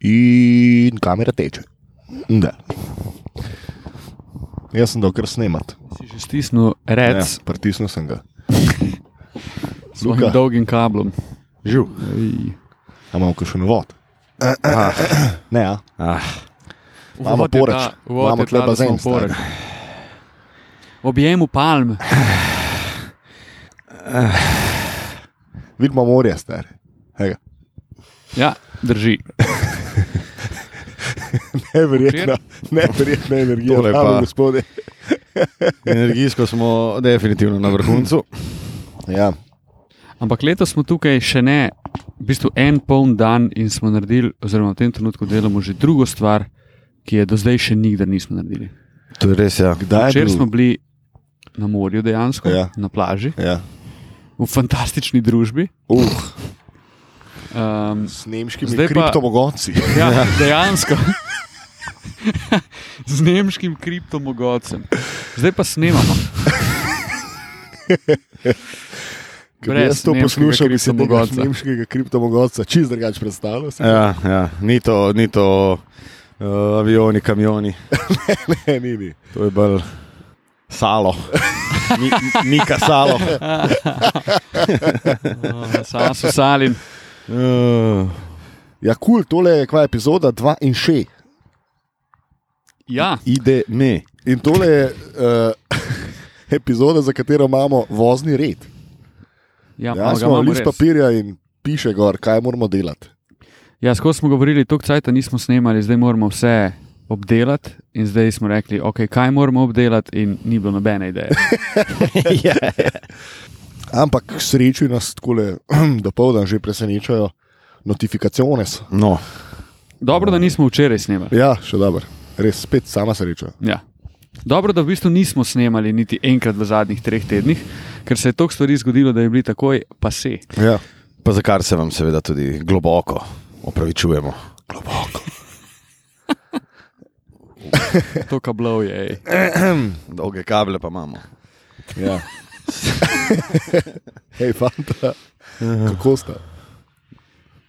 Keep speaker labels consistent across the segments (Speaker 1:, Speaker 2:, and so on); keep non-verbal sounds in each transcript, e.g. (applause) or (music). Speaker 1: In kamera teče. Da. Jaz sem dal kar snemat.
Speaker 2: Si že stisnil
Speaker 1: Ja,
Speaker 2: rec
Speaker 1: pritisnil sem ga.
Speaker 2: s svojim
Speaker 1: Luka.
Speaker 2: dolgim kablom.
Speaker 1: Živ.
Speaker 2: Ej.
Speaker 1: A imamo kakšen vod? Ne, ja.
Speaker 3: Ah,
Speaker 1: Imamo
Speaker 2: Uvod je
Speaker 1: poreč.
Speaker 2: ta- uvod
Speaker 1: Imamo
Speaker 2: je
Speaker 1: tule
Speaker 2: ta, da smo
Speaker 1: bazen,
Speaker 2: v poreč. Objemu palm.
Speaker 1: vidimo morje, stari. Ej,
Speaker 2: Ja, drži.
Speaker 1: Neverjetna, neverjetna energija,
Speaker 3: Tole
Speaker 1: dame
Speaker 3: pa.
Speaker 1: in gospodje.
Speaker 3: energijsko smo definitivno na vrhuncu.
Speaker 1: Ja,
Speaker 2: Ampak letos smo tukaj še ne, v bistvu en poln dan in smo naredili, oziroma v tem trenutku delamo že drugo stvar, ki je do zdaj še nikdar nismo naredili.
Speaker 3: To je res, ja.
Speaker 1: kdaj je
Speaker 2: Včeraj
Speaker 1: bil?
Speaker 2: smo bili na morju, dejansko,
Speaker 1: Ja.
Speaker 2: ja. na plaži,
Speaker 1: Ja.
Speaker 2: v fantastični družbi.
Speaker 1: Uh,
Speaker 2: Um,
Speaker 1: s nemškimi
Speaker 2: Zdaj pa-
Speaker 1: kriptomogonci.
Speaker 2: ja, dejansko. Z nemškim kriptomogocem. Zdaj pa snemamo.
Speaker 1: Če bi jaz to
Speaker 2: nemškega
Speaker 1: poslušal, bi si tega
Speaker 2: kriptomogoca.
Speaker 1: nemškega kriptomogonca čist drugače predstavljal. si.
Speaker 3: Ja, ja. Ni to, ni to uh, avioni, kamioni,
Speaker 1: Ne, ni, ni.
Speaker 3: to je bolj salo. (laughs) Mi, Mika salo.
Speaker 2: Ah, Sam so salin.
Speaker 3: Uh,
Speaker 1: Ja, kul, cool, tole je kva epizoda 2 in 6.
Speaker 2: Ja,
Speaker 3: ide me.
Speaker 1: In tole je uh, (laughs) epizoda, za katero imamo vozni red.
Speaker 2: ja,
Speaker 1: Ja,
Speaker 2: ja,
Speaker 1: smo
Speaker 2: imamo
Speaker 1: list
Speaker 2: res.
Speaker 1: papirja in piše gor, kaj moramo delati.
Speaker 2: ja, skozi smo govorili, toliko cajt nismo snemali, zdaj moramo vse obdelati. In zdaj smo rekli, okay, kaj moramo obdelati, in ni bilo nobene ideje.
Speaker 3: ja, ja.
Speaker 1: Ampak k sreči nas tako le (clears throat) dopoldan že presenečajo notifikacijone.
Speaker 3: No,
Speaker 2: Dobro, da nismo včeraj snemali.
Speaker 1: Ja, še dobro. Res spet sama sreča.
Speaker 2: Ja. Dobro, da v bistvu nismo snemali niti enkrat v zadnjih treh tednih, ker se je toliko stvari zgodilo, da je bili takoj pase.
Speaker 1: Ja.
Speaker 3: pa za kar se vam seveda tudi globoko opravičujemo.
Speaker 2: To kablov je. ej.
Speaker 3: Dolge kable pa imamo.
Speaker 1: ja. Hej, fanta, kako sta?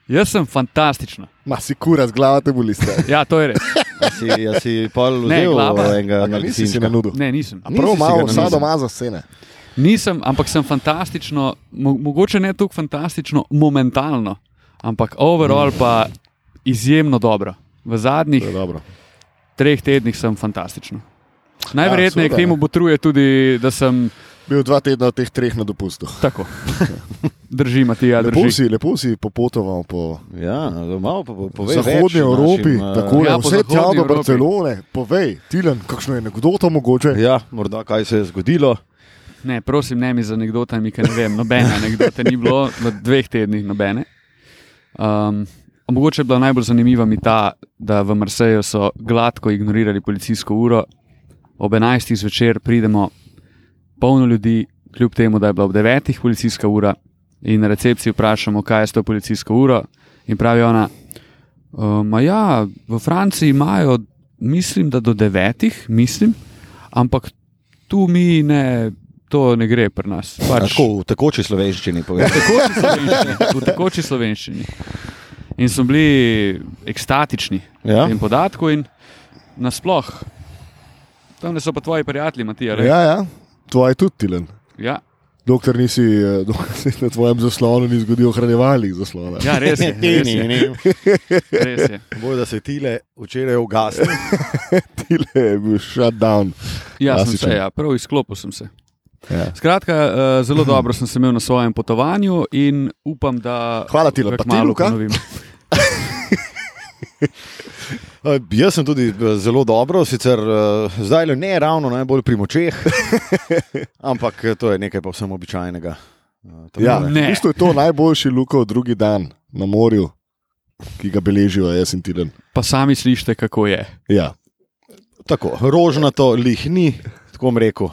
Speaker 2: Jaz sem fantastična.
Speaker 1: Ma si kura z glavate boli ste.
Speaker 2: (laughs) Ja, to je res.
Speaker 3: Ja si, ja si pol
Speaker 2: Ne,
Speaker 3: vzel
Speaker 2: glava.
Speaker 3: enega,
Speaker 1: Ja, nisi si
Speaker 3: narcisinčka.
Speaker 1: na nudu.
Speaker 2: Ne, nisem.
Speaker 1: A Prav
Speaker 3: Nisi si ga
Speaker 1: malo
Speaker 3: nanudil.
Speaker 1: vsa doma za scene.
Speaker 2: Nisem, ampak sem fantastično, mo mogoče ne tako fantastično, momentalno, ampak overall pa izjemno dobro. V zadnjih
Speaker 1: To je dobro.
Speaker 2: treh tednih sem fantastično. Najverjetneje
Speaker 1: seveda,
Speaker 2: k temu
Speaker 1: ja.
Speaker 2: botruje tudi, da sem
Speaker 1: Bil dva tedna od teh treh na dopustu.
Speaker 2: tako. Drži, Matija,
Speaker 1: Lepo
Speaker 2: drži.
Speaker 1: si, lepo si popotoval po
Speaker 3: Ja, malo pa po- povej.
Speaker 1: zahodni
Speaker 3: več o
Speaker 1: Evropi,
Speaker 3: našem, eh,
Speaker 1: tako
Speaker 2: ja,
Speaker 1: da
Speaker 2: po
Speaker 1: vse
Speaker 2: zahodni
Speaker 1: tja do
Speaker 2: Evropi.
Speaker 1: Barcelone. Povej, Tilen, kakšno je anekdoto mogoče?
Speaker 3: Ja, morda kaj se je zgodilo.
Speaker 2: Ne, prosim, ne mi z anekdotami, ker ne vem, nobene anekdote ni bilo, v dveh tednih nobene. Um, a mogoče je bila najbolj zanimiva mi ta, da v Marseju so gladko ignorirali policijsko uro, ob 11. zvečer pridemo, polno ljudi, kljub temu, da je bila ob 9. policijska ura, in na recepciji vprašamo, kaj je s to policijsko uro. In pravi ona, um, ja, v Franciji imajo, mislim, da do 9. mislim, ampak tu mi ne, to ne gre pri nas. Pač, Ja,
Speaker 3: Tako, v tekoči slovenščini povem. (laughs)
Speaker 2: tekoči slovenščini, v tekoči slovenščini. In smo bili ekstatični
Speaker 3: Ja.
Speaker 2: v tem podatku, in nasploh, tam so pa tvoji prijatelji, Matija. Ja.
Speaker 1: Ja, ja, tvoj tudi Tilen.
Speaker 2: Ja,
Speaker 1: Dokler (laughs) nisi eh, dokler se na tvojem zaslonu ni zgodil hranjevalnik zaslona.
Speaker 2: ja, res
Speaker 1: (laughs)
Speaker 2: je. Res je, res je.
Speaker 3: Boj, da se tile včeraj ugasne. (laughs)
Speaker 1: Tile je bil shut down.
Speaker 2: Ja, sem
Speaker 1: Klasičen.
Speaker 2: se, ja, prav izklopil sem se.
Speaker 1: Ja.
Speaker 2: Skratka, eh, zelo dobro sem se imel na svojem potovanju in upam, da.
Speaker 1: Hvala ti, lepa. Ti,
Speaker 2: malo
Speaker 1: Luka?
Speaker 2: ponovim.
Speaker 3: Eh, Jaz sem tudi eh, zelo dobro, sicer eh, zdaj le ne ravno najbolj pri močeh, (laughs) ampak eh, to je nekaj povsem običajnega. Eh, tako
Speaker 1: Ja,
Speaker 3: da-
Speaker 2: Ne.
Speaker 1: v bistvu je to najboljši Lukov drugi dan na morju, ki ga beležijo jaz in Tilen.
Speaker 2: Pa sami slišite, kako je.
Speaker 1: Ja,
Speaker 3: Tako, rožnato, lihni, tako bom rekel.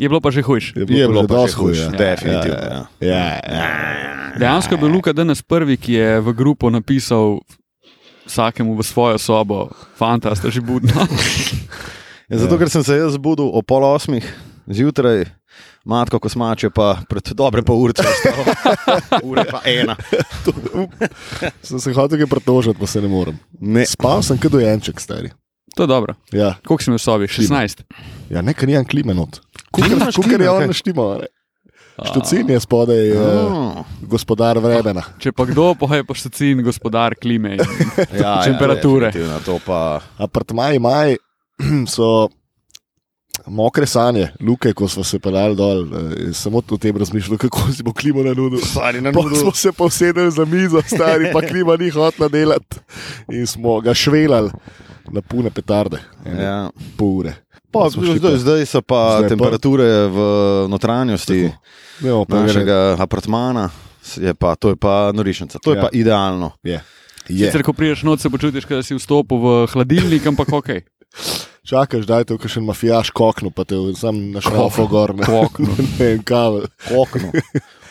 Speaker 2: Je bilo pa že hujš.
Speaker 1: je
Speaker 3: Je bilo
Speaker 1: že
Speaker 3: pa
Speaker 1: dosti
Speaker 3: dosti hujše,
Speaker 1: huje, ja.
Speaker 3: definitivno,
Speaker 1: Ja,
Speaker 3: ja.
Speaker 1: ja. ja,
Speaker 2: Dejansko je bil Luka danes prvi, ki je v grupo napisal vsakemu v svojo
Speaker 3: (laughs)
Speaker 2: sobo, fanta, ste že budni.
Speaker 3: Ja, Zato, ker sem se jaz budil o pol osmih, Zjutraj, matko kosmače, pa pred dobre pol ure, (laughs) ure pa ena.
Speaker 1: Sem se hotel kaj pretožiti, pa se ne morem.
Speaker 3: Ne.
Speaker 1: Spal sem kot dojenček, stari.
Speaker 2: To je dobro.
Speaker 1: Ja,
Speaker 2: Koliko si imel v sobi? 16.
Speaker 1: ja nekaj nijem klime not.
Speaker 3: nimaš
Speaker 1: Kukar
Speaker 3: klime,
Speaker 1: je
Speaker 3: kaj?
Speaker 1: on štima. Štucin je spodaj eh,
Speaker 3: Mm.
Speaker 1: gospodar vremena.
Speaker 2: Če pa kdo, pa je poštacin, gospodar klime.
Speaker 3: (laughs) Ja,
Speaker 2: Temperature.
Speaker 3: Ja, definitivno, to pa
Speaker 1: Apartmaji maj (clears throat) so mokre sanje, luke, ko smo se pelali dol. eh, Samo o tem razmišljam, kako si bo klimo na nudu.
Speaker 3: stari na
Speaker 1: Pa smo
Speaker 3: nudu.
Speaker 1: se posedeli za mizo, stari
Speaker 3: (laughs)
Speaker 1: pa klima ni hotla delati in smo ga švelali na pune petarde, ja.
Speaker 3: Ja.
Speaker 1: pol ure.
Speaker 3: Pa,
Speaker 1: smo šli
Speaker 3: zdaj,
Speaker 1: pa-
Speaker 3: zdaj so pa
Speaker 1: Zdaj pa-
Speaker 3: zdaj temperature v notranjosti
Speaker 1: Ne bomo pa še ga.
Speaker 3: našega apartmana. Je pa, to je pa norišnica,
Speaker 1: Ja.
Speaker 3: to je ja. pa idealno.
Speaker 1: Je.
Speaker 2: Sicer, ko priješ noč, se počutiš, kot da si vstopil v hladilnik, ampak ok.
Speaker 1: Čakaš, da je to še en mafijaš kokno, pa te sam na
Speaker 2: Kok-
Speaker 1: šrofo gor. Ne,
Speaker 2: koknu.
Speaker 1: (laughs) ne vem, kavel.
Speaker 3: Okno.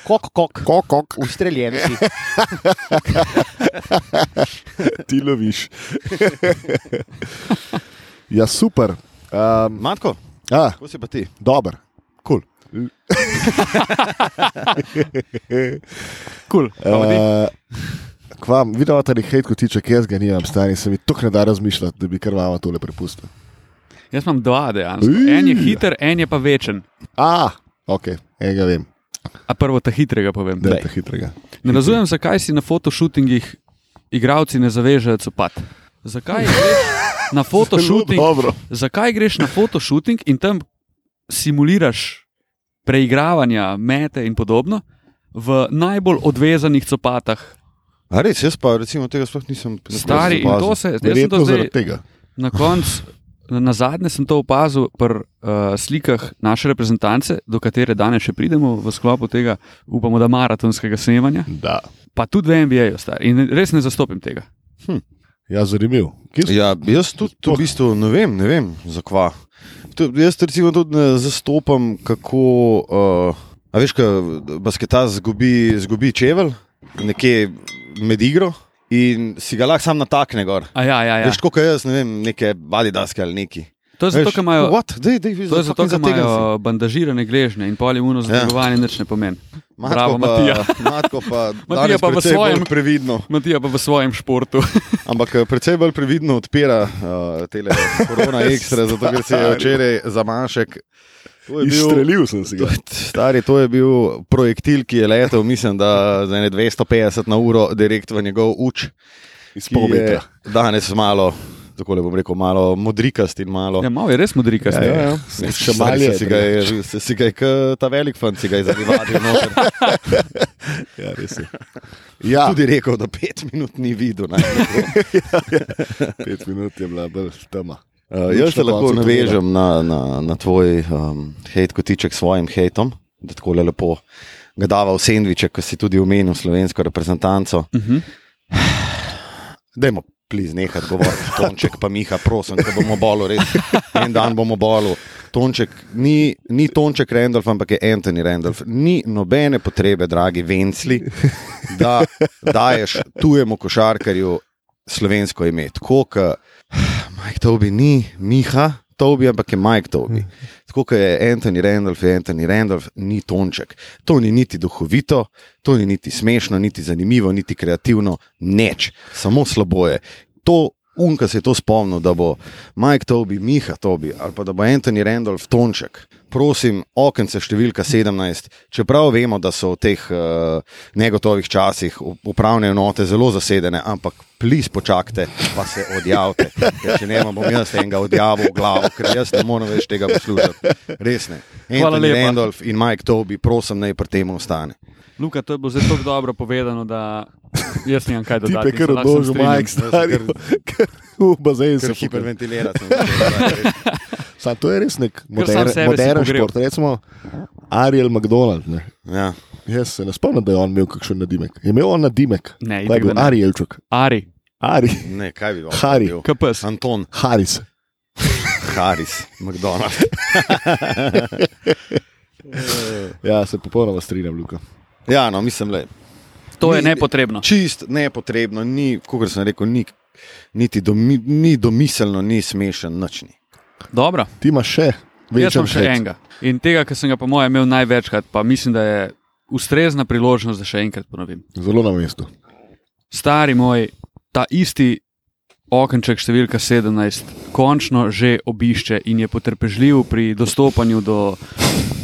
Speaker 3: Kok, kok.
Speaker 1: Kok, kok,
Speaker 3: Ustreljenci.
Speaker 1: ti loviš. (laughs) ja, super. Um,
Speaker 3: (laughs) Matko,
Speaker 1: a,
Speaker 3: kako si pa ti?
Speaker 1: dober, kul. Cool.
Speaker 2: Cool. Uh,
Speaker 1: Eh, Kvam, videl ta hate, ko tiče, jaz ga nimam, stani se mi tukaj ne da razmišljati, da bi krvava tole prepustil.
Speaker 2: jaz imam dva dejansko.
Speaker 1: Ui.
Speaker 2: En je hiter, en je pa večen.
Speaker 1: A, ok, enega vem,
Speaker 2: A prvo ta hitrega povem.
Speaker 1: da je to hitrega.
Speaker 2: Ne razumem, zakaj si na fotoshootingih igravci ne zavežejo copat. Zakaj greš na fotoshooting?
Speaker 1: Zelo dobro.
Speaker 2: Zakaj greš na fotoshooting in tam simuliraš preigravanja, mete in podobno v najbolj odvezanih copatah?
Speaker 3: A res, jaz pa recimo tega sploh nisem ne
Speaker 2: Stari, in to
Speaker 3: opazil.
Speaker 2: se, jaz sem to
Speaker 1: Verjetno
Speaker 2: zdaj
Speaker 1: zaradi tega.
Speaker 2: na koncu. Na zadnje sem to opazil pri uh, slikah naše reprezentance, do katere danes še pridemo v sklopu tega, upamo, da maratonskega snemanja,
Speaker 1: Da.
Speaker 2: pa tudi v NBA-ju, stari. In res ne zastopim tega.
Speaker 1: Ja, zanimiv. Kje si?
Speaker 3: Ja, jaz tudi to v bistvu ne vem, ne vem zakva. To, jaz recimo tudi ne zastopam, kako. Uh, a veš, ko basketa zgubi, zgubi čevelj, nekje med igro in si ga lahko sam natakne gor.
Speaker 2: A ja, ja,
Speaker 3: Ja.
Speaker 2: ja.
Speaker 3: Veš, kot jaz, ne vem, neke badidaske ali neki.
Speaker 2: To je zato, ker imajo,
Speaker 3: What? Dej, dej,
Speaker 2: to je zato, ker imajo bandažirane gležnje in polje uno zategovanje, nič ne pomeni. Bravo, Matija.
Speaker 3: (laughs) Matko pa,
Speaker 2: (laughs) Matija
Speaker 3: danes
Speaker 2: pa v
Speaker 3: precej bolj
Speaker 2: svojem-
Speaker 3: Previdno,
Speaker 2: Matija pa v svojem športu.
Speaker 3: ampak eh, precej bolj previdno odpira uh, tele
Speaker 2: (laughs)
Speaker 3: korona ekstra, zato ker se je včeraj zamašek. To je bil-
Speaker 1: Izstrelil sem si
Speaker 3: To,
Speaker 1: ga.
Speaker 3: je- stari, to je bil projektil, ki je letel, mislim, da za ene 250 na uro, direkt v njegov uč.
Speaker 1: Iz
Speaker 3: ki
Speaker 1: pol
Speaker 3: je
Speaker 1: metra.
Speaker 3: Danes malo, tako le bom rekel, malo modrikast in malo.
Speaker 2: Ja, malo je res modrika.
Speaker 1: Ja, ja, ja. Se- Še malo je.
Speaker 3: je, si ga je, se- si ga je, kot ta velik fant, si ga je no, zanimalo.
Speaker 1: Ja, res je. (laughs) Ja,
Speaker 3: Tudi rekel, da pet minut ni
Speaker 1: (laughs)
Speaker 3: videl. ne.
Speaker 1: pet minut je bila bolj tema.
Speaker 3: Uh, jaz
Speaker 1: Luč na
Speaker 3: se lahko
Speaker 1: koncu
Speaker 3: navežem na, na, na tvoj um, hate kotiček s svojim hateom, da tako lepo ga dava v sendviče, ko si tudi omenil slovensko reprezentanco.
Speaker 2: Uh -huh.
Speaker 3: Dajmo, pliz, nehaj
Speaker 1: (laughs)
Speaker 3: govoriti, Tonček, pa Miha, prosim, da bomo bolu, res. En dan bomo bolu. Tonček ni, ni Tonček Randolph, ampak je Anthony Randolph. Ni nobene potrebe, dragi Vencli, da daješ tujemu košarkarju slovensko ime. Tako kot Mike Tobi ni Miha. Tobi, ampak je Mike Tobi. Tako kot je Anthony Randolph, je Anthony Randolph, ni Tonček. To ni niti duhovito, to ni niti smešno, niti zanimivo, niti kreativno, neč, samo slabo je. To, unka se je to spomnil, da bo Mike Tobi, Miha Tobi ali pa da bo Anthony Randolph Tonček. Prosim, okence številka 17. Čeprav vemo, da so v teh uh, negotovih časih u- upravne enote zelo zasedene, ampak plis počakajte, pa se odjavite. Ker če ne, bom jaz enega odjavil v glavo, ker jaz ne morem več tega poslušati. Res ne.
Speaker 2: Hvala
Speaker 3: Anthony
Speaker 2: lepa.
Speaker 3: Randolph in Mike Tobi, prosim, naj pri tem ostane.
Speaker 2: Luka, to je bilo zelo tako dobro povedano, da jaz nimam kaj
Speaker 1: Ti
Speaker 2: dodati.
Speaker 1: je
Speaker 2: in se
Speaker 1: kar
Speaker 2: lahko sam
Speaker 1: odložil,
Speaker 2: strinjam.
Speaker 1: majk stari. (laughs) kar V bazenu se
Speaker 3: Ker
Speaker 1: fukal.
Speaker 3: hiperventilirati.
Speaker 1: Sam to je res nek
Speaker 2: sam
Speaker 1: modern,
Speaker 2: sebe si
Speaker 1: modern
Speaker 2: pogrel.
Speaker 1: šport. Recimo Ariel McDonald. Ne.
Speaker 3: Ja.
Speaker 1: Jaz se ne spomnim, da je on imel kakšen nadimek. Je imel on nadimek?
Speaker 2: Ne,
Speaker 1: Kaj je
Speaker 2: itak, da
Speaker 1: bil
Speaker 2: ne.
Speaker 1: Arielčuk?
Speaker 2: Ari,
Speaker 1: Ari, (laughs)
Speaker 3: Ne, kaj bi bilo?
Speaker 1: Hari.
Speaker 2: KPS.
Speaker 3: Anton,
Speaker 1: Haris.
Speaker 3: Haris, McDonald.
Speaker 1: Ja, se popolnoma strinjam, Luka.
Speaker 3: Ja, no, mislim, le.
Speaker 2: To je
Speaker 3: Ni-
Speaker 2: nepotrebno.
Speaker 3: Čist nepotrebno, ni, kot sem rekel, ni, niti domi, ni domiselno, ni smešen, nočni.
Speaker 2: Dobro,
Speaker 1: Ti imaš še
Speaker 2: Jaz sem
Speaker 1: Večer
Speaker 2: še enega. In tega, ki sem ga, po mojem, imel največkrat, pa mislim, da je ustrezna priložnost, da še enkrat ponovim.
Speaker 1: Zelo na mestu.
Speaker 2: Stari moj, ta isti okenček številka 17 končno že obišče in je potrpežljiv pri dostopanju do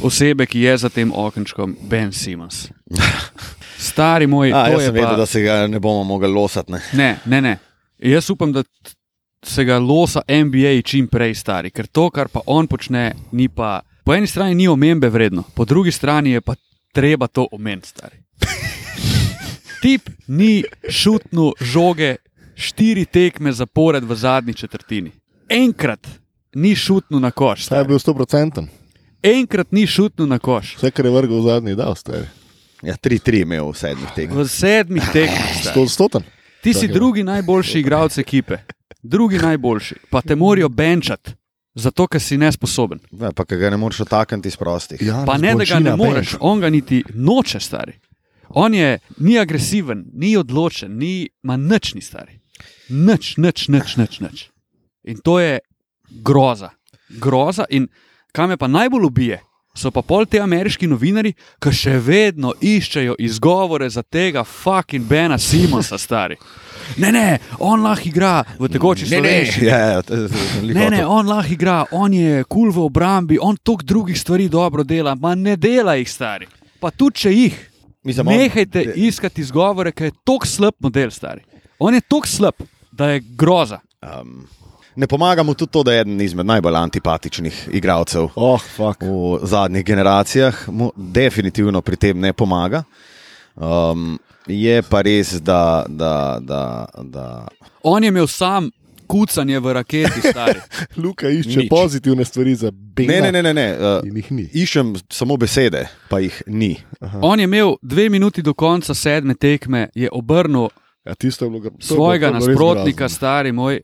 Speaker 2: osebe, ki je za tem okenčkom Ben
Speaker 3: (laughs)
Speaker 2: Simons. Stari moj,
Speaker 3: A,
Speaker 2: E, to
Speaker 3: jaz
Speaker 2: je
Speaker 3: sem vedel,
Speaker 2: pa...
Speaker 3: da se ga ne bomo mogli losati. Ne.
Speaker 2: Ne, ne, ne. Jaz upam, da t- se ga losa NBA čim prej, stari, ker to, kar pa on počne, ni pa. Po eni strani ni omembe vredno, po drugi strani je pa treba to omeniti, stari. (laughs) Tip ni šutnil žoge štiri tekme zapored v zadnji četrtini. Enkrat ni šutnil na koš,
Speaker 1: Ta je
Speaker 2: stari.
Speaker 1: bil 100%,
Speaker 2: enkrat ni šutnil na koš.
Speaker 1: vse, kar je vrgel v zadnji, da ostaje.
Speaker 3: Ja, 3-3 imel v sedmih tekmah.
Speaker 2: V sedmih tekmah. stari.
Speaker 1: 100%.
Speaker 2: Ti si
Speaker 1: Tako.
Speaker 2: drugi najboljši igralec ekipe, drugi najboljši, pa te morajo benčati, zato ker si nesposoben.
Speaker 3: Ja, pa ki ga ne moreš otakniti iz prostih.
Speaker 1: Ja,
Speaker 2: Pa ne, da ga ne moreš, on ga niti noče, stari. On je ni agresiven, ni odločen, ni ma nič ni stari. Nič, nič, nič, nič, nič. In to je groza. Groza in kaj me pa najbolj ubije, so pa pol te ameriški novinari, ki še vedno iščejo izgovore za tega fucking Bena Simonsa, stari. Ne, ne, on lahko igra v tekoči
Speaker 3: ne, ne,
Speaker 2: slovenščini.
Speaker 3: ja, ja, to- to- to sem glih
Speaker 2: Ne, ne,
Speaker 3: hotel.
Speaker 2: on lahko igra, on je kul cool v obrambi, on toliko drugih stvari dobro dela, ma ne dela jih stari. Pa tudi če jih.
Speaker 3: Mislim, on-
Speaker 2: Nehajte
Speaker 3: de-
Speaker 2: iskati izgovore, ker je tok slab model stari. On je tok slab, da je groza.
Speaker 3: Um, ne pomaga mu tudi to, da je eden izmed najbolj antipatičnih igralcev
Speaker 1: Oh, fuck.
Speaker 3: v zadnjih generacijah, mu definitivno pri tem ne pomaga. Um, je pa res, da. da, da, da
Speaker 2: On je imel sam kucanje v raketi
Speaker 1: (laughs)
Speaker 2: stari.
Speaker 1: Luka išče Nič.
Speaker 3: Nič.
Speaker 1: pozitivne stvari za Bena.
Speaker 3: ne, ne, ne, ne. ne
Speaker 1: In
Speaker 3: uh,
Speaker 1: jih ni.
Speaker 3: iščem samo besede, pa jih ni.
Speaker 2: On je imel dve minuti do konca sedme tekme, je obrnil
Speaker 1: Ja, tisto je bilo gr- to je bilo-
Speaker 2: svojega
Speaker 1: to je bilo res
Speaker 2: nasprotnika,
Speaker 1: grozno.
Speaker 2: stari moj,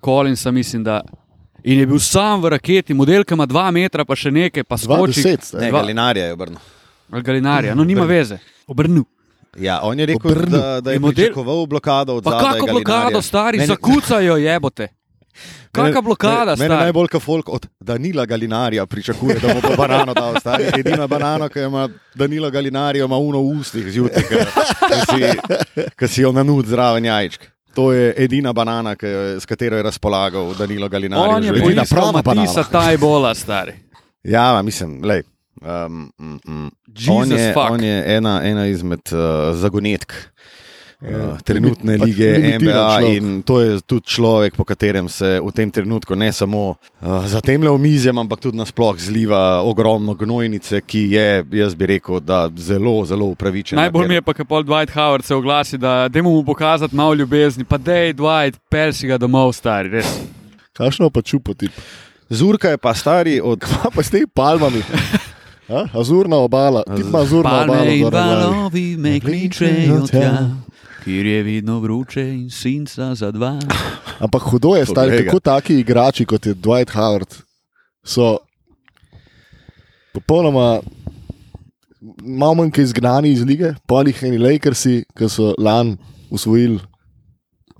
Speaker 2: Kolinsa, mislim, da. In je bil sam v raketi, model, ki ima dva metra, pa še nekaj, pa
Speaker 1: Dva
Speaker 2: skoči.
Speaker 1: deset, stari.
Speaker 3: Ne,
Speaker 2: Dva-
Speaker 3: Galinarja je obrnil.
Speaker 2: Ali galinarja, no nima veze, obrnil.
Speaker 3: Ja, on je rekel,
Speaker 1: Obrnil.
Speaker 3: da, da je
Speaker 2: Je model-
Speaker 3: pričakoval blokado od
Speaker 2: Pa
Speaker 3: zadaj
Speaker 2: kako
Speaker 3: Galinarja.
Speaker 2: blokado, stari,
Speaker 3: Meni-
Speaker 2: zakucajo jebote. Kakšna blokada,
Speaker 3: Mene
Speaker 2: stari.
Speaker 3: najbolj kot folk od Danila Galinarja pričakuje, da mu bo banano dal. Stari. Edina banana, ki jo ima Danilo Galinarja, ima uno v ustih zjutraj, ki si- ki si jo nanud zraven jajčk. To je edina banana, ki jo, je- s katero je razpolagal Danilo Galinarij.
Speaker 2: On je
Speaker 3: v življenju.
Speaker 2: poiskal
Speaker 3: banana.
Speaker 2: Matisa Tajbola, stari.
Speaker 3: Ja, ma, mislim, lej. Um, mm, mm. On,
Speaker 2: Jesus
Speaker 3: je,
Speaker 2: fuck.
Speaker 3: on je ena, ena izmed uh, zagonetk. Uh,
Speaker 1: Ja.
Speaker 3: trenutne
Speaker 1: Pač
Speaker 3: lige
Speaker 1: limitiran
Speaker 3: MBA,
Speaker 1: človek.
Speaker 3: in to je tudi človek, po katerem se v tem trenutku ne samo uh, za tem le omizjem, ampak tudi nasploh zliva ogromno gnojnice, ki je, jaz bi rekel, da zelo, zelo upravičena.
Speaker 2: Najbolj
Speaker 3: ker-
Speaker 2: mi je pa, ko pol Dwight Howard se oglasi, da dajmo mu pokazati malo ljubezni, pa dej Dwight, pelsi ga domov, stari, res.
Speaker 1: Kakšno pa čupo ti?
Speaker 3: Zurka je pa stari od
Speaker 1: (laughs) Pa, pa s temi
Speaker 2: (laughs)
Speaker 1: palmami. A? Azurna obala, ti ima azurno obalo.
Speaker 2: Palme in
Speaker 1: gor na glavi.
Speaker 2: valovi me kličejo tja, kjer je vidno vroče in sinca za dva.
Speaker 1: Ampak hudo je, stari,
Speaker 3: Kolega.
Speaker 1: kako taki igrači kot je Dwight Howard so popolnoma. Malo manj kot izgnani iz lige, polih in Lakersi, ki so lani usvojili,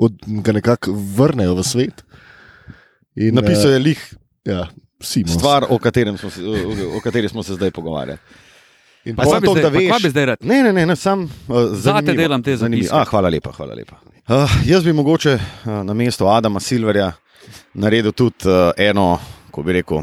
Speaker 1: od, ga nekako vrnejo v svet. In,
Speaker 3: napisal
Speaker 1: eh,
Speaker 3: je lih
Speaker 1: ja, Simons.
Speaker 3: stvar, o, katerem smo se- o, o kateri smo se zdaj pogovarjali.
Speaker 1: In
Speaker 2: Pa
Speaker 1: pol-
Speaker 2: kaj bi
Speaker 3: to, da
Speaker 2: zdaj- pa
Speaker 3: veš.
Speaker 2: kaj bi zdaj rad?
Speaker 3: Ne, ne, ne, ne sam uh, zanimivo,
Speaker 2: delam te
Speaker 3: zanimivo.
Speaker 2: zapiske.
Speaker 3: Ah, hvala lepa. Hvala lepa. Uh, jaz bi mogoče uh, na mesto Adama Silverja naredil tudi uh, eno, ko bi rekel,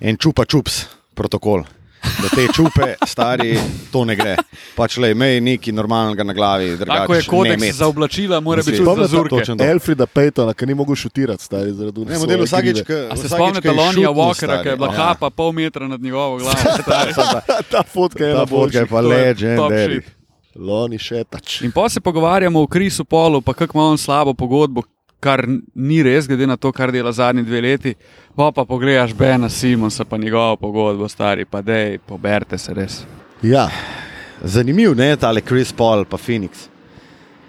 Speaker 3: en čupa čups protokol. Da te čupe, stari, to ne gre. Pač le imej nekaj normalnega na glavi.
Speaker 2: Tako je
Speaker 3: drugače ne
Speaker 2: kodeks
Speaker 3: imeti.
Speaker 2: za oblačila, mora biti
Speaker 3: Mislim,
Speaker 2: tudi
Speaker 1: Spomnite
Speaker 2: za
Speaker 1: se
Speaker 2: zurke.
Speaker 3: točno.
Speaker 1: Elfrida Pejtona, ki ni mogel šutirati, stari, zaradi
Speaker 3: Ne,
Speaker 1: unesove
Speaker 3: model vsakič,
Speaker 1: krive.
Speaker 3: ko
Speaker 2: A se
Speaker 3: vsakič,
Speaker 2: spomnite
Speaker 3: ko je
Speaker 2: Lonija
Speaker 3: šutnil,
Speaker 2: Walkera,
Speaker 3: stari,
Speaker 2: ki je bila
Speaker 3: ja.
Speaker 2: kapa pol metra nad njegovo
Speaker 3: (laughs)
Speaker 2: glavo? stari.
Speaker 1: (laughs) Ta fotka je
Speaker 3: Ta
Speaker 1: ena
Speaker 3: fotka je
Speaker 1: boljših.
Speaker 3: pa
Speaker 2: To je top
Speaker 3: legendary.
Speaker 2: shit.
Speaker 1: Loni še tač.
Speaker 2: In pa se pogovarjamo o Krisu Polu, pa kako ima on slabo pogodbo, kar n- ni res, glede na to, kar dela zadnji dve leti. Pa pa pogledaš Bena Simonsa, pa njegovo pogodbo, stari, pa dej, poberte se res.
Speaker 1: Ja,
Speaker 3: Zanimiv je ta Chris Paul pa Phoenix.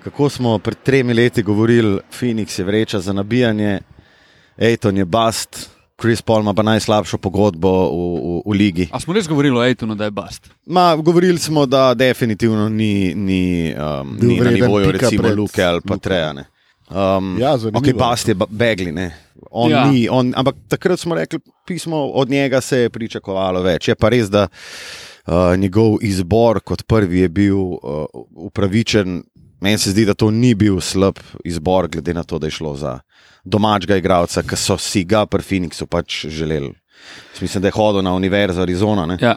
Speaker 3: Kako smo pred tremi leti govorili, Phoenix je vreča za nabijanje, Ejton je bast, Chris Paul ima pa najslabšo pogodbo v, v, v ligi.
Speaker 2: A smo res govorili o Ejtonu, da je bast?
Speaker 3: Ma, govorili smo, da definitivno ni, ni, um,
Speaker 1: Bil
Speaker 3: ni na
Speaker 1: vreden
Speaker 3: nivoju
Speaker 1: pika
Speaker 3: recimo
Speaker 1: pred
Speaker 3: Luke ali pa
Speaker 1: Luko.
Speaker 3: Trejane. Um,
Speaker 1: Ja, zanimivo.
Speaker 3: ok, Bast je ba- begli, ne. On
Speaker 2: Ja.
Speaker 3: ja. ni, on, ampak takrat smo rekli, pismo od njega se je pričakovalo več. Je pa res, da uh, njegov izbor kot prvi je bil uh, upravičen. Meni se zdi, da to ni bil slab izbor, glede na to, da je šlo za domačega igralca, ki so si ga pri Phoenixu pač želeli. Jaz Mislim, da je hodil na Univerzo Arizona. ne.
Speaker 2: Ja.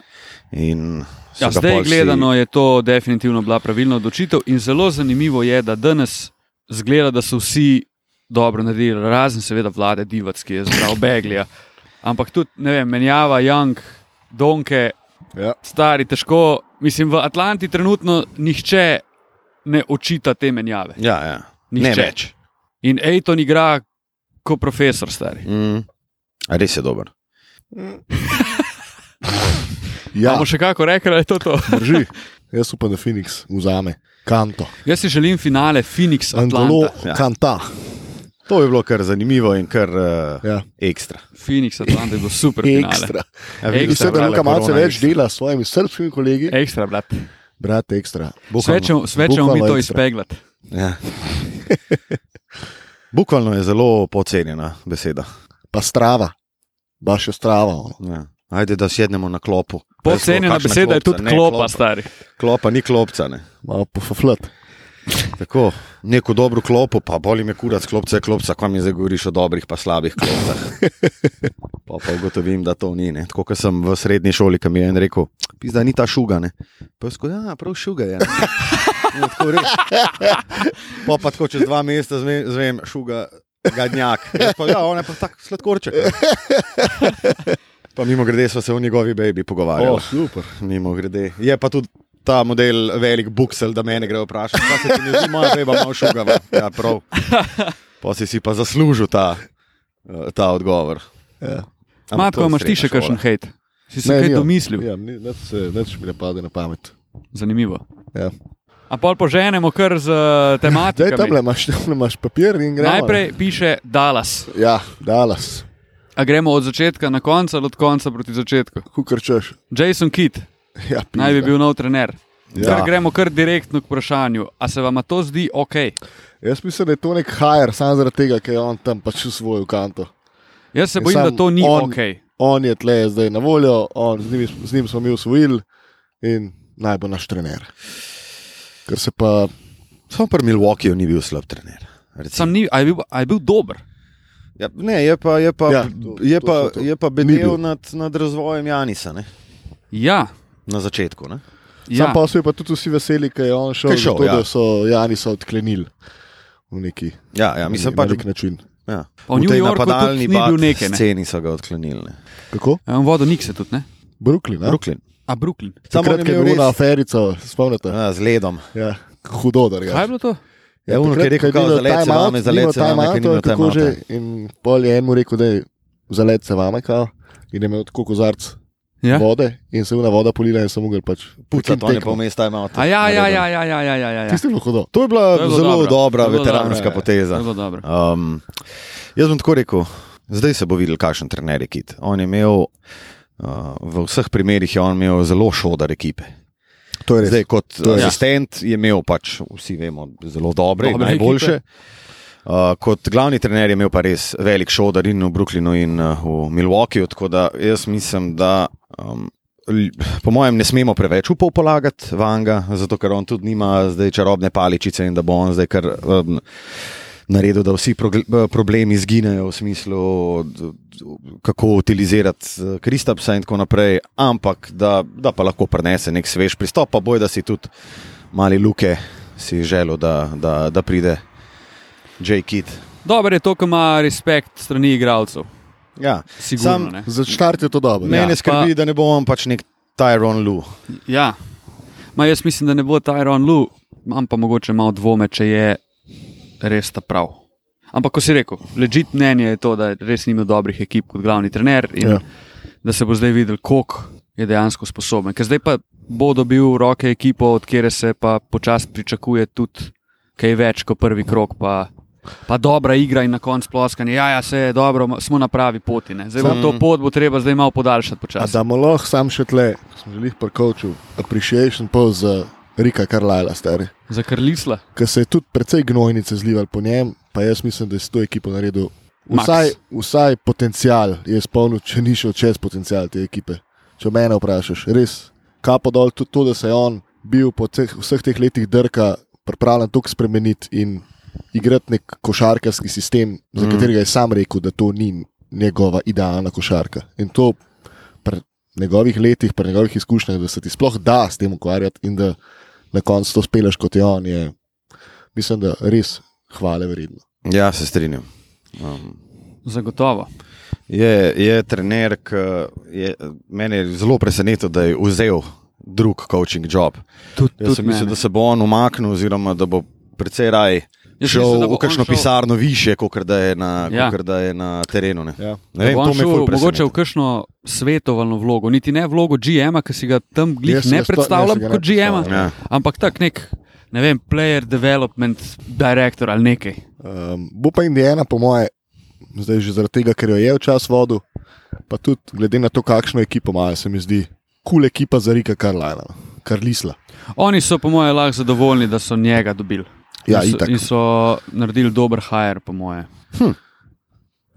Speaker 3: In so
Speaker 2: Ja,
Speaker 3: ga
Speaker 2: zdaj,
Speaker 3: pol vsi-
Speaker 2: gledano, je to definitivno bila pravilna odločitev, in zelo zanimivo je, da danes zgleda, da so vsi dobro naredili, razen seveda vlade Divac, ki je
Speaker 3: (coughs)
Speaker 2: zbral Beglija. Ampak tudi, ne vem, menjava Young, Donke,
Speaker 1: Ja.
Speaker 2: stari, težko. Mislim, v Atlanti trenutno nihče ne očita te menjave.
Speaker 3: Ja, ja. Ne
Speaker 2: Nihče.
Speaker 3: več.
Speaker 2: In Ejton igra kot profesor, stari.
Speaker 3: Mm. A Res je dober.
Speaker 2: Ja.
Speaker 1: Ja,
Speaker 2: Bomo še kako rekli, da je to
Speaker 3: (laughs)
Speaker 2: to.
Speaker 1: drži. Jaz upam, da Phoenix vzame kanto.
Speaker 2: Jaz si želim finale Phoenix
Speaker 1: Angolo
Speaker 2: Atlanta.
Speaker 3: ja.
Speaker 1: kanta.
Speaker 3: To je bilo kar zanimivo in kar uh,
Speaker 1: Ja.
Speaker 3: ekstra.
Speaker 2: Phoenix Atlanta je bilo
Speaker 3: (laughs)
Speaker 2: super finale.
Speaker 1: Ekstra.
Speaker 3: Ja,
Speaker 2: Ekstra.
Speaker 3: videl
Speaker 1: Mislim,
Speaker 3: sem,
Speaker 1: da
Speaker 3: brale
Speaker 1: Luka malce
Speaker 3: korona
Speaker 1: več
Speaker 3: ekstra.
Speaker 1: dela s svojimi srpskimi kolegi.
Speaker 2: Ekstra, brat.
Speaker 1: Brat, ekstra. Bukvalno.
Speaker 2: Svečemo, svečemo mi
Speaker 1: Bukvalno
Speaker 2: to
Speaker 1: ekstra.
Speaker 2: izpeglati.
Speaker 3: Ja. (laughs) Bukvalno je zelo podcenjena beseda.
Speaker 1: Pa strava. Baš je strava. ono.
Speaker 3: Ja. Ajde, da sjednemo na klopu.
Speaker 2: Podcenjena
Speaker 3: Kakšna
Speaker 2: beseda je
Speaker 3: klopca?
Speaker 2: tudi
Speaker 3: Ne,
Speaker 2: klopa, stari.
Speaker 3: Klopa ni klopca. Ne.
Speaker 1: Malo pofaflat.
Speaker 2: (laughs)
Speaker 3: Tako, neko dobro klopo, pa boli me kurac, klopca je klopca, kam mi zdaj govoriš o dobrih pa slabih klopcah. Pa, pa ugotovim, da to ni. Ne. Tako kot sem v srednji šoli, ki mi je en rekel, da ni ta šuga. Ne. Pa skozi, ja, prav šuga je. ne." In Tako res. pa, pa tako čez dva meseca zve- zvem, šuga,
Speaker 1: (laughs)
Speaker 3: gadnjak. Jaz Pa, ja, on je pa tak sladkorček. ne. Pa mimo grede smo se o njegovi baby pogovarjali.
Speaker 2: Oh.
Speaker 1: O, super.
Speaker 3: Mimo grede. Je pa tudi ta model velik buksel, da me ne gre vprašati, kaj se ti ne zdi, moja beba malo šugava. Ja, prav. Pa si si pa zaslužil ta, eh, ta odgovor.
Speaker 1: Ja.
Speaker 3: Ampak to
Speaker 2: Matko,
Speaker 3: je
Speaker 2: imaš ti še
Speaker 3: srednja
Speaker 2: kakšen
Speaker 3: šola.
Speaker 2: hejt? Si se kaj
Speaker 1: nimam.
Speaker 2: domislil?
Speaker 1: Ja, ni- nič se- nič mi ne pade na pamet.
Speaker 2: Zanimivo.
Speaker 1: Ja.
Speaker 2: A pol poženemo kar z
Speaker 1: Zdaj tam le
Speaker 2: tematiko.
Speaker 1: imaš, (laughs) tam imaš papir in greš.
Speaker 2: Najprej piše Dallas.
Speaker 1: Ja, Dallas,
Speaker 2: A gremo od začetka na konec ali od konca proti začetku?
Speaker 1: kukar češ. (laughs)
Speaker 2: Jason Kidd
Speaker 1: Ja,
Speaker 2: naj bi
Speaker 1: pizda.
Speaker 2: bil nov trener.
Speaker 1: Ja.
Speaker 2: Ja. Gremo kar direktno k vprašanju. A se vam to zdi ok?
Speaker 1: Jaz mislim, da je to nek hajer, samo zaradi tega, ker je on tam pač v svojo kanto.
Speaker 2: Jaz se
Speaker 1: In
Speaker 2: bojim, da
Speaker 1: sam
Speaker 2: to ni
Speaker 1: on-
Speaker 2: ok.
Speaker 1: On je tle zdaj na voljo, on, z, njimi, z njim smo mi usvojili in naj bo naš trener. Ker se pa
Speaker 3: Samo pri Milwaukeeju ni bil slab trener. recimo.
Speaker 2: Sam ni, a je bil, a je bil dober.
Speaker 3: Ja, ne, je pa, je pa,
Speaker 1: Ja,
Speaker 3: ja,
Speaker 1: to-
Speaker 3: to, je
Speaker 1: to
Speaker 3: pa,
Speaker 1: so to.
Speaker 3: je pa
Speaker 1: Ni bil.
Speaker 3: bedel nad, nad razvojem Janisa ne?
Speaker 2: Ja,
Speaker 3: na začetku. Ne?
Speaker 1: Ja. Sam
Speaker 2: ja.
Speaker 1: pa so pa tudi vsi veseli, ker je on šel,
Speaker 3: Ker je
Speaker 1: šel
Speaker 3: šel,
Speaker 1: zato,
Speaker 3: ja.
Speaker 1: ja. da so Janisa odklenili v neki
Speaker 3: Ja, ja, mislim
Speaker 1: na
Speaker 3: pa,
Speaker 1: nek način.
Speaker 3: ja.
Speaker 2: Pa v
Speaker 3: v
Speaker 2: New
Speaker 3: tej
Speaker 2: Yorku tudi
Speaker 3: napadalni
Speaker 2: ni bil
Speaker 3: bad
Speaker 2: nekaj, ne.
Speaker 3: sceni so ga odklonili. Ne?
Speaker 1: Kako?
Speaker 2: Ja, On vodo Nikse tudi, ne?
Speaker 1: Brooklyn. a?
Speaker 3: Brooklyn.
Speaker 2: A Brooklyn.
Speaker 3: Samo
Speaker 1: Takrat,
Speaker 3: on
Speaker 1: ko je
Speaker 3: je
Speaker 1: bila
Speaker 3: bil
Speaker 1: res...
Speaker 3: res-
Speaker 1: aferica, spomnite.
Speaker 3: Ja, z ledom.
Speaker 1: Ja, hudo, da je.
Speaker 2: Kaj je bilo to?
Speaker 3: Ja, ono, ki je rekel, kao, zalet se vame, zalet se vame, ker nima
Speaker 1: tako
Speaker 3: timeouta.
Speaker 1: že. In pol je enemu rekel, da je zalet se vame, kao, in je imel tako kozarc
Speaker 2: Ja.
Speaker 1: vode in se je ona voda polila in samo ga pač
Speaker 3: Pucat, on je pa
Speaker 1: tekmo.
Speaker 3: vmes time out.
Speaker 2: A ja, ja, ja, ja, ja, ja, ja, ja.
Speaker 1: Tisto je bilo hudo.
Speaker 3: To je bila
Speaker 2: To je bilo
Speaker 3: zelo
Speaker 2: dobro.
Speaker 3: dobro.
Speaker 2: To
Speaker 3: dobra
Speaker 2: je bilo
Speaker 3: veteranska
Speaker 2: dobro, ja.
Speaker 3: poteza.
Speaker 2: Zelo dobro.
Speaker 3: Um, jaz bom tako rekel, zdaj se bo videl, kakšen trener je Kit. On je imel, uh, v vseh primerih je on imel zelo šodar ekipe.
Speaker 1: To je res.
Speaker 3: Zdaj, kot
Speaker 1: To je res.
Speaker 3: asistent je imel pač, vsi vemo, zelo dobre,
Speaker 2: Dobre
Speaker 3: dobre najboljše. Uh, kot glavni trener je imel pa res velik šodar in v Brooklynu in uh, v Milwaukeeju, tako da jaz mislim, da um, l- po mojem ne smemo preveč upov polagati vanga, zato ker on tudi nima zdaj čarobne paličice in da bo on zdaj kar um, naredil, da vsi progle- eh, problemi izginejo v smislu, d- d- kako utilizirati eh, Kristapsa in tako naprej, ampak da, da pa lahko prenese nek svež pristop, pa boj, da si tudi mali luke si želel, da, da, da pride J. Kid.
Speaker 2: Dobro je to, ko ima respekt strani igralcev.
Speaker 3: Ja.
Speaker 2: Sigurno,
Speaker 3: Sam-
Speaker 2: ne.
Speaker 1: Za štart je to dobro.
Speaker 3: Mene
Speaker 2: Ja,
Speaker 3: ja, skrbi,
Speaker 2: pa-
Speaker 3: pa... da ne bo on pač nek Tyron Lu.
Speaker 2: Ja. Ma jaz mislim, da ne bo Tyron Lu, imam pa mogoče malo dvome, če je res ta prav. Ampak, ko si rekel, ležit mnenje je to, da res ni imel dobrih ekip kot glavni trener in
Speaker 1: Ja.
Speaker 2: ja. da se bo zdaj videl, koliko je dejansko sposoben. Ker zdaj pa bo dobil v roke ekipo, od kjer se pa počasi pričakuje tudi kaj več kot prvi krok. Pa, pa dobra igra in na koncu ploskanje. Ja, ja, se je dobro, ma- smo na pravi poti. Ne? Zdaj bo
Speaker 3: Sam-
Speaker 2: to pot bo treba zdaj malo podaljšati
Speaker 1: A
Speaker 2: počasi.
Speaker 1: da mu lahko sam še tle, ko smo že jih prekočil, appreciation pa za Rika Karlajla, stari.
Speaker 2: Za krlisla.
Speaker 1: Ker se je tudi precej gnojnice zlival po njem, pa jaz mislim, da je s to ekipo naredil. Vsaj, vsaj potencial je spolnil, če ni šel čez potencial te ekipe. Če mene vprašaš, res, kapo dol tudi to, da se je on bil po teh, vseh teh letih drka pripravljen tukaj spremeniti in igrati nek košarkarski sistem, za
Speaker 3: Mm.
Speaker 1: katerega je sam rekel, da to ni njegova idealna košarka. In to pri njegovih letih, pri njegovih izkušnjah, da se ti sploh da s tem ukvarjati in da na koncu to speleš kot je on, je, mislim, da res hvale vredno.
Speaker 3: Ja, se strinjam. Um,
Speaker 2: Zagotovo.
Speaker 3: je, je trener, ki je mene je zelo presenetil, da je vzel drug coaching job.
Speaker 2: Tud,
Speaker 3: Jaz sem mislil, da se bo on umaknil, oziroma da bo precej raj.
Speaker 2: Jaz
Speaker 3: Šel
Speaker 2: mislim, da bo
Speaker 3: v kakšno
Speaker 2: on šel-
Speaker 3: pisarno više, kot da, je na-
Speaker 2: Ja.
Speaker 3: kakor da je na terenu. Ne.
Speaker 1: Ja.
Speaker 3: Ne vem, to me je ful
Speaker 2: mogoče
Speaker 3: presenetilo.
Speaker 2: v kakšno svetovalno vlogo, niti ne vlogo GM-a, ki si ga tam glih
Speaker 1: Jaz si
Speaker 2: ne
Speaker 1: ga sto-
Speaker 2: predstavljam
Speaker 1: jaz si ga ne
Speaker 2: kot GM-a,
Speaker 1: predstavljam.
Speaker 3: Ja.
Speaker 2: ampak tak nek, ne vem, player development director ali nekaj.
Speaker 1: Um, bo pa Indijana, po moje, zdaj že zaradi tega, ker jo je včasih vodil, pa tudi glede na to, kakšno ekipo imajo, se mi zdi kul cool ekipa za Rika Karlajla, Karlisla.
Speaker 2: Oni so, po mojem, lahko zadovoljni, da so njega dobili.
Speaker 1: Ja,
Speaker 2: in, so,
Speaker 1: itak.
Speaker 2: in so naredili dober hire, po moje.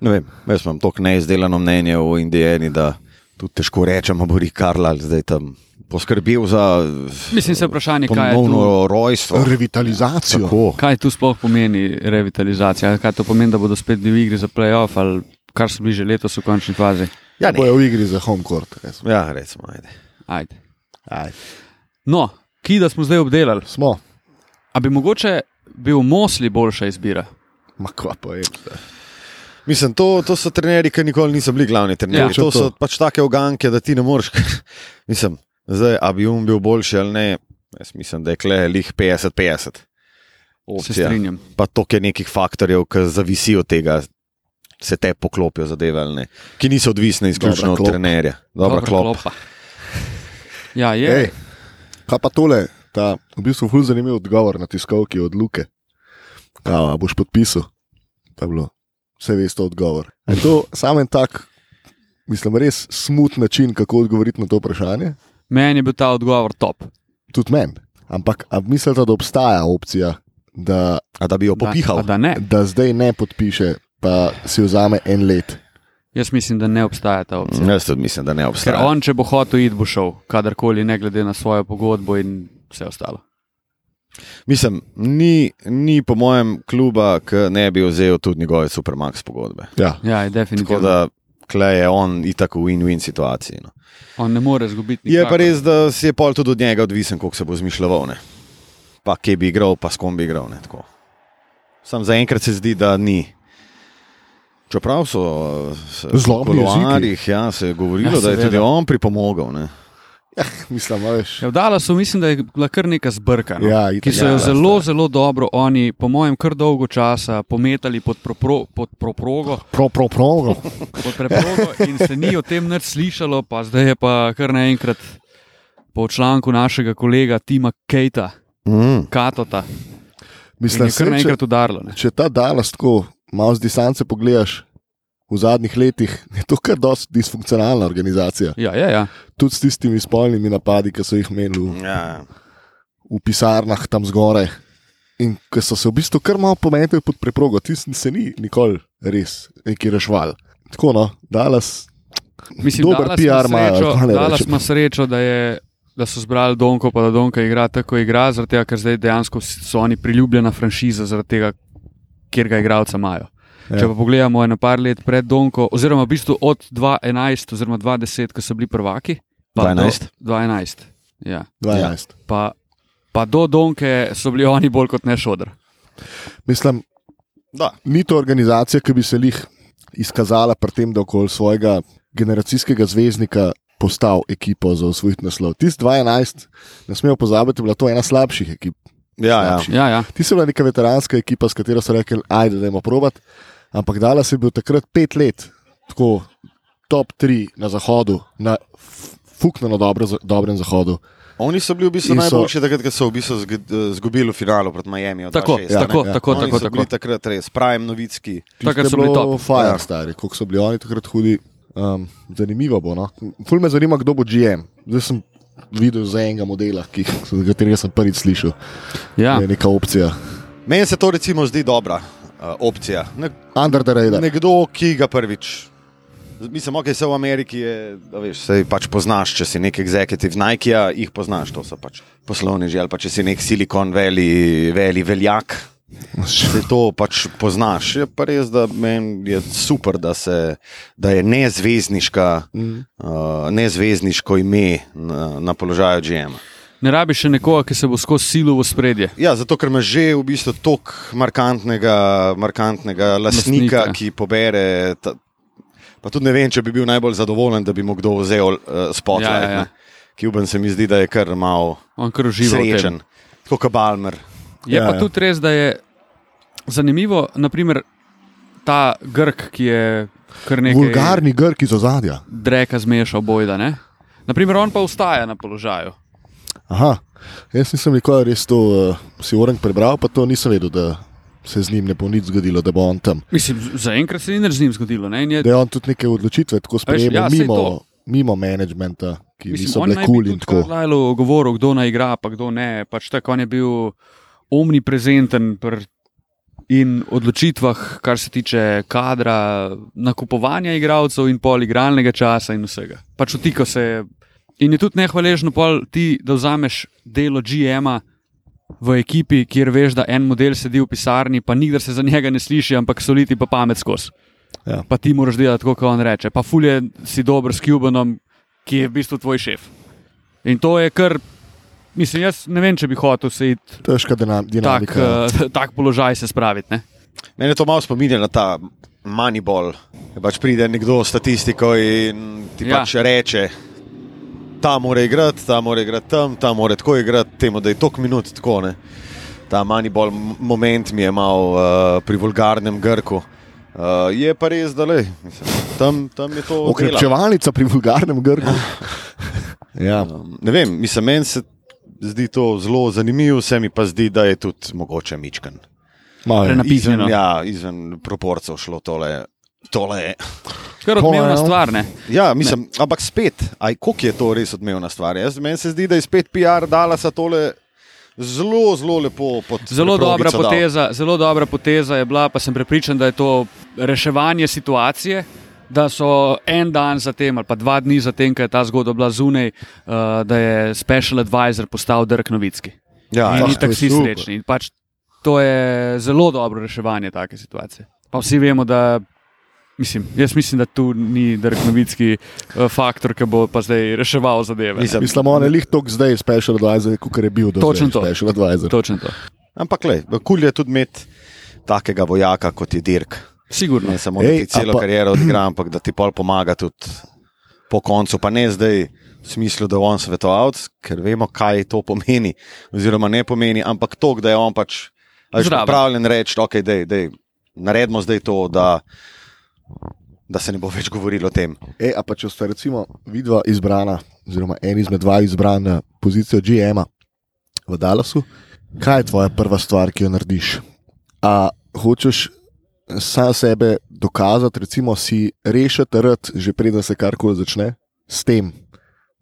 Speaker 3: Ne vem, jaz imam tako neizdelano mnenje o Indijani, da tudi težko rečem, a bo Rikarlal zdaj tam poskrbel za
Speaker 2: Mislim, se je vprašanje, kaj je tu,
Speaker 3: ponovno rojstvo.
Speaker 1: Revitalizacijo.
Speaker 3: Ja, Tako.
Speaker 2: kaj tu sploh pomeni revitalizacija. Kaj to pomeni, da bodo spet bili v igri za playoff ali kar so bili že letos v končni fazi.
Speaker 3: Ja, ne.
Speaker 1: Bojo v igri za home court. res.
Speaker 3: ja, recimo. Ajde.
Speaker 2: Ajde.
Speaker 1: Aj,
Speaker 2: No, ki da smo zdaj obdelali.
Speaker 1: Smo,
Speaker 2: A bi mogoče bil Mosli boljša izbira?
Speaker 1: ma kva pa je.
Speaker 3: Mislim, to, to so trenerji, ki nikoli niso bili glavni trenerji.
Speaker 2: Ja.
Speaker 3: Ja, to
Speaker 1: Točno
Speaker 3: so
Speaker 1: to.
Speaker 3: to. pač take oganke, da ti ne moreš. (laughs) mislim, zdaj, a bi um bil boljši ali ne. Jaz mislim, da je kle lih 50-50.
Speaker 2: Se
Speaker 3: Opcija.
Speaker 2: strinjam.
Speaker 3: Pa toliko je nekih faktorjev, ki zavisijo od tega, se te poklopijo zadeve ali ne, ki niso odvisne izključno
Speaker 1: Dobra
Speaker 3: od
Speaker 1: klop.
Speaker 3: trenerja. Dobro,
Speaker 2: Dobra
Speaker 3: klop.
Speaker 2: klopa. Ja, je.
Speaker 1: Ej, Kaj pa tole, ta v bistvu ful zanimiv odgovor na tiskovki od Luke. Kao, a boš podpisal? Pa je bilo, vse veste odgovor. A Je to samo en tak, mislim, res smut način, kako odgovoriti na to vprašanje.
Speaker 2: Meni je bil ta odgovor top.
Speaker 1: Tudi meni. Ampak a mislite, da obstaja opcija, da,
Speaker 3: A da bi jo
Speaker 2: Da- a
Speaker 3: popihal.
Speaker 2: Da ne.
Speaker 1: da zdaj ne podpiše, pa si vzame en let?
Speaker 2: Jaz mislim, da ne obstaja ta opcija.
Speaker 3: Jaz tudi mislim, da ne
Speaker 2: Ja. Ker
Speaker 3: obstaja.
Speaker 2: on, če bo hotel iti, bo šel, kadarkoli, ne glede na svojo pogodbo in vse ostalo.
Speaker 3: Mislim, ni, ni po mojem kluba, ki ne bi vzel tudi njegove supermax pogodbe.
Speaker 1: Ja. (laughs)
Speaker 2: Ja, je
Speaker 3: Tako
Speaker 2: definitivno. Da...
Speaker 3: da klej je on itak v win-win situaciji. No.
Speaker 2: On ne more izgubiti.
Speaker 3: Je pa
Speaker 2: nikakor.
Speaker 3: res, da si je pol tudi od njega odvisen, koliko se bo zmišljal. ne. Pa kje bi igral, pa s kom bi igral. ne, tako. Sam zaenkrat se zdi, da ni. Čeprav so eh, se
Speaker 1: Zlobni
Speaker 3: v kuloarjih, ja, se je govorilo,
Speaker 2: Ja,
Speaker 3: ja, da je tudi
Speaker 2: seveda.
Speaker 3: on pripomogel. Ne.
Speaker 1: Mislim, a veš.
Speaker 2: Ja, v Dallasu mislim, da je bila kar neka zbrka, no?
Speaker 1: Ja, itak,
Speaker 2: ki so jo
Speaker 1: ja,
Speaker 2: zelo, zelo dobro oni, po mojem, kar dolgo časa pometali pod, propro, pod proprogo.
Speaker 1: Pro, pro, pro.
Speaker 2: pod preprogo in se ni o tem nič slišalo, pa zdaj je pa kar naenkrat po članku našega kolega Tima Kejta,
Speaker 3: Mm.
Speaker 2: Katota, ki
Speaker 1: Mislim,
Speaker 2: je kar
Speaker 1: se, če,
Speaker 2: naenkrat udarilo. Ne?
Speaker 1: če ta danes tako malo z distance pogledaš, v zadnjih letih (laughs) je to kar dosti disfunkcionalna organizacija.
Speaker 2: Ja, ja, ja.
Speaker 1: Tudi s tistimi spolnimi napadi, ki so jih imeli v,
Speaker 3: Ja,
Speaker 1: v pisarnah tam zgoraj. In ki so se v bistvu kar malo pometili pod preprogo, tisti se ni nikoli res neki rešval. Tako no, Dallas,
Speaker 2: Mislim,
Speaker 1: Dober
Speaker 2: Dallas ima
Speaker 1: PR imajo,
Speaker 2: srečo-
Speaker 1: kaj naj
Speaker 2: Dallas
Speaker 1: rečem.
Speaker 2: ima srečo, da, je, da so zbrali Donko, pa da Donka igra tako, kot igra, zaradi tega, ker zdaj dejansko so oni priljubljena franšiza, zaradi tega, kjer ga igralca imajo. Ja.
Speaker 1: Ja.
Speaker 2: Če pa pogledamo eno par let pred Donko, oziroma v bistvu od 2011, oziroma 2010, ko so bili prvaki. pa do-
Speaker 3: 12.
Speaker 2: 2012. Ja.
Speaker 1: 12. Ja.
Speaker 2: Pa, pa do Donke so bili oni bolj kot ne šodr.
Speaker 1: Mislim,
Speaker 3: da.
Speaker 1: ni to organizacija, ki bi se jih izkazala pri tem, da okoli svojega generacijskega zvezdnika postal ekipo za osvojiti naslov. Tisti 2011, ne smemo pozabiti, je bila to ena slabših ekip.
Speaker 3: Ja, ja.
Speaker 1: Slabši.
Speaker 2: Ja, ja.
Speaker 1: Ti si bila neka veteranska ekipa, s katero so rekli, ajde, da imamo probat. Ampak dala si bil takrat pet let, tako top tri na zahodu, na f- fuknjeno dobro, za- dobrem zahodu.
Speaker 3: Oni so bili v bistvu
Speaker 1: In so-
Speaker 3: najboljši, takrat, ko so v bistvu zg- eh, izgubili v finalu proti Miami.
Speaker 2: Tako, ja, tako, ja. tako,
Speaker 3: Oni
Speaker 2: tako,
Speaker 3: so bili
Speaker 2: tako.
Speaker 3: takrat res, pravim, novitski.
Speaker 2: Takrat so
Speaker 1: Tisto je
Speaker 2: bili
Speaker 1: bilo
Speaker 2: top.
Speaker 1: Fire,
Speaker 3: Ja.
Speaker 1: ja. stari, koliko so bili oni takrat hudi. Um, zanimivo bo. No? Ful me zanima, kdo bo GM. Zdaj sem videl za enega modela, ki, za katerega sem prvič slišal.
Speaker 2: Ja.
Speaker 1: Da Je neka opcija.
Speaker 3: Meni se to recimo zdi dobra uh, opcija. Nek,
Speaker 1: Under the radar.
Speaker 3: nekdo, ki ga prvič. Mislim, ok, se v Ameriki je, da veš, se pač poznaš, če si nek executive Nike, jih poznaš, to so pač poslovneži ali pa če si nek Silicon Valley, Valley veljak, Se to pač poznaš. Je pa res, da meni je super, da, se, da je nezvezdniška, mm. uh, nezvezdniško ime na, na položaju GM.
Speaker 2: Ne rabiš še nekoga, ki se bo skozi silo v spredje.
Speaker 3: Ja, zato ker ima že v bistvu tok markantnega, markantnega lasnika,
Speaker 2: Lastnika.
Speaker 3: lasnika, ki pobere. Ta, pa tudi ne vem, če bi bil najbolj zadovoljen, da bi mu kdo vzel uh, spotlight.
Speaker 2: Ja, ja, ja.
Speaker 3: Ja, ja. Kuben se mi zdi, da je kar mal
Speaker 2: On kar uživa. v tem.
Speaker 3: srečen, kot Balmer.
Speaker 2: Je ja,
Speaker 1: Ja,
Speaker 2: pa
Speaker 1: ja.
Speaker 2: tudi res, da je zanimivo, naprimer, ta Grk, ki je kar nekaj
Speaker 1: Vulgarni grki z ozadja.
Speaker 2: dreka zmešal bojda. Ne? Naprimer, on pa ostaja na položaju.
Speaker 1: Aha, jaz nisem nikoli res to uh, si orang prebral, pa to nisem vedel, da se z njim ne bo nič zgodilo, da bo on tam.
Speaker 2: Mislim, z- zaenkrat se ni nič z njim zgodilo. Ne? in Je,
Speaker 1: Da je on tudi neke odločitve tako
Speaker 2: ja,
Speaker 1: sprejemal
Speaker 2: sej
Speaker 1: mimo,
Speaker 2: to.
Speaker 1: mimo menedžmenta, ki
Speaker 2: mislim,
Speaker 1: niso
Speaker 2: on
Speaker 1: bile
Speaker 2: naj bi
Speaker 1: kul
Speaker 2: tudi
Speaker 1: in tako.
Speaker 2: Carlylu govoril, kdo naj igra, pa kdo ne. Pač tako on je bil omniprezenten pri in odločitvah, kar se tiče kadra, nakupovanja igralcev in pol igralnega časa in vsega. Pač vtiko se je. In je tudi nehvaležno pol ti, da vzameš delo GM-a v ekipi, kjer veš, da en model sedi v pisarni, pa nikdar se za njega ne sliši, ampak soliti pa pamet skozi.
Speaker 1: Ja.
Speaker 2: Pa ti moraš delati, kot on reče. Pa fulje si dober s Cubanom, ki je v bistvu tvoj šef. In to je kar, mislim, jaz ne vem, če bi hotel se iti
Speaker 1: Težka dina-
Speaker 2: tak,
Speaker 1: dinamika.
Speaker 2: eh, tak položaj se spraviti. Ne?
Speaker 3: Mene to malo spominja na ta Moneyball. Ke Pač pride nekdo s statistiko in ti
Speaker 2: Ja.
Speaker 3: ja. pač reče, ta mora igrati, ta mora igrati tam, ta mora tako igrati, temu da je tok minut tako. Ne. Ta Moneyball m- moment mi je mal uh, pri vulgarnem Grku. Uh, je pa res, da le, tam, tam je to dela.
Speaker 1: Okrepčevalnica pri vulgarnem grku. ja.
Speaker 3: Um, Ne vem, mislim, meni se zdi to zelo zanimivo, se mi pa zdi, da je tudi mogoče mičken.
Speaker 1: malo je.
Speaker 2: Prenapihnjeno.
Speaker 3: Izven, ja, izven proporcev šlo tole. tole.
Speaker 2: Kar
Speaker 1: Po,
Speaker 2: odmevna
Speaker 1: ja.
Speaker 2: stvar, ne?
Speaker 3: Ja, mislim, ne. ampak spet, aj koliko je to res odmevna stvar. Jaz, meni se zdi, da je spet PR dala sa tole zelo, zelo lepo pod
Speaker 2: Zelo dobra,
Speaker 3: preprogico dal.
Speaker 2: poteza, zelo dobra poteza je bila, pa sem prepričan, da je to reševanje situacije. Da so en dan zatem, ali pa dva dni zatem, ko je ta zgodba bila zunaj, uh, da je special advisor postal Dirk Novitski.
Speaker 3: Ja,
Speaker 2: In
Speaker 1: Ah,
Speaker 2: ni
Speaker 3: ja.
Speaker 1: to je
Speaker 2: tako vsi
Speaker 1: super.
Speaker 2: srečni. In Pač to je zelo dobro reševanje take situacije. Pa vsi vemo, da. Mislim, jaz mislim, da tu ni Dirk Novitski eh, faktor, ki bo pa zdaj reševal zadeve. ne.
Speaker 3: Mislim,
Speaker 1: Mislim, on je lih tok zdaj special advisor, kot je bil do
Speaker 2: Točno
Speaker 1: zdaj
Speaker 2: to.
Speaker 1: special advisor.
Speaker 2: Točno to.
Speaker 3: ampak le, kul je tudi imeti takega vojaka kot je Dirk.
Speaker 2: Sigurno.
Speaker 3: Ne samo, da
Speaker 1: Ej,
Speaker 3: ti celo
Speaker 1: a pa-
Speaker 3: pa... kariero odigra, ampak da ti pol pomaga tudi po koncu. Pa ne zdaj v smislu, da je on svetovalec, ker vemo, kaj to pomeni, oziroma ne pomeni, ampak to, da je on pač a veš,
Speaker 2: Zraven.
Speaker 3: pripravljen reči, ok, dej, dej, naredimo zdaj to, da, da se ne bo več govorilo o tem.
Speaker 1: E, a pa če sta recimo vidva izbrana, oziroma en izmed dva izbran na pozicijo GM-a v Dallasu, kaj je tvoja prva stvar, ki jo narediš? A hočeš sam sebe dokazati, recimo si rešiti rad, že preden se karkoli začne, s tem,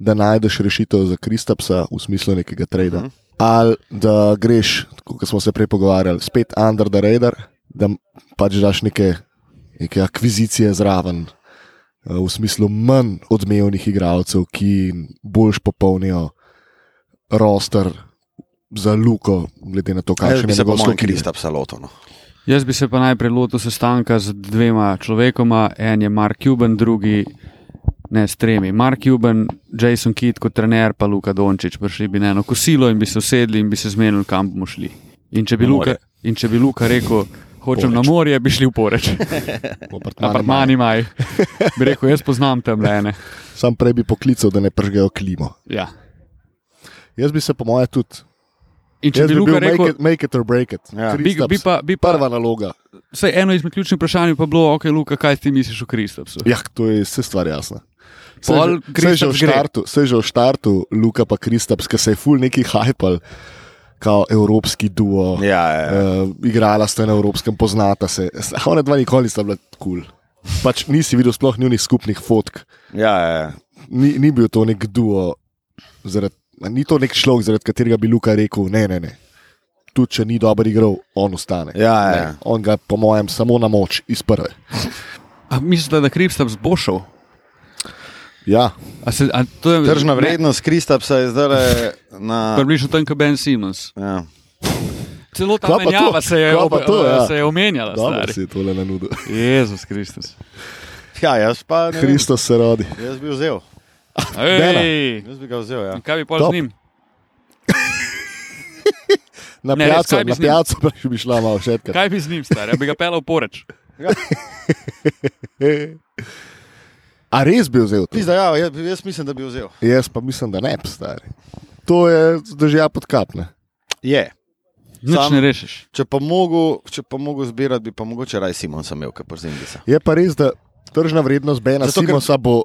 Speaker 1: da najdeš rešitev za Kristapsa v smislu nekega trada.
Speaker 3: Mhm.
Speaker 1: Ali da greš, kot smo se prej pogovarjali, spet under the radar, da m- pač daš neke, neke akvizicije zraven, eh, v smislu manj odmevnih igralcev, ki bolj popolnijo roster za luko, glede na to,
Speaker 3: Kaj
Speaker 1: kakšen
Speaker 3: bi
Speaker 1: je
Speaker 3: se po
Speaker 1: njegov
Speaker 3: mojem
Speaker 1: slog igre. (laughs)
Speaker 3: Krista no. psalotono?
Speaker 2: Jaz bi se pa najprej lotil sestanka z dvema človekoma, en je Mark Cuban, drugi ne s tremi. Mark Cuban, Jason Kidd kot trener, pa Luka Dončić, prišli bi na eno kosilo in bi se usedli in bi se zmenili, kam bomo šli. In če bi,
Speaker 3: Na
Speaker 2: Luka,
Speaker 3: morje.
Speaker 2: in če bi Luka rekel, hočem na morje, bi šli v
Speaker 1: (laughs)
Speaker 2: Poreč, apartmani maj. Bi rekel, jaz poznam tam le ene.
Speaker 1: Sam prej bi poklical, da ne pržgejo klimo.
Speaker 2: Ja.
Speaker 1: Jaz bi se, po mojem, tudi.
Speaker 2: In če
Speaker 1: Jaz
Speaker 2: bi
Speaker 1: bi
Speaker 2: Luka
Speaker 1: bil make
Speaker 2: rekel,
Speaker 1: it, make it or break it.
Speaker 3: Ja.
Speaker 2: bi,
Speaker 1: Kristaps,
Speaker 2: bi pa, bi pa
Speaker 1: Prva naloga.
Speaker 2: vsaj eno izmed ključnih vprašanj bi pa bilo, ok, Luka, kaj ti misliš o Kristapsu?
Speaker 1: Ja, to je vse stvar jasna. Saj že- saj
Speaker 2: Pol
Speaker 1: že v
Speaker 2: Kristaps gre.
Speaker 1: štartu- Saj že v štartu, Luka pa Kristaps, ki se je ful neki hajpal, kot evropski duo.
Speaker 3: Ja, ja, ja.
Speaker 1: Uh, igrala sta na evropskem, poznata se. A Ona dva nikoli sta bila kul. Cool. Pač nisi videl sploh njunih skupnih fotk.
Speaker 3: ja, ja, ja.
Speaker 1: Ni, ni bil to nek duo, zaradi, a ni to nek človek, zaradi katerega bi Luka rekel: ne, ne, ne. Tudi če ni dober igral, on ostane.
Speaker 3: Ja, ja.
Speaker 1: Ne, On ga, po mojem, samo na moč iz prve.
Speaker 2: A mislite, da Kripstab zbošal?
Speaker 1: Ja,
Speaker 2: A se, a to je
Speaker 3: Tržna
Speaker 2: ne,
Speaker 3: vrednost Kristapsa je zdaj na.
Speaker 2: Približno tam, kot Ben Simons.
Speaker 3: Ja.
Speaker 2: Celo ta
Speaker 1: Kva pa to?
Speaker 2: menjava se je,
Speaker 1: Kva
Speaker 2: ob,
Speaker 1: pa to, ja.
Speaker 2: se je omenjala.
Speaker 1: dobro
Speaker 2: stari.
Speaker 1: si tole na nudu.
Speaker 2: Jezus Kristus.
Speaker 3: ja, jaz pa ne. Vem,
Speaker 1: Kristus se rodi.
Speaker 3: jaz bi vzel.
Speaker 2: Ej,
Speaker 3: Jaz bi ga vzel. Ja.
Speaker 2: in kaj bi pol
Speaker 1: Top.
Speaker 2: z njim?
Speaker 1: Na
Speaker 2: Ne, res,
Speaker 1: pijaco,
Speaker 2: kaj bi
Speaker 1: na
Speaker 2: z njim?
Speaker 1: pijaco pa še bi šla malo še enkrat.
Speaker 2: Kaj bi z njim, star? Ja bi ga pelal poreč.
Speaker 1: A res bi vzel to?
Speaker 3: Pizda, ja, jaz, jaz mislim, da bi vzel.
Speaker 1: Jaz pa mislim, da ne bi stari. To je držja pod kapne.
Speaker 3: Je.
Speaker 2: Nič
Speaker 3: Sam-
Speaker 2: ne rešiš.
Speaker 3: Če pa mogo, če pa mogo zbirati, bi pa mogoče raj Simon sem imel, kot prezimbica.
Speaker 1: Je pa res, da tržna vrednost Bena
Speaker 3: Zato, ker-
Speaker 1: Simonsa bo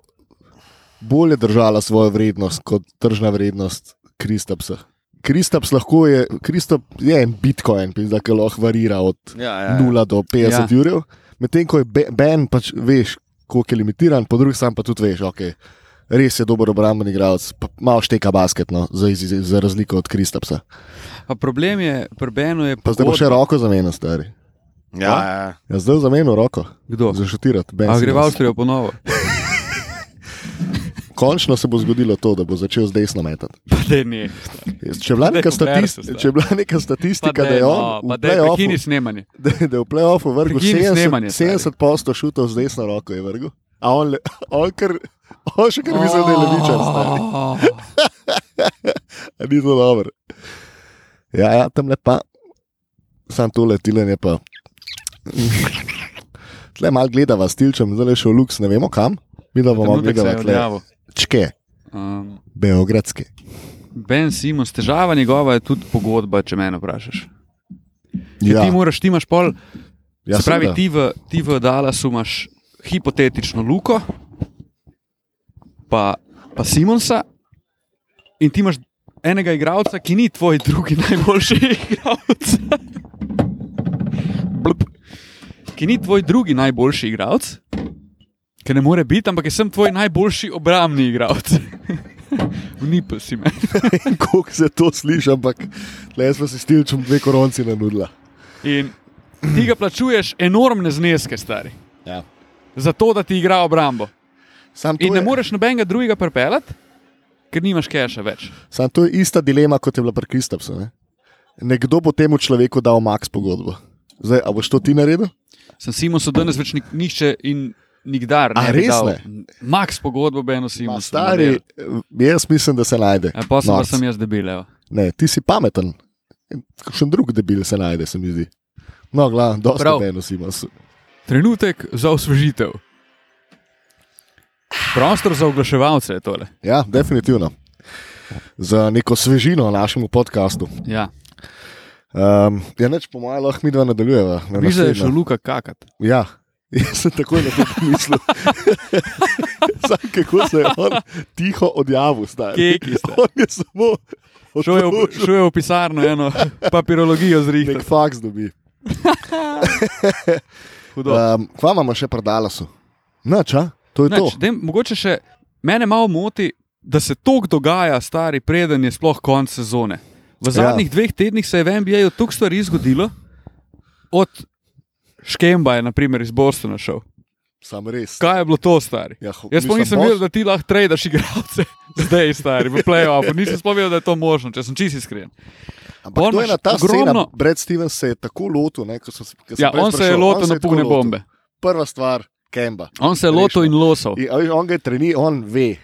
Speaker 1: bolje držala svojo vrednost kot tržna vrednost Kristapsa. Kristaps lahko je, Kristap je en bitcoin, pizda, ki lahko varira od
Speaker 3: Ja, ja, ja.
Speaker 2: Eh,
Speaker 1: 0 do 50 ja. jurjev, medtem ko je Be- Ben pač veš, koliko je limitiran, po drugi strani pa tudi veš, ok. Res je dober obrambni igralec, pa malo šteka basketno, za, iz- iz- za razliko od Kristapsa.
Speaker 2: A problem je, pri Benu je
Speaker 1: Pa zdaj bo
Speaker 2: pogodba.
Speaker 1: še roko zamenil, stari.
Speaker 3: Ja, ja.
Speaker 1: Ja, zdaj zamenil roko,
Speaker 2: Kdo?
Speaker 1: zašutirati. Ben
Speaker 2: A gre v
Speaker 1: Simmons.
Speaker 2: Avstrijo ponovo?
Speaker 1: Končno se bo zgodilo to, da bo začel z desno metati.
Speaker 2: (laughs) Pa da ne.
Speaker 1: Če je bila neka,
Speaker 2: Daj, Kobersu,
Speaker 1: statist,
Speaker 2: stari.
Speaker 1: če je bila neka statistika,
Speaker 2: Pa
Speaker 1: da je on
Speaker 2: no, pa
Speaker 1: v
Speaker 2: da je prekini
Speaker 1: play-offu-
Speaker 2: snemanje.
Speaker 1: da da je v play-offu vrgel
Speaker 2: Prekini snemanje,
Speaker 1: 70
Speaker 2: stari.
Speaker 1: 70% šutov z desno roko, je vrgel. A on, le, on, kar, on še kar misli, da je levičar. stari.
Speaker 2: Oh,
Speaker 1: A Ni to dobro. Ja, ja tam le pa, sam tole tilen je pa. Tle mal gledava s tilčem, zdaj le še v luks, ne vemo kam. Mi da bomo
Speaker 2: Trenutek se je
Speaker 1: gledali tle.
Speaker 2: odjavil.
Speaker 1: Čke,
Speaker 2: Um,
Speaker 1: beogradske.
Speaker 2: ben Simons, težava njegova je tudi pogodba, če me vprašaš. Ker
Speaker 1: Ja,
Speaker 2: Ti moraš, ti imaš pol.
Speaker 1: ja,
Speaker 2: Ja, se pravi,
Speaker 1: seveda.
Speaker 2: ti v, ti v Dallasu imaš hipotetično Luko, pa, pa Simonsa, in ti imaš enega igralca, ki ni tvoj drugi najboljši (laughs) igralec. Blup. ki ni tvoj drugi najboljši igralec, ki ne more biti, ampak je sem tvoj najboljši obrambni igralec. (laughs) Vnipel si me.
Speaker 1: vem, (laughs) koliko se to sliši, ampak le smo si stilčem dve koronci nanudila.
Speaker 2: In ti ga plačuješ enormne zneske, stari.
Speaker 1: Ja.
Speaker 2: Zato, da ti igra obrambo.
Speaker 1: Sam to,
Speaker 2: In
Speaker 1: je,
Speaker 2: ne moreš nobenega drugega pripeljati, ker nimaš keša več.
Speaker 1: sam to je ista dilema, kot je bila pri Kristapsu. Ne? Nekdo bo temu človeku dal max pogodbo. Zdaj, a boš to ti naredil?
Speaker 2: Sem Simons danes več nik, nišče in nikdar.
Speaker 1: A,
Speaker 2: ne bi
Speaker 1: res
Speaker 2: dal.
Speaker 1: ne?
Speaker 2: Max pogodbo Beno
Speaker 1: Ma,
Speaker 2: Simons.
Speaker 1: stari, eh, jaz mislim, da se najde.
Speaker 2: Ja, pa sem, pa
Speaker 1: Norc.
Speaker 2: sem jaz debil. evo.
Speaker 1: Ne, ti si pameten. Kakšen drug debil se najde, se mi zdi. No, glavno,
Speaker 2: Prav.
Speaker 1: dosta eno Simons.
Speaker 2: Trenutek za osvežitev. Prostor za oglaševalce je tole.
Speaker 1: Ja, definitivno. Za neko svežino našemu podkastu.
Speaker 2: Ja.
Speaker 1: Um, ja, neč po mojem, lahko mi dva nadaljujeva. na
Speaker 2: Viza je
Speaker 1: naslednjo.
Speaker 2: šel Luka kakat.
Speaker 1: Ja, jaz sem takoj na to
Speaker 2: (laughs)
Speaker 1: pomislil. Sam, kako se je on tiho odjavil, zdaj.
Speaker 2: Keki, stari.
Speaker 1: On je samo
Speaker 2: Šel je, v,
Speaker 1: odšel.
Speaker 2: šel je v pisarno
Speaker 1: (laughs)
Speaker 2: eno papirologijo
Speaker 1: Nek
Speaker 2: zrihtal.
Speaker 1: faks dobi.
Speaker 2: Hudo.
Speaker 1: Um, kva imamo še predala so? Nač, a? To je to.
Speaker 2: Nač, dem, mogoče še mene malo moti, da se tok dogaja, stari, preden je sploh konc sezone. V zadnjih ja. dveh tednih se je v NBA-ju toliko stvari zgodilo, od Škemba je, na primer, iz Bostona šel.
Speaker 1: Sam res.
Speaker 2: Kaj je bilo to, stari?
Speaker 1: Ja, ho-
Speaker 2: Jaz pa
Speaker 1: mislim,
Speaker 2: nisem
Speaker 1: Bos-
Speaker 2: videl, da ti lahko tradaš igralce, (laughs) zdaj, stari, v playoffu. Nisem sploh videl, da je to možno, če sem čist iskren.
Speaker 1: Ampak
Speaker 2: on
Speaker 1: to je
Speaker 2: imaš
Speaker 1: na ta
Speaker 2: ogromno-
Speaker 1: scena. Brad Stevens se je tako lotil, ne, ko sem se
Speaker 2: Ja, on se je lotil napugne bombe.
Speaker 1: Prva stvar, Kemba.
Speaker 2: On se je lotil in losal.
Speaker 1: In, a veš, on ga treni, on ve,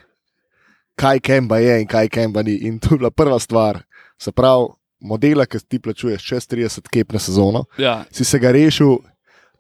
Speaker 1: kaj Kemba je in kaj Kemba ni. In to je bila prva stvar. Se pravi, modela, ki ti plačuješ čez 30 kep na sezono,
Speaker 2: Ja,
Speaker 1: si se ga rešil,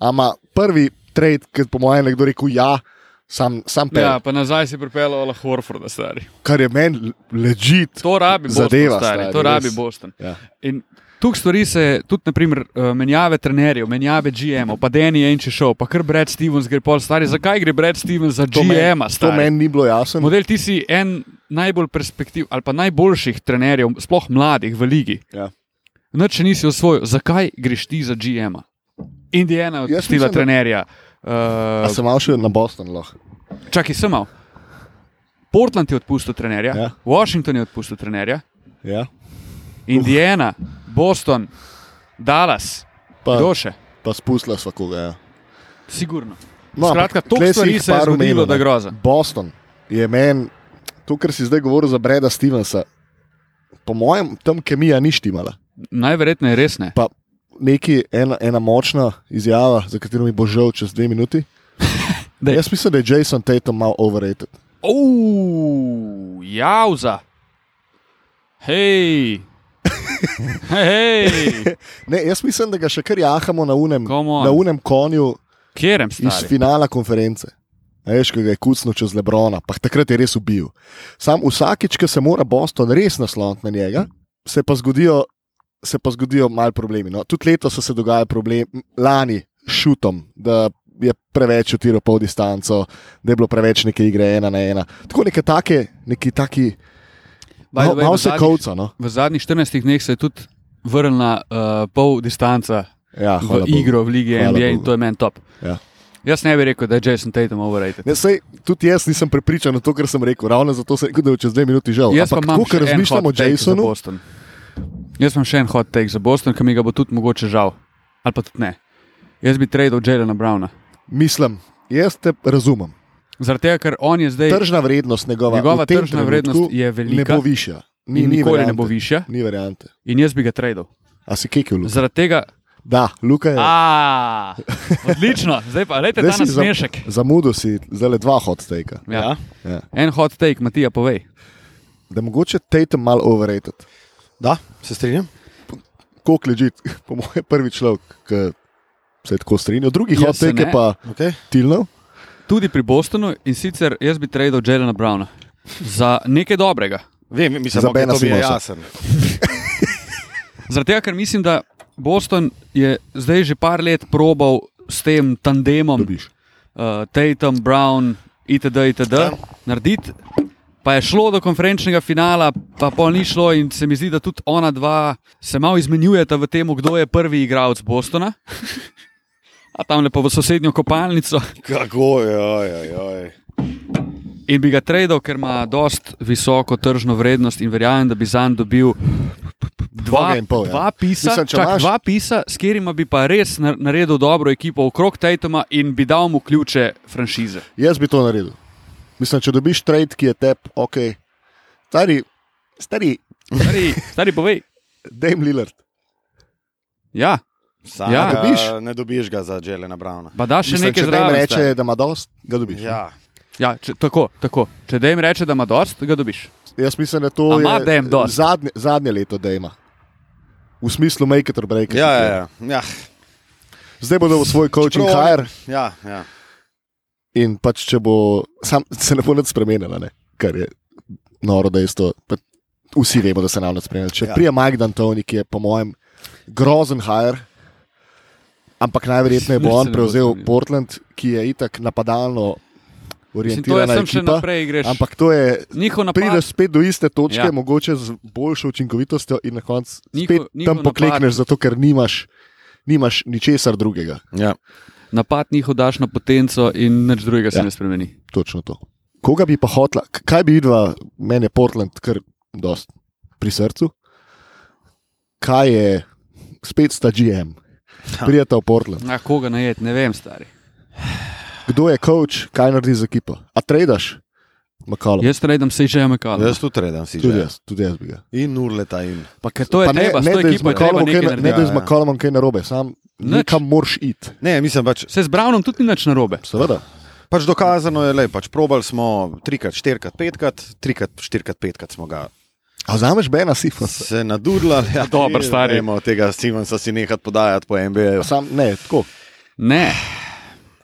Speaker 1: ama prvi trade, ki po mojem nekdo rekel ja, sam, sam pel,
Speaker 2: ja,
Speaker 1: ja.
Speaker 2: pa nazaj si pripeljal Ola Horforda, stari.
Speaker 1: kar je meni ležit.
Speaker 2: To rabi Boston,
Speaker 1: Zadeva,
Speaker 2: stari,
Speaker 1: stari,
Speaker 2: to rabi
Speaker 1: res.
Speaker 2: Boston.
Speaker 1: Ja.
Speaker 2: In tu stvari se, tudi naprimer, eh, menjave trenerjev, menjave GM-ov, pa Danny Enči šel, pa kar Brad Stevens gre pol stari. Zakaj gre Brad Stevens za
Speaker 1: To meni
Speaker 2: GM-a?
Speaker 1: to
Speaker 2: stari?
Speaker 1: meni ni bilo jasno.
Speaker 2: Model, ti si en najbolj perspektiv ali pa najboljših trenerjev, sploh mladih v ligi.
Speaker 1: Ja.
Speaker 2: Noč še nisi osvojil, zakaj greš ti za GM-a? Indijana je
Speaker 1: Jaz
Speaker 2: odpustila
Speaker 1: mislim, da-
Speaker 2: trenerja.
Speaker 1: A
Speaker 2: Uh,
Speaker 1: sem mal še na Boston lahko.
Speaker 2: čakaj, sem mal. Portland je odpustil trenerja,
Speaker 1: Ja.
Speaker 2: ja. Washington je odpustil trenerja,
Speaker 1: Ja.
Speaker 2: Indiana, Boston, Dallas,
Speaker 1: Pa,
Speaker 2: kdo še?
Speaker 1: pa spustila svakoga. Ja.
Speaker 2: Sigurno.
Speaker 1: No,
Speaker 2: Skratka,
Speaker 1: ampak
Speaker 2: toliko
Speaker 1: tle si
Speaker 2: stvari
Speaker 1: jih
Speaker 2: se je
Speaker 1: par
Speaker 2: zgodilo,
Speaker 1: omenil,
Speaker 2: da
Speaker 1: ne.
Speaker 2: groza.
Speaker 1: Boston je meni, to, kar si zdaj govoril za Breda Stevensa, po mojem, tam kemija ni štimala.
Speaker 2: Najverjetneje res ne.
Speaker 1: Pa neki ena, ena močna izjava, za katero mi bo žal čez dve minuti.
Speaker 2: (laughs) Daj.
Speaker 1: Jaz mislim, da je Jason Tatum malo overrated.
Speaker 2: Oh, jauza.
Speaker 1: (laughs)
Speaker 2: Hej, hej,
Speaker 1: Ne, jaz mislim, da ga še kar jahamo na unem,
Speaker 2: Come on.
Speaker 1: na unem konju
Speaker 2: kjerem
Speaker 1: iz
Speaker 2: si?
Speaker 1: finala konference. A Veš, ki ga je kucno čez Lebrona, pa takrat je res ubil. Sam vsakič, ko se mora Boston res nasloniti na njega, se pa zgodijo, se pa zgodijo mali problemi. No, tudi letos so se dogajali problemi, lani šutom, da je preveč utiral pol distanco, da je bilo preveč neke igre ena na ena. Tako neke take, neki taki, malo mal se kovca. No.
Speaker 2: V zadnjih 14 dneh se je tudi vrnila uh, pol distanca
Speaker 1: Ja, hvala
Speaker 2: v
Speaker 1: Bogu.
Speaker 2: igro, v lige
Speaker 1: Hvala
Speaker 2: NBA in
Speaker 1: Bogu.
Speaker 2: to je meni top.
Speaker 1: Ja.
Speaker 2: Jaz ne bi rekel, da je Jason Tatum overrated.
Speaker 1: Ne, sej, tudi jaz nisem prepričan o to, kar sem rekel. Ravno zato sem rekel, da je čez dve minuti žal.
Speaker 2: Jaz pa
Speaker 1: Ampak
Speaker 2: imam
Speaker 1: tako,
Speaker 2: še
Speaker 1: ker
Speaker 2: en
Speaker 1: razmišljam o
Speaker 2: hot take za
Speaker 1: Jasonu,
Speaker 2: Boston. Jaz imam še en hot take za Boston, ki mi ga bo tudi mogoče žal. Ali pa tudi ne. Jaz bi tradal Jelena Browna.
Speaker 1: mislim, jaz te razumem.
Speaker 2: Zaradi tega, ker on je zdaj.
Speaker 1: Tržna vrednost njegova,
Speaker 2: Njegova
Speaker 1: v tem
Speaker 2: tržna
Speaker 1: trenutku
Speaker 2: vrednost je velika
Speaker 1: Ne bo višja. Ni,
Speaker 2: in
Speaker 1: ni
Speaker 2: nikoli ne
Speaker 1: variante.
Speaker 2: bo višja.
Speaker 1: Ni variante.
Speaker 2: In jaz bi ga tradal.
Speaker 1: A si kekil, Luka?
Speaker 2: Zaradi tega.
Speaker 1: Da, Luka je.
Speaker 2: A, odlično, zdaj pa gledajte
Speaker 1: Ja. zdaj
Speaker 2: ta
Speaker 1: si zam-
Speaker 2: nasmešek.
Speaker 1: Zamudil si zdaj dva hot take.
Speaker 2: Ja.
Speaker 1: Ja.
Speaker 2: En hot take, Matija, povej.
Speaker 1: Da mogoče Tatum malo overrated.
Speaker 3: Da, se strinjam.
Speaker 1: Koliko leži, (laughs) po mojem, prvi človek, ki se je tako strinjal, drugi
Speaker 2: Jaz
Speaker 1: hot
Speaker 2: se
Speaker 1: take je
Speaker 2: ne.
Speaker 1: pa
Speaker 3: Okay.
Speaker 1: Tilnov.
Speaker 2: Tudi pri Bostonu in sicer jaz bi tradal Jelena Browna za nekaj dobrega.
Speaker 3: Vem, mislim,
Speaker 1: Za
Speaker 3: da okay,
Speaker 1: Bena
Speaker 3: to mi je
Speaker 1: Simonsa.
Speaker 3: jasno.
Speaker 2: Zaradi tega, ker mislim, da Boston je zdaj že par let probal s tem tandemom,
Speaker 1: Dobiš.
Speaker 2: uh, Tatum, Brown, itd., itd.,
Speaker 3: Ja.
Speaker 2: narediti. Pa je šlo do konferenčnega finala, pa pol ni šlo, in se mi zdi, da tudi ona dva se malo izmenjujeta v tem, kdo je prvi igralec Bostona. (laughs) A tam lepo v sosednjo kopalnico
Speaker 3: Kako je, joj, joj.
Speaker 2: in bi ga tradal, ker ima dost visoko tržno vrednost in verjamem, da bi zanj dobil dva,
Speaker 1: Boga in pol, ja.
Speaker 2: dva pisa,
Speaker 1: Mislim, če
Speaker 2: čak,
Speaker 1: imaš-
Speaker 2: dva pisa, s katerima bi pa res nar- naredil dobro ekipo okrog Tatuma in bi dal mu ključe franšize.
Speaker 1: Jaz bi to naredil. Mislim, če dobiš trade, ki je tep, ok. Stari, stari,
Speaker 2: Stari, stari povej.
Speaker 1: Dame Lillard.
Speaker 2: Ja,
Speaker 3: Sam
Speaker 2: Ja.
Speaker 3: ja.
Speaker 1: Dobiš?
Speaker 3: dobiš? Ne dobiš ga za Jelena Browna.
Speaker 2: pa da še
Speaker 1: Mislim,
Speaker 2: nekaj
Speaker 1: če Dame
Speaker 2: zraven. stari.
Speaker 1: reče, da ima dost, ga dobiš.
Speaker 3: Ja.
Speaker 2: Ja, če, tako, tako. Če da jim reče, da ima dost, ga dobiš.
Speaker 1: Jaz mislim, da
Speaker 2: A
Speaker 1: to
Speaker 2: ima
Speaker 1: je
Speaker 2: Dame dosti?
Speaker 1: zadnje, zadnje leto, da ima. V smislu make it or break it.
Speaker 3: Ja, ja, ja. ja.
Speaker 2: ja.
Speaker 1: Zdaj bodo v svoj coaching hire
Speaker 3: Ja, ja.
Speaker 1: in pač če bo, sam se ne bo nič spremenila, ne? kar je noro dejstvo. Pa Vsi vemo, da se nam nič spremeni. Če
Speaker 3: Ja.
Speaker 1: ja. prije Mike D'Antoni, ki je po mojem grozen hire, ampak najverjetneje bo
Speaker 2: Nič se
Speaker 1: on
Speaker 2: ne bo
Speaker 1: prevzel
Speaker 2: spremenilo.
Speaker 1: Portland, ki je itak napadalno
Speaker 2: Mislim, to je
Speaker 1: orientiran.
Speaker 2: sem še naprej greš.
Speaker 1: Ampak to je
Speaker 2: njihov napad,
Speaker 1: prideš spet do iste točke, ja.
Speaker 2: Ja.
Speaker 1: mogoče z boljšo učinkovitostjo, in na koncu
Speaker 2: Njiho-
Speaker 1: spet
Speaker 2: njihov
Speaker 1: tam
Speaker 2: napad-
Speaker 1: poklekneš, zato ker nimaš, nimaš ničesar drugega.
Speaker 3: ja.
Speaker 2: napad njihov daš na potenco in nič drugega se
Speaker 1: Ja.
Speaker 2: ne spremeni.
Speaker 1: Točno to. Koga bi pa hotla, k- kaj bi videla, meni je Portland kar dost pri srcu. Kaj je, spet sta GM, prijeta v Portland.
Speaker 2: Na koga najet, ne vem, stari.
Speaker 1: Kdo je coach, kaj naredi z ekipo? A tradaš? Makalo.
Speaker 2: Jaz tradam se že McCallum.
Speaker 3: Jaz tudi redam si
Speaker 1: Tudi
Speaker 3: že.
Speaker 1: jaz, tudi jaz bi ga.
Speaker 3: In urleta in.
Speaker 2: Pa ker to je
Speaker 1: Pa ne,
Speaker 2: treba, s
Speaker 1: ne,
Speaker 2: to
Speaker 1: da je z
Speaker 2: ekipo je treba
Speaker 1: McCollumom
Speaker 2: nekaj
Speaker 1: kaj, na- ne,
Speaker 2: narediti.
Speaker 1: da je z
Speaker 3: Ja, ja.
Speaker 1: McCollumom kaj narobe, sam
Speaker 2: Nič.
Speaker 1: nekam moraš iti.
Speaker 3: Ne, mislim pač,
Speaker 2: Se z Brownom tudi ni nič narobe.
Speaker 1: Seveda.
Speaker 3: pač dokazano je, le pač probali smo trikrat, štirikrat, petkrat, trikrat, štirikrat, petkrat smo ga
Speaker 1: A zameš Bena Sifonsa?
Speaker 3: se nadurlali. Ja,
Speaker 2: Dobro, stari.
Speaker 3: Nemo tega Stevensa si nehati podajati po MBA.
Speaker 1: Sam ne, tako.
Speaker 2: Ne,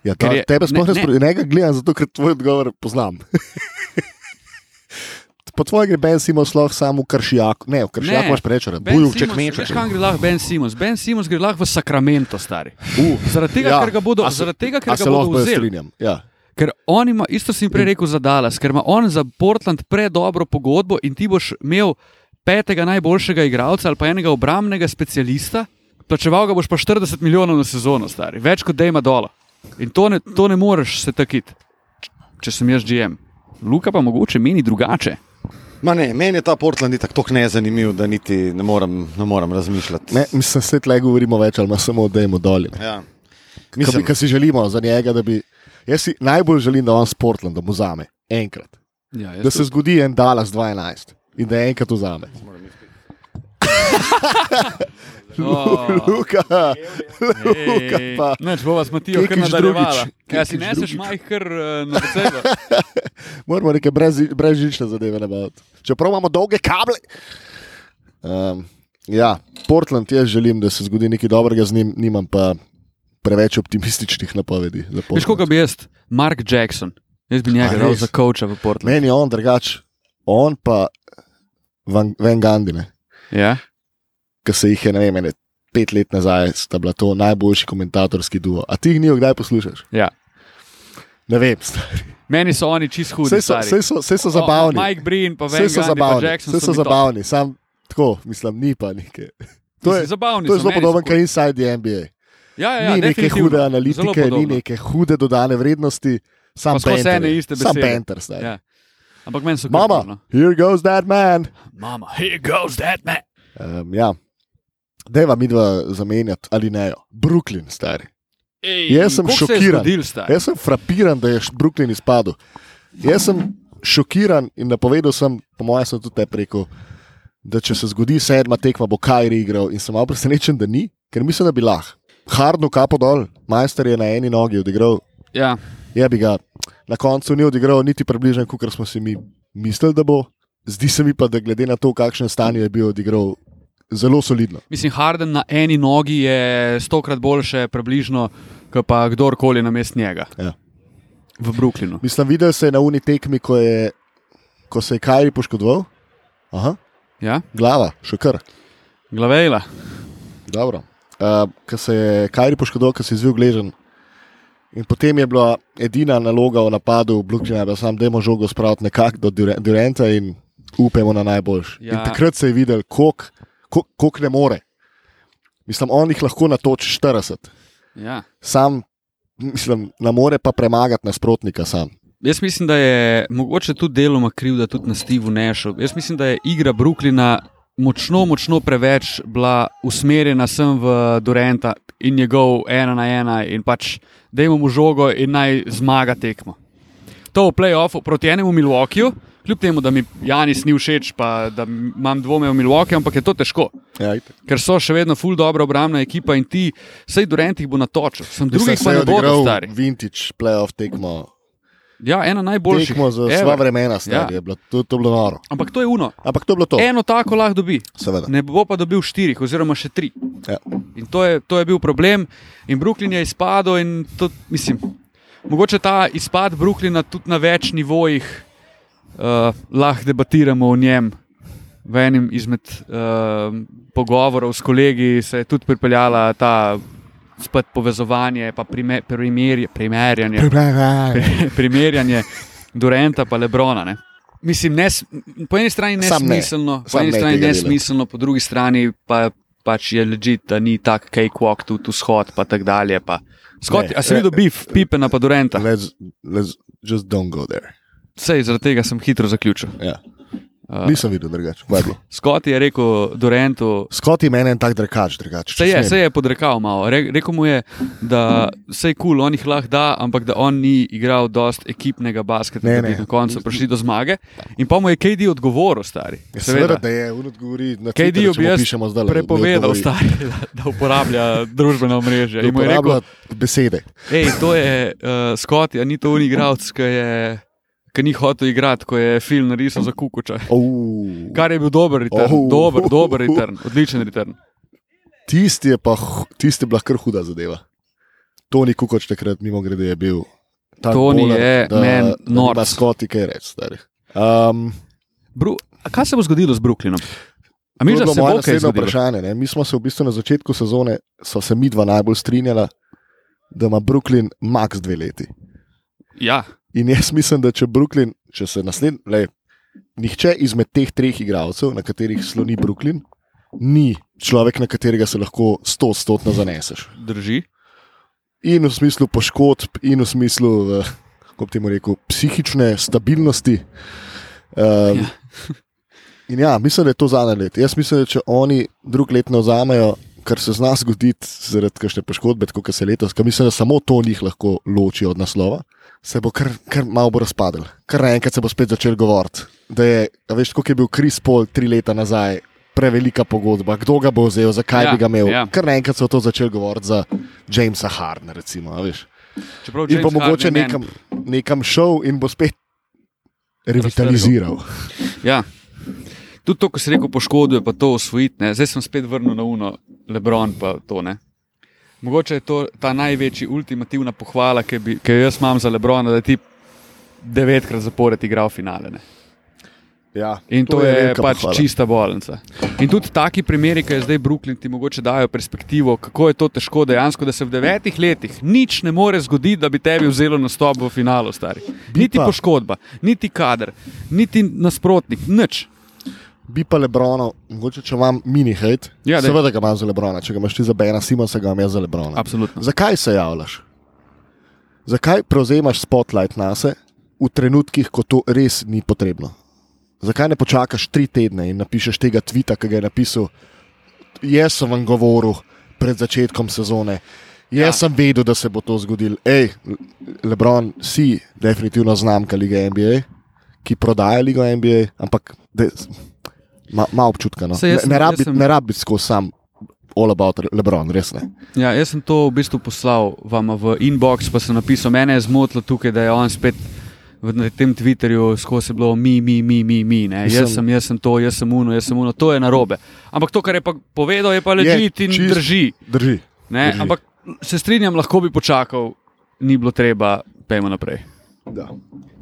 Speaker 1: Ja, ta,
Speaker 2: Ker
Speaker 1: je,
Speaker 2: je-
Speaker 1: tebe
Speaker 2: ne,
Speaker 1: sploh ne
Speaker 2: ne.
Speaker 1: sprašujem, nekaj gledam, zato ker tvoj odgovor poznam. (laughs) po tvojem gre Ben Simon sloh samo v kršijaku, ne, v kršijaku
Speaker 2: Ne.
Speaker 1: imaš preveč rad,
Speaker 2: Ben
Speaker 1: bujuvček
Speaker 2: Simmons,
Speaker 1: mečeš.
Speaker 2: Veš, kam gre lahko Ben Simons? Ben Simons gre lahko v Sakramento, stari. Uh, zaradi tega,
Speaker 1: ja.
Speaker 2: ja, ker ga bodo,
Speaker 1: A se-
Speaker 2: zaradi tega,
Speaker 1: A
Speaker 2: ker
Speaker 1: se
Speaker 2: ga bodo
Speaker 1: lahko Mm. jaz
Speaker 2: vzeli.
Speaker 1: strinjam. Ja.
Speaker 2: Ker on ima, isto sem prej rekel za Dallas, ker ima on za Portland predobro pogodbo in ti boš imel petega najboljšega igralca ali pa enega obrambnega specialista, plačeval ga boš pa 40 milijonov na sezono, stari, več kot da ima dola. In to ne, to ne moreš se takiti, če sem jaz GM. Luka pa mogoče meni drugače.
Speaker 3: Ma ne, meni je ta Portland tako nezanimiv, da niti ne morem, ne morem razmišljati.
Speaker 1: Ne, mislim, da se tle govorimo več ali manj samo, da jemo dolje.
Speaker 3: Ja. Mislim,
Speaker 1: Kaj si želimo za njega, da bi. Jaz si najbolj želim, da on s Portlandom vzame enkrat.
Speaker 2: Ja,
Speaker 1: Da se zgodi en Dallas 12 in da enkrat vzame. Luka, Luka pa.
Speaker 2: Neč bo vas Matijo kar
Speaker 1: Kekić
Speaker 2: nadaljevala.
Speaker 1: drugič,
Speaker 2: Kaj si
Speaker 1: Kekić
Speaker 2: neseš
Speaker 1: drugič.
Speaker 2: majh kar eh, na sebe?
Speaker 1: Moramo neke brez- brezžične zadeve nabaviti. Čeprav imamo dolge kable. Um, ja, Portland jaz želim, da se zgodi nekaj dobrega z njim, nimam pa preveč optimističnih napovedi. za
Speaker 2: (laughs) Veš,
Speaker 1: Portland.
Speaker 2: koga bi jaz? Mark Jackson. Jaz bi
Speaker 1: A
Speaker 2: njega dal
Speaker 1: res?
Speaker 2: za coacha v Portland.
Speaker 1: Meni je on drugač, on pa Van, Van Gandine,
Speaker 2: Ja?
Speaker 1: ki se jih je, ne vem, ene pet let nazaj, sta bila to najboljši komentatorski duo. A ti jih ni kdaj poslušaš?
Speaker 2: Ja.
Speaker 1: Ne vem, stari.
Speaker 2: Meni so oni čist hudi.
Speaker 1: Vse so,
Speaker 2: stari.
Speaker 1: sej so, sej so
Speaker 2: O,
Speaker 1: zabavni.
Speaker 2: Mike Breen, pa
Speaker 1: Vse
Speaker 2: Veš,
Speaker 1: so zabavni, vse so zabavni, sam tako, mislim, ni pa neke. (laughs) To je,
Speaker 2: zabavni.
Speaker 1: to je
Speaker 2: so,
Speaker 1: zelo
Speaker 2: meni
Speaker 1: podoben,
Speaker 2: so
Speaker 1: kot inside the NBA.
Speaker 2: cool. Ja, ja,
Speaker 1: ni neke
Speaker 2: definitivno.
Speaker 1: hude
Speaker 2: Zelo
Speaker 1: analitike, ni
Speaker 2: podobno.
Speaker 1: neke hude dodane vrednosti, sam
Speaker 2: Pa skozi
Speaker 1: penter
Speaker 2: ene
Speaker 1: je,
Speaker 2: iste
Speaker 1: Sam
Speaker 2: besede.
Speaker 1: penter, stari.
Speaker 2: Ja. Ampak meni so
Speaker 1: Mama,
Speaker 2: kulturno.
Speaker 1: here goes that man.
Speaker 2: Mama, here goes that man.
Speaker 1: Um, ja. Dejva mi dva zamenjati ali ne. Brooklyn, stari.
Speaker 2: Ej,
Speaker 1: Jaz sem
Speaker 2: koliko se je
Speaker 1: šokiran.
Speaker 2: Zgodil, stari?
Speaker 1: Jaz sem frapiran, da je š- Brooklyn izpadel. Jaz sem šokiran in napovedal sem, po mojem, sem tudi te rekel, da če se zgodi sedma tekma, bo Kajri igral. In sem malo presenečen, da ni, ker mislim, da bi lahko. Hardno kapo dol, majster je na eni nogi odigral,
Speaker 2: ja.
Speaker 1: je bi ga. Na koncu ni odigral niti približno, kot smo si mi mislili, da bo. Zdi se mi pa, da glede na to, kakšno stanje je bil odigral, zelo solidno.
Speaker 2: Mislim, Harden na eni nogi je stokrat boljše, približno, kot pa kdorkoli na mestu njega.
Speaker 1: Ja.
Speaker 2: V Brooklynu.
Speaker 1: Mislim, videl se je na uni tekmi, ko, je, ko se je Kajri poškodoval. Aha,
Speaker 2: Ja?
Speaker 1: glava, še kar.
Speaker 2: Glavejla.
Speaker 1: Dobro. Uh, Ker se je Kajri poškodoval, ker se je zvil gležen. In potem je bila edina naloga v napadu Brooklyna, da sam demo žogo spraviti nekako do Dura- Duranta in upemo na najboljši.
Speaker 2: Ja.
Speaker 1: Ja. Takrat se je videl, koliko kolik, kolik ne more. Mislim, on jih lahko natoči 40,
Speaker 2: Ja.
Speaker 1: sam mislim, ne more pa premagati nasprotnika. Sam.
Speaker 2: Jaz mislim, da je mogoče tudi deloma krivda tudi na Stevu Nešu. Jaz mislim, da je igra Brooklyna močno, močno preveč bila usmerjena sem v Dorenta in njegov ena na ena in pač dajmo mu žogo in naj zmaga tekmo. To v playoffu proti enemu Milwaukeeju, kljub temu, da mi Janis ni všeč, pa da m- imam dvome v Milwaukee, ampak je to težko.
Speaker 1: Ja, itak.
Speaker 2: Ker so še vedno ful dobro obrambna ekipa in ti, sej Dorent jih bo natočil, sem drugih
Speaker 1: Mislim, se
Speaker 2: pa
Speaker 1: je
Speaker 2: ne bodo
Speaker 1: odigral
Speaker 2: stari.
Speaker 1: Vintage playoff tekmo,
Speaker 2: Ja, ena najboljših.
Speaker 1: tekmo za
Speaker 2: ever.
Speaker 1: sva vremena, stari,
Speaker 2: Ja.
Speaker 1: ja. je bilo, to, to je bilo noro.
Speaker 2: Ampak to je uno.
Speaker 1: Ampak to je bilo to.
Speaker 2: Eno tako lahko dobi,
Speaker 1: Seveda.
Speaker 2: ne bo pa dobil štirih, oziroma še tri.
Speaker 1: Ja.
Speaker 2: In to je, to je bil problem. In Brooklyn je izpadel. in To, mislim, mogoče ta izpad Brooklyna tudi na več nivojih uh, lahko debatiramo o njem. V enem izmed uh, pogovorov s kolegi se je tudi pripeljala ta spet povezovanje, pa prime, primerje, primerjanje (laughs) primerjanje Durenta in Lebrona. Ne? Mislim, nes, po eni strani
Speaker 1: Sam ne.
Speaker 2: nesmiselno, ne. po
Speaker 1: Sam
Speaker 2: eni
Speaker 1: ne
Speaker 2: strani
Speaker 1: tega
Speaker 2: nesmiselno, po drugi strani pa pač je ležit, da ni tak cakewalk tudi vzhod, pa tako dalje. Pa. Skot,
Speaker 1: Ne.
Speaker 2: a si videl bif, pipe na Durenta?
Speaker 1: Let's, let's just don't go there.
Speaker 2: Sej, zaradi tega sem hitro zaključil.
Speaker 1: Ja.
Speaker 2: Uh,
Speaker 1: Nisem videl drugače.
Speaker 2: Skot je rekel Durentu.
Speaker 1: Skot je meni en tak drekač, drugače.
Speaker 2: Se je, se je podrekal malo. Re, rekel mu je, da se je kul, cool, on jih lahko da, ampak da on ni igral dost ekipnega basketa,
Speaker 1: Ne,
Speaker 2: da bi
Speaker 1: ne.
Speaker 2: na koncu prišli do zmage. In pa mu je KD odgovoril, stari.
Speaker 1: Ja, seveda, da je, on odgovori na
Speaker 2: KD
Speaker 1: Twitterju,
Speaker 2: ju
Speaker 1: če
Speaker 2: bi
Speaker 1: mu
Speaker 2: jaz
Speaker 1: pišemo zdaj.
Speaker 2: prepovedal, stari, (laughs) da, da uporablja družbena omrežja. In mu je rekel,
Speaker 1: Uporablja besede.
Speaker 2: hej, to je uh, Scott, ja, ni to unik igralec, ki je. Ki ni hotel igrati, ko je film narisal za Kukuča.
Speaker 1: Oh.
Speaker 2: Kar je bil dober return,
Speaker 1: Oh.
Speaker 2: oh. dober, dober return, odličen return.
Speaker 1: Tisti je pa, hu- tisti je bila kar huda zadeva. Toni Kukoč takrat, mimo grede, je bil. tak
Speaker 2: Toni
Speaker 1: bowler,
Speaker 2: je
Speaker 1: da-
Speaker 2: man
Speaker 1: da nima
Speaker 2: norc.
Speaker 1: Skoti, kaj reči, stari. Um,
Speaker 2: Bru A kaj se bo zgodilo z Brooklynom? A mi
Speaker 1: To
Speaker 2: že
Speaker 1: je bilo
Speaker 2: se
Speaker 1: moje
Speaker 2: bo kaj
Speaker 1: naslednje
Speaker 2: zgodilo?
Speaker 1: vprašanje. Ne? Mi smo se v bistvu na začetku sezone, so se mi dva najbolj strinjala, da ima Brooklyn max dve leti.
Speaker 2: Ja,
Speaker 1: In jaz mislim, da če Brooklyn, če se naslednji, le, nihče izmed teh treh igralcev, na katerih sloni Brooklyn, ni človek, na katerega se lahko stotstotno zaneseš.
Speaker 2: drži.
Speaker 1: In v smislu poškodb, in v smislu uh, kako bi temu rekel, psihične stabilnosti. Um,
Speaker 2: Ja.
Speaker 1: (laughs) in ja, mislim, da je to zadnji let. Jaz mislim, da če oni drug let ne vzamejo, kar se zna zgoditi zaradi kakšne poškodbe, tako kot se letos, ker mislim, da samo to njih lahko loči od naslova, se bo kar, kar malo bo razpadel. Kar naenkrat se bo spet začel govoriti. Da je, a veš, kot je bil Kris Pol tri leta nazaj. Prevelika pogodba, kdo ga bo vzel, zakaj
Speaker 2: Ja,
Speaker 1: ja, bi ga imel.
Speaker 2: ja.
Speaker 1: Ja. Kar naenkrat so to začeli govoriti za Jamesa Harna, recimo. a Veš.
Speaker 2: Čeprav
Speaker 1: In bo
Speaker 2: James
Speaker 1: mogoče
Speaker 2: Harden meni-
Speaker 1: nekam, nekam šel in bo spet revitaliziral.
Speaker 2: Ja. Tudi to, ko si rekel, poškoduje, pa to osvojiti. Ne. Zdaj sem spet vrnil na uno, Lebron pa to ne. Mogoče je to ta največji ultimativna pohvala, ki, bi, ki jo jaz imam za Lebrona, da je ti devetkrat zapored igral finale. Ne.
Speaker 1: Ja,
Speaker 2: In to, to je, je
Speaker 1: velika pohvala.
Speaker 2: pač pohvala. čista bolnica. In tudi taki primeri, ki je zdaj Brooklyn, ti mogoče dajo perspektivo, kako je to težko dejansko, da se v devetih letih nič ne more zgoditi, da bi tebi vzelo nastop v finalu, stari. Niti
Speaker 1: pa.
Speaker 2: poškodba, niti kader, niti nasprotnik, nič.
Speaker 1: Bi pa Lebrono, mogoče če imam mini hate,
Speaker 2: Ja,
Speaker 1: ja,
Speaker 2: daj.
Speaker 1: seveda ga imam za Lebrona, če ga imaš ti za Bena Simonsa, ga imam jaz za Lebrona.
Speaker 2: Absolutno.
Speaker 1: Zakaj se javljaš? Zakaj prevzemaš spotlight na sebe v trenutkih, ko to res ni potrebno? Zakaj ne počakaš tri tedne in napišeš tega tvita, ki ga je napisal? Jaz sem vam govoril pred začetkom sezone, jaz
Speaker 2: Ja.
Speaker 1: ja. sem vedel, da se bo to zgodilo. Ej, Lebron, si definitivno znamka lige NBA, ki prodaja ligo NBA, ampak de, ma, ma občutka. No.
Speaker 2: Saj
Speaker 1: Ne,
Speaker 2: jaz sem-
Speaker 1: ne
Speaker 2: jaz
Speaker 1: rabi,
Speaker 2: sem-
Speaker 1: ne rabi skozi sam all about Lebron, res ne.
Speaker 2: Ja, jaz sem to v bistvu poslal vam v inbox, pa sem napisal, mene je zmotilo tukaj, da je on spet v na tem Twitterju skozi bilo mi, mi, mi, mi, mi. ne. Jaz sem,
Speaker 1: Mislim-
Speaker 2: jaz sem to, jaz sem uno, jaz sem uno, to je narobe. Ampak to, kar je pa povedal, je pa ležit in
Speaker 1: čist-
Speaker 2: drži.
Speaker 1: Drži.
Speaker 2: Ne?
Speaker 1: Drži.
Speaker 2: Ampak se strinjam, lahko bi počakal, ni bilo treba, pejmo naprej.
Speaker 1: Da.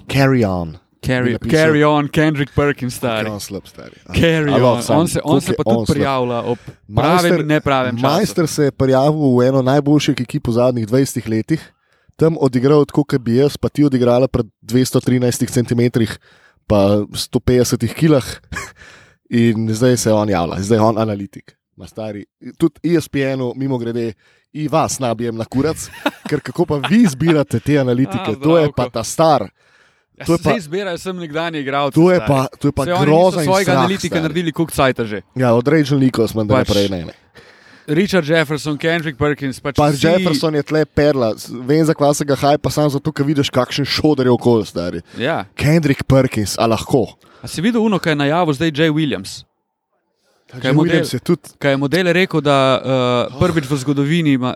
Speaker 1: Carry on. Bi
Speaker 2: Carry,
Speaker 1: napisal-
Speaker 2: carry on, Kendrick Perkins, stari.
Speaker 1: Carry on, slab stari. Ah.
Speaker 2: Carry
Speaker 1: I
Speaker 2: on.
Speaker 1: love Sam.
Speaker 2: On se, on
Speaker 1: Koliko
Speaker 2: se
Speaker 1: je
Speaker 2: pa tudi
Speaker 1: slab.
Speaker 2: prijavlja ob pravem in nepravem času.
Speaker 1: Majster se je prijavil v eno najboljših ekip v zadnjih 20 letih, tam odigral tako, kot bi jaz, pa ti odigrala pred 213 cm, pa 150 kilah, (laughs) in zdaj se on javlja, zdaj je on analitik. Ma Stari, tudi E ESPN-u, mimo grede, in vas nabijem na
Speaker 2: (laughs)
Speaker 1: kurac, ker kako pa vi izbirate te analitike,
Speaker 2: A,
Speaker 1: to je pa
Speaker 2: Zdravko.
Speaker 1: ta star,
Speaker 2: Ja,
Speaker 1: to je
Speaker 2: se zdaj
Speaker 1: pa-
Speaker 2: izbirajo sem nekdanje igralce.
Speaker 1: to je
Speaker 2: stari.
Speaker 1: pa, to je pa
Speaker 2: Saj oni niso
Speaker 1: grozen.
Speaker 2: svojega analitika
Speaker 1: stari.
Speaker 2: naredili, koliko cajta že.
Speaker 1: Ja, odrežen Nikos, da
Speaker 2: Pač-
Speaker 1: pač, naprej ne. ne.
Speaker 2: Richard Jefferson, Kendrick Perkins, pač
Speaker 1: Pa
Speaker 2: vsi,
Speaker 1: Jefferson je tle perla, s- vem za kva se ga haj, pa samo zato, ker vidiš, kakšen šoder je okolj stari.
Speaker 2: Ja.
Speaker 1: Kendrick Perkins, a lahko.
Speaker 2: A si videl uno, kaj je najavil zdaj Jay Williams? Kaj je
Speaker 1: Jim Williams
Speaker 2: model?
Speaker 1: je tudi
Speaker 2: Kaj je model rekel, da
Speaker 1: Oh.
Speaker 2: uh, prvič v zgodovini ima,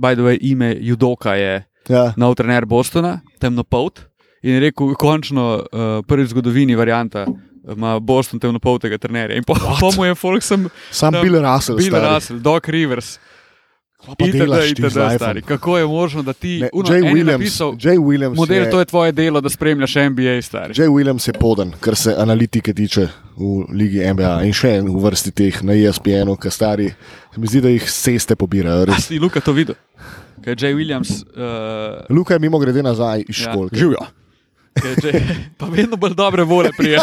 Speaker 2: by the way, ime Judoka je
Speaker 1: ja,
Speaker 2: nov trener Bostona, temnopolt. In je rekel, končno, uh, prvič v zgodovini varianta ima Boston temnopoltega trenerja. In po, po mu je Folk sem
Speaker 1: sam
Speaker 2: Da,
Speaker 1: Bill Russell.
Speaker 2: Bill
Speaker 1: stari.
Speaker 2: Russell, Doc Rivers,
Speaker 1: Kva pa
Speaker 2: itd.
Speaker 1: delaš ti
Speaker 2: itd.
Speaker 1: z lifeom?
Speaker 2: stari. Kako je možno, da ti,
Speaker 1: Ne,
Speaker 2: uno,
Speaker 1: Jay,
Speaker 2: en je
Speaker 1: Williams,
Speaker 2: napisal,
Speaker 1: Jay Williams
Speaker 2: model,
Speaker 1: je,
Speaker 2: to je tvoje delo, da spremljaš NBA, stari.
Speaker 1: Jay Williams je poden, kar se analitike tiče v ligi NBA in še en v vrsti teh na E ESPN-u, ki stari, se mi zdi, da jih s ceste pobirajo.
Speaker 2: A
Speaker 1: Res.
Speaker 2: si Luka to videl? Kaj je Jay Williams, uh,
Speaker 1: Luka je mimo grede nazaj iz
Speaker 2: Ja.
Speaker 1: škole.
Speaker 3: Živijo.
Speaker 2: kaj je Jay, (laughs) pa vedno bolj dobre volje prija.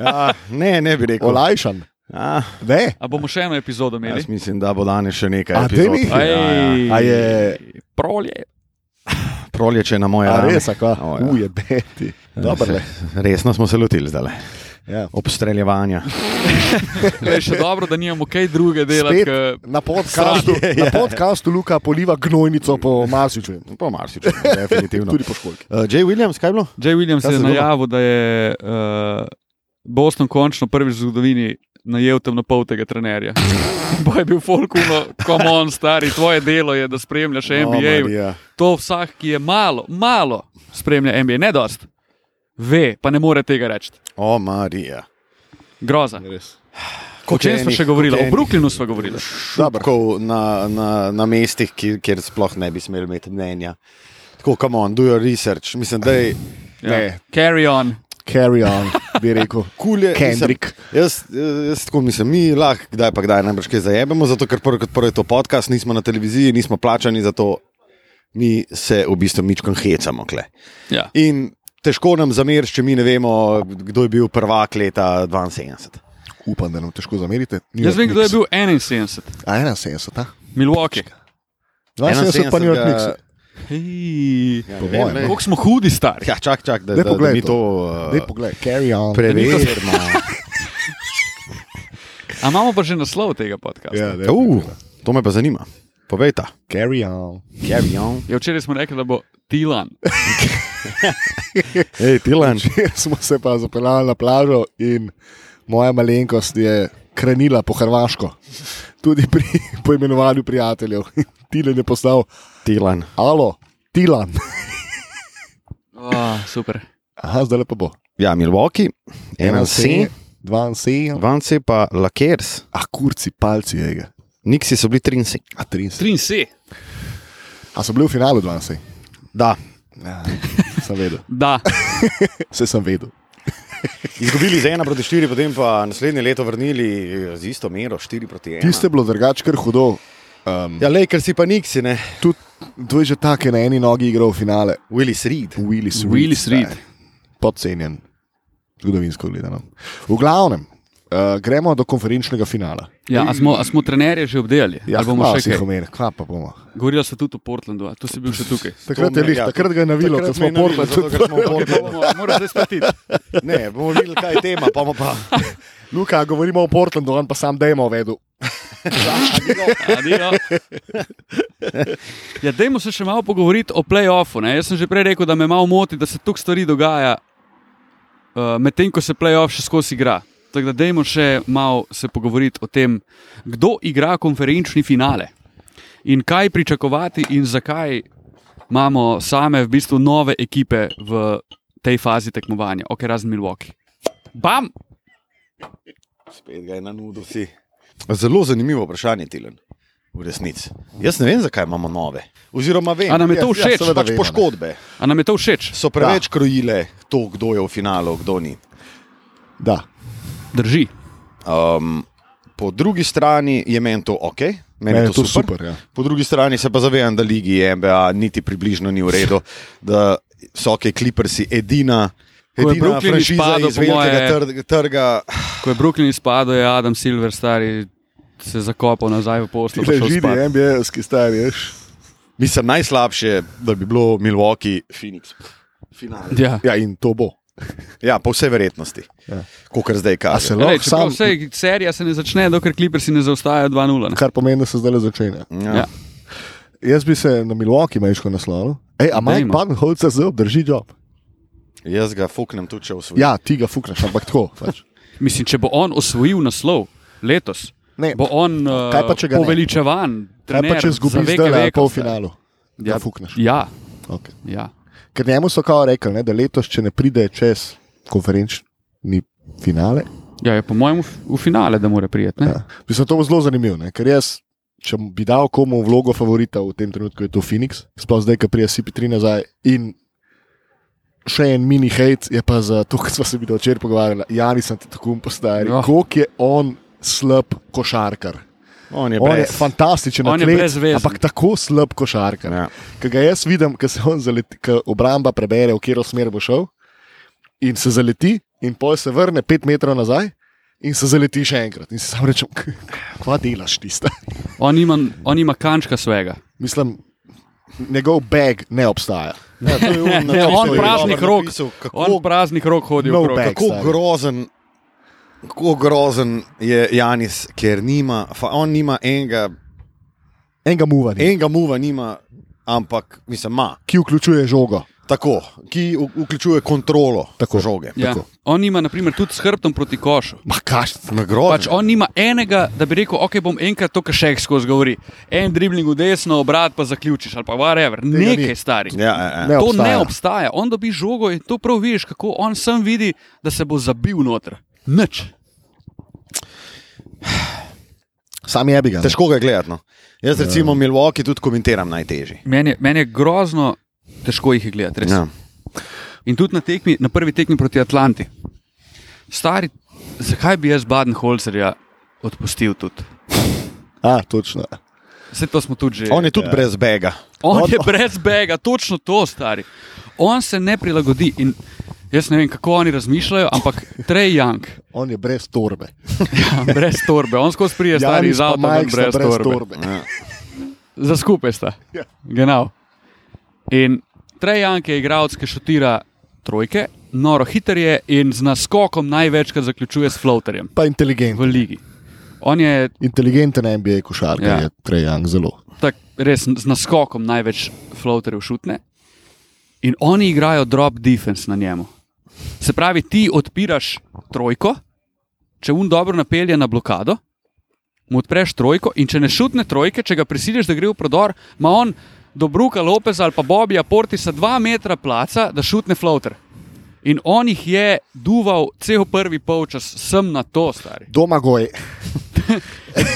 Speaker 3: Ja, ne, ne bi rekel.
Speaker 1: Olajšan.
Speaker 3: Ja,
Speaker 1: Ne,
Speaker 2: A bomo še eno epizodo imeli?
Speaker 3: jaz mislim, da bo danes še nekaj.
Speaker 1: A,
Speaker 3: epizod.
Speaker 1: daj mi?
Speaker 3: Ja, ja.
Speaker 1: A je-
Speaker 2: Prolje.
Speaker 3: Prolječe na moje
Speaker 1: a
Speaker 3: rame.
Speaker 1: res, a kva.
Speaker 3: O, ja.
Speaker 1: Uje, beti.
Speaker 2: Ja.
Speaker 1: Dobro, ne.
Speaker 3: Resno smo se lotili zdaj.
Speaker 1: Ja.
Speaker 3: Obstreljevanja.
Speaker 2: Le še dobro, da nimamo kaj druge delati.
Speaker 1: Spet
Speaker 2: K...
Speaker 1: na podkastu,
Speaker 3: Sranje,
Speaker 1: na
Speaker 3: ja.
Speaker 1: podkastu Luka poliva gnojnico po
Speaker 2: (laughs)
Speaker 1: Marsiču.
Speaker 3: Po marsičem, definitivno.
Speaker 1: Tudi po školki.
Speaker 3: Uh, Jay Williams, kaj je bilo?
Speaker 2: Jay Williams
Speaker 3: Kaj
Speaker 2: je
Speaker 3: se dogaja?
Speaker 2: najavil, da je uh, Boston končno prvič v zgodovini najel temnopoltega trenerja. (laughs) Boj je bil folkuno, komon, stari, tvoje delo je, da spremljaš
Speaker 1: Oh,
Speaker 2: NBA.
Speaker 3: O, Marija.
Speaker 2: To vsak, ki je malo, malo spremlja NBA, ne dost, ve, pa ne more tega reči.
Speaker 3: O, Marija.
Speaker 2: Groza. O
Speaker 3: Kot
Speaker 2: čem
Speaker 3: je
Speaker 2: smo
Speaker 3: enih-
Speaker 2: še govorili?
Speaker 3: kot je
Speaker 2: O Brooklynu smo govorili.
Speaker 3: Šupkov na, na, na mestih, ki, kjer sploh ne bi smeli imeti mnenja. Tako, come on, do your research. Mislim, da je
Speaker 2: Ja. Carry on.
Speaker 1: Carry on, bi
Speaker 2: (laughs)
Speaker 1: rekel.
Speaker 3: kul je.
Speaker 1: Kendrick.
Speaker 3: Mislim, jaz, jaz tako mislim, mi lahko kdaj pa kdaj najbrž kaj zajememo, zato ker prvi kot prvi je to podcast, nismo na televiziji, nismo plačani, zato mi se v bistvu mičkam hecamo. Kle.
Speaker 2: Ja.
Speaker 3: In težko nam zameriš, če mi ne vemo, kdo je bil prvak leta 72.
Speaker 1: Upam, da nam težko zamerite. New York
Speaker 2: Jaz vem, kdo je
Speaker 1: Knicks.
Speaker 2: bil 71,
Speaker 1: A 71.
Speaker 2: Milwaukee.
Speaker 1: 72 pa New York Knicks.
Speaker 2: Hej.
Speaker 3: Ja,
Speaker 1: Po
Speaker 3: ne vem,
Speaker 1: mojem,
Speaker 3: glej.
Speaker 2: Kako smo hudi, stari.
Speaker 3: Ja, čak, čak, da,
Speaker 1: Daj
Speaker 3: da, da
Speaker 1: poglej
Speaker 3: mi
Speaker 1: to.
Speaker 3: to
Speaker 1: Dej
Speaker 3: uh,
Speaker 1: poglej, carry on.
Speaker 3: preverimo.
Speaker 2: A imamo pa že naslov tega podcasta.
Speaker 1: Ja, daj
Speaker 3: Uh,
Speaker 1: poglej.
Speaker 3: to me pa zanima. Povejta.
Speaker 1: Carry on.
Speaker 3: Carry on.
Speaker 2: Ja, včeraj smo rekli, da bo Tilan.
Speaker 3: (laughs) Ej, Tilan.
Speaker 1: Včeraj (laughs) smo se pa zapeljali na plažo in moja malenkost je krenila po Hrvaško, tudi pri (laughs) poimenovanju prijateljev. (laughs) Tilen je postal
Speaker 3: Tilan.
Speaker 1: Alo, Tilan.
Speaker 3: Ah,
Speaker 2: Oh, super.
Speaker 1: Aha, zdaj pa bo.
Speaker 3: Ja, Milwaukee, ena C,
Speaker 1: dva in sedem.
Speaker 3: van C pa Lakers.
Speaker 1: A kurci, palci je ga.
Speaker 3: Niksi so bili trinci.
Speaker 1: A tri in sedem.
Speaker 2: Trin si.
Speaker 1: A so bili v finalu dva in sedem?
Speaker 3: Da,
Speaker 1: Ja, (laughs) sem vedel.
Speaker 2: Da.
Speaker 1: Vse sem vedel.
Speaker 3: izgubili z ena proti štiri, potem pa naslednje leto vrnili eh, z isto mero, štiri proti ena.
Speaker 1: Tiste je bilo drugače, ker hudo. Um, ja.
Speaker 3: Ja, Lakers si pa Niksi, ne?
Speaker 1: Tudi to je že tako, na eni nogi igral finale.
Speaker 3: Willis Reed.
Speaker 1: Willis Reed.
Speaker 2: Willis Reed.
Speaker 1: stari. Podcenjen, zgodovinsko gledano. V glavnem, uh, gremo do konferenčnega finala.
Speaker 2: Ja, a smo, a smo trenerje že obdelali?
Speaker 3: Ja,
Speaker 2: Ali bomo
Speaker 1: hvala,
Speaker 2: še
Speaker 1: si jih
Speaker 2: kaj?
Speaker 1: omenil, kva pa bomo.
Speaker 2: Govorili so tudi o Portlandu, a tu si bil še
Speaker 3: (laughs)
Speaker 2: tukaj.
Speaker 1: Takrat,
Speaker 3: To
Speaker 1: je
Speaker 3: me-
Speaker 1: lih,
Speaker 3: ja,
Speaker 1: takrat ga je navilo, ker
Speaker 3: takrat
Speaker 1: smo
Speaker 3: me je navilo,
Speaker 1: Portland
Speaker 3: zato, ker
Speaker 1: (laughs)
Speaker 3: smo v
Speaker 1: tudi.
Speaker 3: Portlandu.
Speaker 2: Moraš zdaj spati.
Speaker 3: Ne, bomo videli, kaj je tema, pa bomo pa.
Speaker 1: Luka, govorimo o Portlandu, on pa sam dajmo vedu.
Speaker 2: Adijo. Ja, dajmo se še malo pogovoriti o playoffu. Ne? Jaz sem že prej rekel, da me malo moti, da se tu stvari dogaja, uh, medtem ko se playoff še skozi igra. Tako da dajmo še malo se pogovoriti o tem, kdo igra konferenčni finale in kaj pričakovati in zakaj imamo same v bistvu nove ekipe v tej fazi tekmovanja, ok, razen Milwaukee. Bam!
Speaker 3: Spet ga je na nudu vsi. Zelo zanimivo vprašanje, Tilan. V resnici. Jaz ne vem, zakaj imamo nove. Oziroma, vem,
Speaker 2: A nam je to
Speaker 3: Ja,
Speaker 2: všeč?
Speaker 3: Ja,
Speaker 1: Seveda
Speaker 3: pač
Speaker 1: vemo, ne.
Speaker 3: poškodbe
Speaker 2: A nam je to všeč?
Speaker 3: so preveč da. krojile to, kdo je v finalu, kdo ni.
Speaker 1: Da,
Speaker 2: Drži.
Speaker 3: Um, po drugi strani je meni to ok, meni je to super.
Speaker 1: ja.
Speaker 3: Po drugi strani se pa zavedam, da ligi MBA niti približno ni v redu, da so ok, Clippersi edina.
Speaker 2: Ko je
Speaker 3: Edina
Speaker 2: Brooklyn
Speaker 3: franšiza
Speaker 2: izpadel,
Speaker 3: iz
Speaker 2: po
Speaker 3: velikega
Speaker 2: moje-
Speaker 3: trg- trga,
Speaker 2: Ko je Brooklyn izpadel, je Adam Silver stari se zakopal nazaj v poslu. pa šel
Speaker 1: Židi,
Speaker 2: spat.
Speaker 1: NBA-ski stari, veš.
Speaker 3: mislim, najslabše, da bi bilo Milwaukee, Phoenix. Finale.
Speaker 2: Ja.
Speaker 1: Ja, in to bo.
Speaker 3: Ja, po vsej verjetnosti,
Speaker 1: Ja.
Speaker 3: ja. kot
Speaker 1: A
Speaker 3: zdaj kaže.
Speaker 1: se
Speaker 3: Se...
Speaker 2: Rej,
Speaker 1: lahko sam,
Speaker 2: čeprav vse, serija se ne začne, dokler Clippersi ne zaostajajo 2-0. ne.
Speaker 1: kar pomeni, da se zdaj začne.
Speaker 2: Ja.
Speaker 3: Ja.
Speaker 1: Jaz bi se na Milwaukee meško naslovil. Ej, a Mike
Speaker 2: Dajmo.
Speaker 1: Budenholz zdaj obdrži job.
Speaker 3: Jaz ga fuknem tudi, če usvojim.
Speaker 1: Ja, ti ga fukneš, ampak tako. Pač.
Speaker 2: Mislim, če bo on osvojil naslov letos,
Speaker 1: Ne.
Speaker 2: bo on uh,
Speaker 1: Kaj pa, če ga ne?
Speaker 2: poveličevan.
Speaker 1: Kaj Ja, pa,
Speaker 2: (laughs) trener
Speaker 1: če
Speaker 2: za
Speaker 1: zgubiš
Speaker 2: veke
Speaker 1: zdaj le
Speaker 2: vekov,
Speaker 1: pol
Speaker 2: stari.
Speaker 1: finalu? Ja,
Speaker 2: Ja.
Speaker 1: fukneš.
Speaker 2: Ja,
Speaker 1: Okay.
Speaker 2: ja.
Speaker 1: Ker njemu so kao rekli, ne, da letos, če ne pride čez konferenčni finale,
Speaker 2: ja je po mojem v, v finale, da mora prijeti.
Speaker 1: Ja. Mislim, to bo zelo zanimivo, ne? ker jaz, če bi dal komu vlogo favorita v tem trenutku, je to Phoenix, sploh zdaj, ki prija CP3 nazaj. In še en mini hate je pa za to, kar smo se bili včeraj pogovarjali. Jani sem ti tako postajal,
Speaker 3: No.
Speaker 2: Ja.
Speaker 1: oh. koliko je on slab košarkar.
Speaker 3: On je
Speaker 1: On je
Speaker 3: brez.
Speaker 1: fantastičen,
Speaker 2: On je
Speaker 1: atlet,
Speaker 2: brezvezen.
Speaker 1: ampak tako slab košarkar.
Speaker 3: Ja.
Speaker 1: Ki ga jaz vidim, ki se on zaleti, ki obramba prebere, v katero smer bo šel, in se zaleti, in poj se vrne pet metrov nazaj, in se zaleti še enkrat. In si sam rečem, (laughs) "K- kva delaš tiste.
Speaker 2: On ima, on ima kančka svega.
Speaker 1: Mislim, njegov bag ne obstaja.
Speaker 3: Ja, to
Speaker 2: (laughs)
Speaker 3: je on,
Speaker 2: Ne, on praznih rok, on
Speaker 3: kako,
Speaker 2: praznih rok hodi
Speaker 1: No
Speaker 2: v krog.
Speaker 1: back.
Speaker 3: kako
Speaker 1: stari.
Speaker 3: grozen. Kako grozen je Janis, ker nima, fa, on nima enega,
Speaker 1: Enega muvanja, en,
Speaker 3: enega muva, nima, ampak mislim, ima
Speaker 1: ki vključuje žogo.
Speaker 3: tako, ki v- vključuje kontrolo
Speaker 1: Tako.
Speaker 3: žoge.
Speaker 2: Ja.
Speaker 1: Tako.
Speaker 2: On ima naprimer, tudi s hrbtom proti košu.
Speaker 1: Ma kaš,
Speaker 3: Na grozen.
Speaker 2: Pač on nima enega, da bi rekel, ok, bom enkrat to, kar še skozi govori. En dribling v desno, obrat pa zaključiš ali pa whatever,
Speaker 1: ni.
Speaker 2: nekaj stari.
Speaker 3: ja, ja,
Speaker 1: Ne
Speaker 3: ja.
Speaker 2: To ne
Speaker 1: obstaja.
Speaker 2: obstaja. On dobi žogo in to prav vidiš, kako on sam vidi, da se bo zabil noter. Nič.
Speaker 1: sam je bi ga. ne.
Speaker 3: Težko ga je gledati. No. Jaz
Speaker 1: Ja.
Speaker 3: recimo Milwaukee tudi komentiram najtežje.
Speaker 2: Meni, je- meni je grozno, težko jih je gledati. res.
Speaker 3: Ja.
Speaker 2: In tudi na, tekmi, na prvi tekmi proti Atlanti. Stari, zakaj bi jaz Baden-Holzerja odpustil tudi?
Speaker 1: A, točno.
Speaker 2: Vse to smo tudi že.
Speaker 3: On je tudi ja. brez bega.
Speaker 2: On
Speaker 1: On-
Speaker 2: je brez bega, točno to, stari. On se ne prilagodi in jaz ne vem, kako oni razmišljajo, ampak Trey Young,
Speaker 1: On je brez torbe.
Speaker 2: ja, brez torbe, on skozi prije stari
Speaker 1: Janis
Speaker 2: iz
Speaker 1: pa
Speaker 2: avta, ven
Speaker 1: Mike sta
Speaker 2: brez, brez torbe.
Speaker 1: torbe.
Speaker 2: Za skupaj sta.
Speaker 1: Ja.
Speaker 2: Genau. In Trajan, ki je igralec, ki šutira trojke, noro hiter je in z naskokom največkrat zaključuje s floaterjem
Speaker 1: Pa inteligent.
Speaker 2: v ligi. On je
Speaker 1: Inteligenten NBA košarkar
Speaker 2: Ja.
Speaker 1: ja. je Trajang zelo.
Speaker 2: tak, res z naskokom največ floaterjev šutne. In oni igrajo drop defense na njemu. Se pravi, ti odpiraš trojko, če un dobro napelje na blokado, mu odpreš trojko in če ne šutne trojke, če ga prisiliš, da gre v prodor, ima on do Bruka Lopeza ali pa Bobija Portisa dva metra placa, da šutne floater. In on jih je duval cel prvi polčas, sem na to, stari.
Speaker 1: Domagoj,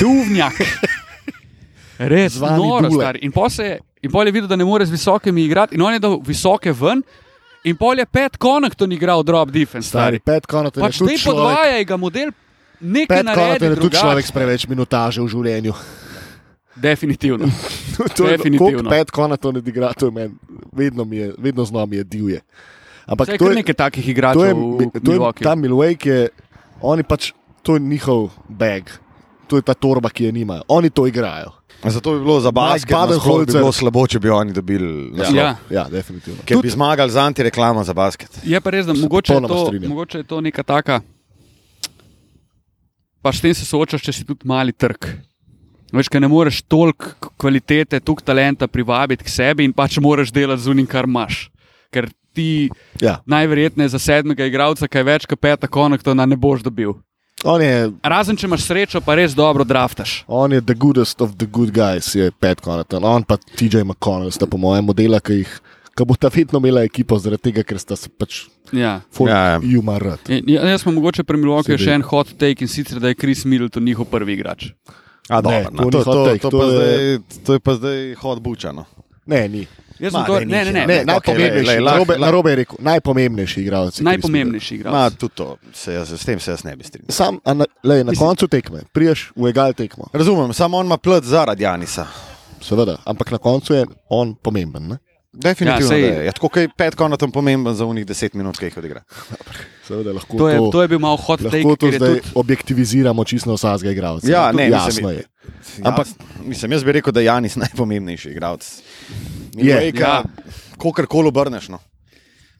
Speaker 2: Duvnjak. Res,
Speaker 1: Zvani
Speaker 2: noro
Speaker 1: Dule.
Speaker 2: star. In pol, se, je- in pol je videl, da ne more z visokimi igrati, in on je dal visoke ven, in pol je pet konekton igral drop defense.
Speaker 1: stari,
Speaker 2: Stari.
Speaker 1: pet konotov,
Speaker 2: Pač
Speaker 1: tudi
Speaker 2: ne
Speaker 1: človek.
Speaker 2: podvajaj ga model, nekaj
Speaker 1: Pet konotov
Speaker 2: naredi.
Speaker 1: je tudi
Speaker 2: drugače.
Speaker 1: človek s preveč minutaže v življenju. (laughs)
Speaker 2: Definitivno.
Speaker 1: to je
Speaker 2: Definitivno.
Speaker 1: koliko Pet konotov ne igra, to je meni, vedno, mi je, vedno z nami je divje. Ampak
Speaker 2: Vse
Speaker 1: to
Speaker 2: je
Speaker 1: je,
Speaker 2: nekaj takih igračev.
Speaker 1: to je,
Speaker 2: v, v
Speaker 1: to je
Speaker 2: Milwaukeeju.
Speaker 1: ta Milwaukee, je- oni pač, to je njihov bag, to je ta torba, ki je nimajo. Oni to igrajo.
Speaker 3: Zato bi bilo za basket, nasploh bi
Speaker 1: Budenholzer.
Speaker 3: bilo slabo, če bi oni dobili naslov.
Speaker 2: Ja.
Speaker 1: Ja, definitivno.
Speaker 3: Ker bi zmagali z antireklamo za basket.
Speaker 2: Je pa res, da
Speaker 1: Se
Speaker 2: mogoče je,
Speaker 1: popolnoma
Speaker 2: to,
Speaker 1: strinjam.
Speaker 2: mogoče je to neka taka. Pač s tem se soočaš, če si tudi mali trg. Veš, ker ne moreš toliko k- kvalitete, toliko talenta privabiti k sebi in pač moraš delati z unim, kar imaš. Ker ti
Speaker 1: Ja.
Speaker 2: najverjetneje za sedmega igralca, kaj več kot peta konektona, ne boš dobil.
Speaker 1: On je,
Speaker 2: Razen, če imaš srečo, pa res dobro draftaš.
Speaker 1: on je the goodest of the good guys, je Pat Conaton, on pa TJ McConnell, sta po mojem modela, ki jih ki bo ta vedno imela ekipa, zaradi tega, ker sta se pač
Speaker 2: Ja.
Speaker 3: Ja, ja.
Speaker 1: fumarati.
Speaker 2: In, ja, jaz smo mogoče premilovali, ker je
Speaker 1: Sedaj.
Speaker 2: še en hot take in sicer, da je Chris Middleton njihov prvi igrač.
Speaker 1: Ne,
Speaker 3: A, dobro,
Speaker 1: to
Speaker 3: na,
Speaker 1: ni
Speaker 3: to,
Speaker 1: hot
Speaker 3: to,
Speaker 1: take,
Speaker 3: to,
Speaker 1: to
Speaker 3: pa
Speaker 1: je-
Speaker 3: zdaj- to je pa zdaj no. hod bučano.
Speaker 1: Ne, ni.
Speaker 2: Jaz sem
Speaker 3: Ma,
Speaker 2: to.
Speaker 3: daj,
Speaker 2: Ne, ne,
Speaker 3: nič,
Speaker 2: ne.
Speaker 1: Ne,
Speaker 3: okej,
Speaker 1: najpomembnejši, okay,
Speaker 3: lej, lej,
Speaker 1: lej,
Speaker 3: lahko-
Speaker 1: Robe,
Speaker 3: lahko-
Speaker 1: Robe je rekel, najpomembnejši igralci. ki
Speaker 2: Najpomembnejši
Speaker 3: Ma,
Speaker 1: Ja.
Speaker 2: igralec.
Speaker 3: tudi to, se jaz, s tem se jaz ne bi
Speaker 1: jih
Speaker 3: strinjal.
Speaker 1: so bili. Sam, a na, lej, na koncu tekme, priješ v egal tekmo,
Speaker 3: Razumem, samo on ima plet zaradi Janisa.
Speaker 1: seveda, ampak na koncu je on pomemben. Ne?
Speaker 3: Definitivno. Ja,
Speaker 2: Ja, sej-
Speaker 3: sej... je. je tako, kot je pet konatom pomemben za unih deset minut, ki jih odigra.
Speaker 1: Seveda, lahko
Speaker 2: To je, to je bil malo hot take,
Speaker 1: lahko to
Speaker 2: ker je
Speaker 1: zdaj
Speaker 2: tudi
Speaker 1: tudi... objektiviziramo čisto na vsakega igralca.
Speaker 3: Ja,
Speaker 1: To
Speaker 3: ne,
Speaker 1: jasno
Speaker 3: mislim,
Speaker 1: je. Ja.
Speaker 3: Ampak mislim, jaz bi rekel, da je Janis (laughs) najpomembnejši igralec.
Speaker 2: Ja.
Speaker 3: Kokor koli obrneš. No.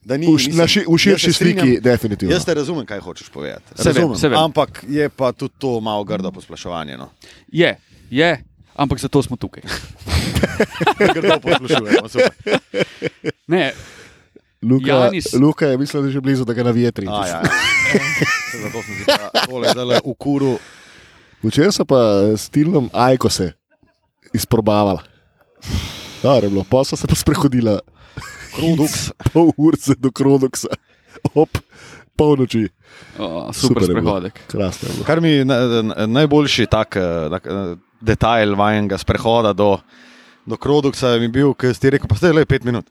Speaker 3: Da ni,
Speaker 1: V, š- na ši, v širši
Speaker 3: jaz se strinjam-
Speaker 1: sliki, definitivno.
Speaker 3: Jaz te razumem, kaj hočeš povedati.
Speaker 2: Se vem,
Speaker 3: Razumem,
Speaker 2: se vem.
Speaker 3: ampak je pa tudi to malo grdo posplaševanje.
Speaker 1: (laughs)
Speaker 3: No.
Speaker 2: je, je, ampak zato smo tukaj.
Speaker 3: Grdo poslušujemo. super.
Speaker 2: Ne,
Speaker 1: Luka,
Speaker 2: Janis-
Speaker 1: Luka je mislil, da je že blizu, da ga navije tri.
Speaker 3: A, ja, ja. (laughs) Se Zato sem si pa tole zdaj v kuru.
Speaker 1: Včeraj so pa eh, s Tilnom Ajko se izprobavala. Dobro je bilo, pa so se pa sprehodila (laughs)
Speaker 3: Kruduks.
Speaker 1: pol urice do Kronoksa ob polnoči.
Speaker 2: o, super, super
Speaker 1: je bilo.
Speaker 2: sprehodek.
Speaker 1: Krasno je bilo.
Speaker 3: Kar mi je na, na, najboljši tak, eh, tak eh, detajl vajenega sprehoda do, do Kroduksa mi je bil, ker si ti rekel, pa ste le pet
Speaker 2: (laughs)
Speaker 3: minut.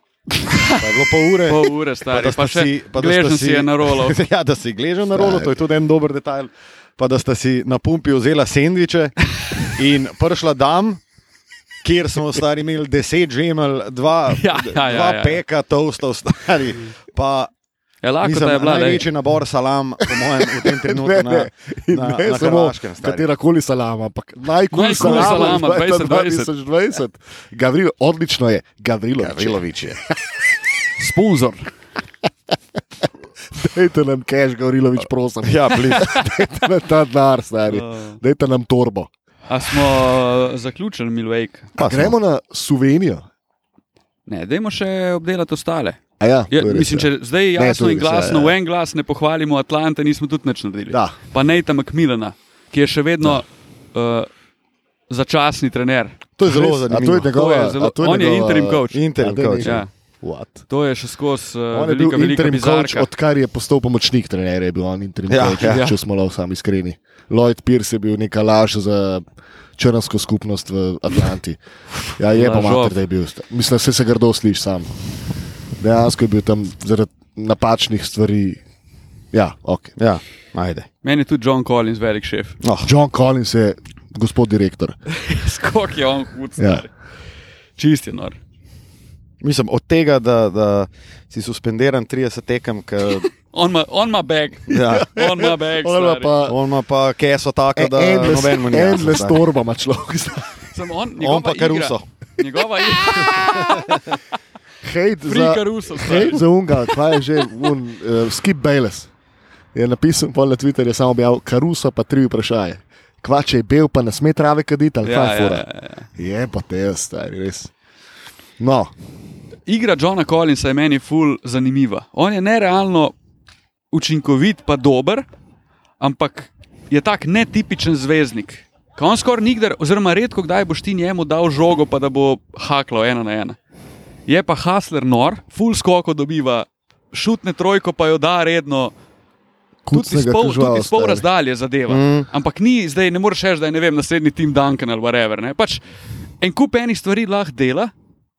Speaker 3: Pa je bilo pol ure.
Speaker 2: Pol ure star,
Speaker 3: da
Speaker 2: pa,
Speaker 3: sta
Speaker 2: pa še
Speaker 3: si- pa da sta
Speaker 2: gležen si
Speaker 3: si-
Speaker 2: je na
Speaker 1: (laughs)
Speaker 2: rolo.
Speaker 3: (laughs) ja, da si gležen na rolo, to je tudi en dober detajl. Pa da sta si na pumpi vzela sendviče in prišla dam, kjer smo stari imeli deset žemelj, dva,
Speaker 2: (laughs) Ja, ja, ja,
Speaker 3: dva
Speaker 2: ja.
Speaker 3: peka toastov stari. Pa
Speaker 2: Ja, lahko
Speaker 3: mislim,
Speaker 2: da je bila, da
Speaker 3: največji nabor salam, po mojem, v
Speaker 1: (laughs)
Speaker 3: tem trenutku
Speaker 1: Ne,
Speaker 3: na,
Speaker 1: ne, in
Speaker 3: na,
Speaker 1: ne
Speaker 3: na
Speaker 1: samo
Speaker 3: Hrvaškem. stari.
Speaker 1: katera koli salama, ampak najkul
Speaker 2: Najkul
Speaker 1: salama,
Speaker 2: salama
Speaker 1: iz leta
Speaker 2: 2020.
Speaker 1: 2020. Gavrilo, odlično je, Gavrilo.
Speaker 3: Gavrilovič
Speaker 1: (laughs)
Speaker 3: je.
Speaker 2: sponzor.
Speaker 1: Dajte nam cash, Gavrilovič, prosim.
Speaker 3: Ja, blizu.
Speaker 1: (laughs) Dajte nam ta dar, stari. Dajte nam torbo.
Speaker 2: A smo e, zaključili Milwaukee?
Speaker 1: Pa gremo na Slovenijo.
Speaker 2: Ne, dajmo še obdelati ostale.
Speaker 1: A Ja,
Speaker 2: Ja,
Speaker 1: to je res,
Speaker 2: mislim,
Speaker 1: ja.
Speaker 2: če zdaj
Speaker 1: Ne,
Speaker 2: jasno
Speaker 1: to je
Speaker 2: in
Speaker 1: res, ja,
Speaker 2: glasno,
Speaker 1: ja.
Speaker 2: v en glas ne pohvalimo Atlante, nismo tudi nič naredili.
Speaker 1: Da.
Speaker 2: Pa Nejta Macmillana, ki je še vedno uh, začasni trener.
Speaker 1: To je zelo
Speaker 3: Res? A
Speaker 1: zanimivo.
Speaker 3: to je
Speaker 2: njegova- a to je
Speaker 1: on je
Speaker 2: njegova-
Speaker 1: interim coach.
Speaker 3: Interim
Speaker 1: A to je
Speaker 3: coach.
Speaker 1: njegov-
Speaker 2: Ja.
Speaker 1: What?
Speaker 2: To je še skozi uh,
Speaker 1: On je bil
Speaker 2: velika, velika
Speaker 1: interim coach,
Speaker 2: bizarka.
Speaker 1: odkar je postal pomočnik trenerja, je bil on interim
Speaker 3: Ja,
Speaker 1: coach,
Speaker 3: ja.
Speaker 1: če smo lahko sami iskreni. Lloyd Pierce je bil neka laž za črnsko skupnost v Atlanti. Ja, je pa
Speaker 2: Lažov.
Speaker 1: mater, da je bil. Mislim, da se, se grdo sliši sam. Dejansko je bil tam zaradi napačnih stvari. Ja, ok.
Speaker 3: Ja, ajde.
Speaker 2: Meni je tudi John Collins velik šef.
Speaker 1: No. John Collins je gospod direktor.
Speaker 2: (laughs) Skok je on hud,
Speaker 1: Ja.
Speaker 2: star. Čist je no. nor.
Speaker 3: Mislim, od tega, da, da si suspendiran 30 tekem,
Speaker 1: (laughs)
Speaker 3: ker
Speaker 2: On ima- On ima bag.
Speaker 3: ja,
Speaker 2: (laughs) On ima bag.
Speaker 1: On ima
Speaker 2: stari.
Speaker 1: pa e-
Speaker 3: on ima pa keso tako, da
Speaker 1: endless,
Speaker 3: noben mu ni jasno,
Speaker 1: endless
Speaker 3: stari.
Speaker 1: torba, ima človek.
Speaker 2: Samo on, njegova
Speaker 3: pa
Speaker 2: igra-
Speaker 3: Caruso.
Speaker 2: Njegova igra.
Speaker 1: hate za,
Speaker 2: Frika Rusov.
Speaker 1: hate za unga, kaj je že un, uh, Skip Bayless. Je napisal pol na Twitterju, je samo objavil Karusa, pa tri vprašanje. Kva, če je bel, pa ne sme trave kaditi,
Speaker 2: Ja,
Speaker 1: ali kaj je fura. Je pa te, stari, res. No,
Speaker 2: Igra Johna Collinsa je meni ful zanimiva. On je nerealno učinkovit, pa dober, ampak je tak netipičen zvezdnik. Ko on skoraj nikdar, oziroma redko kdaj boš ti njemu dal žogo, pa da bo haklo ena na ena. Je pa Hasler nor, ful skoko dobiva, šutne trojko pa jo da redno. Tudi iz
Speaker 1: kucnega
Speaker 2: pol,
Speaker 1: težava
Speaker 2: tudi iz pol
Speaker 1: ostane.
Speaker 2: razdalje zadeva.
Speaker 3: Mm.
Speaker 2: Mm. Ampak ni zdaj, ne moreš reči, da je ne vem, naslednji tim Duncan ali whatever. Ne? Pač en kup enih stvari lahko dela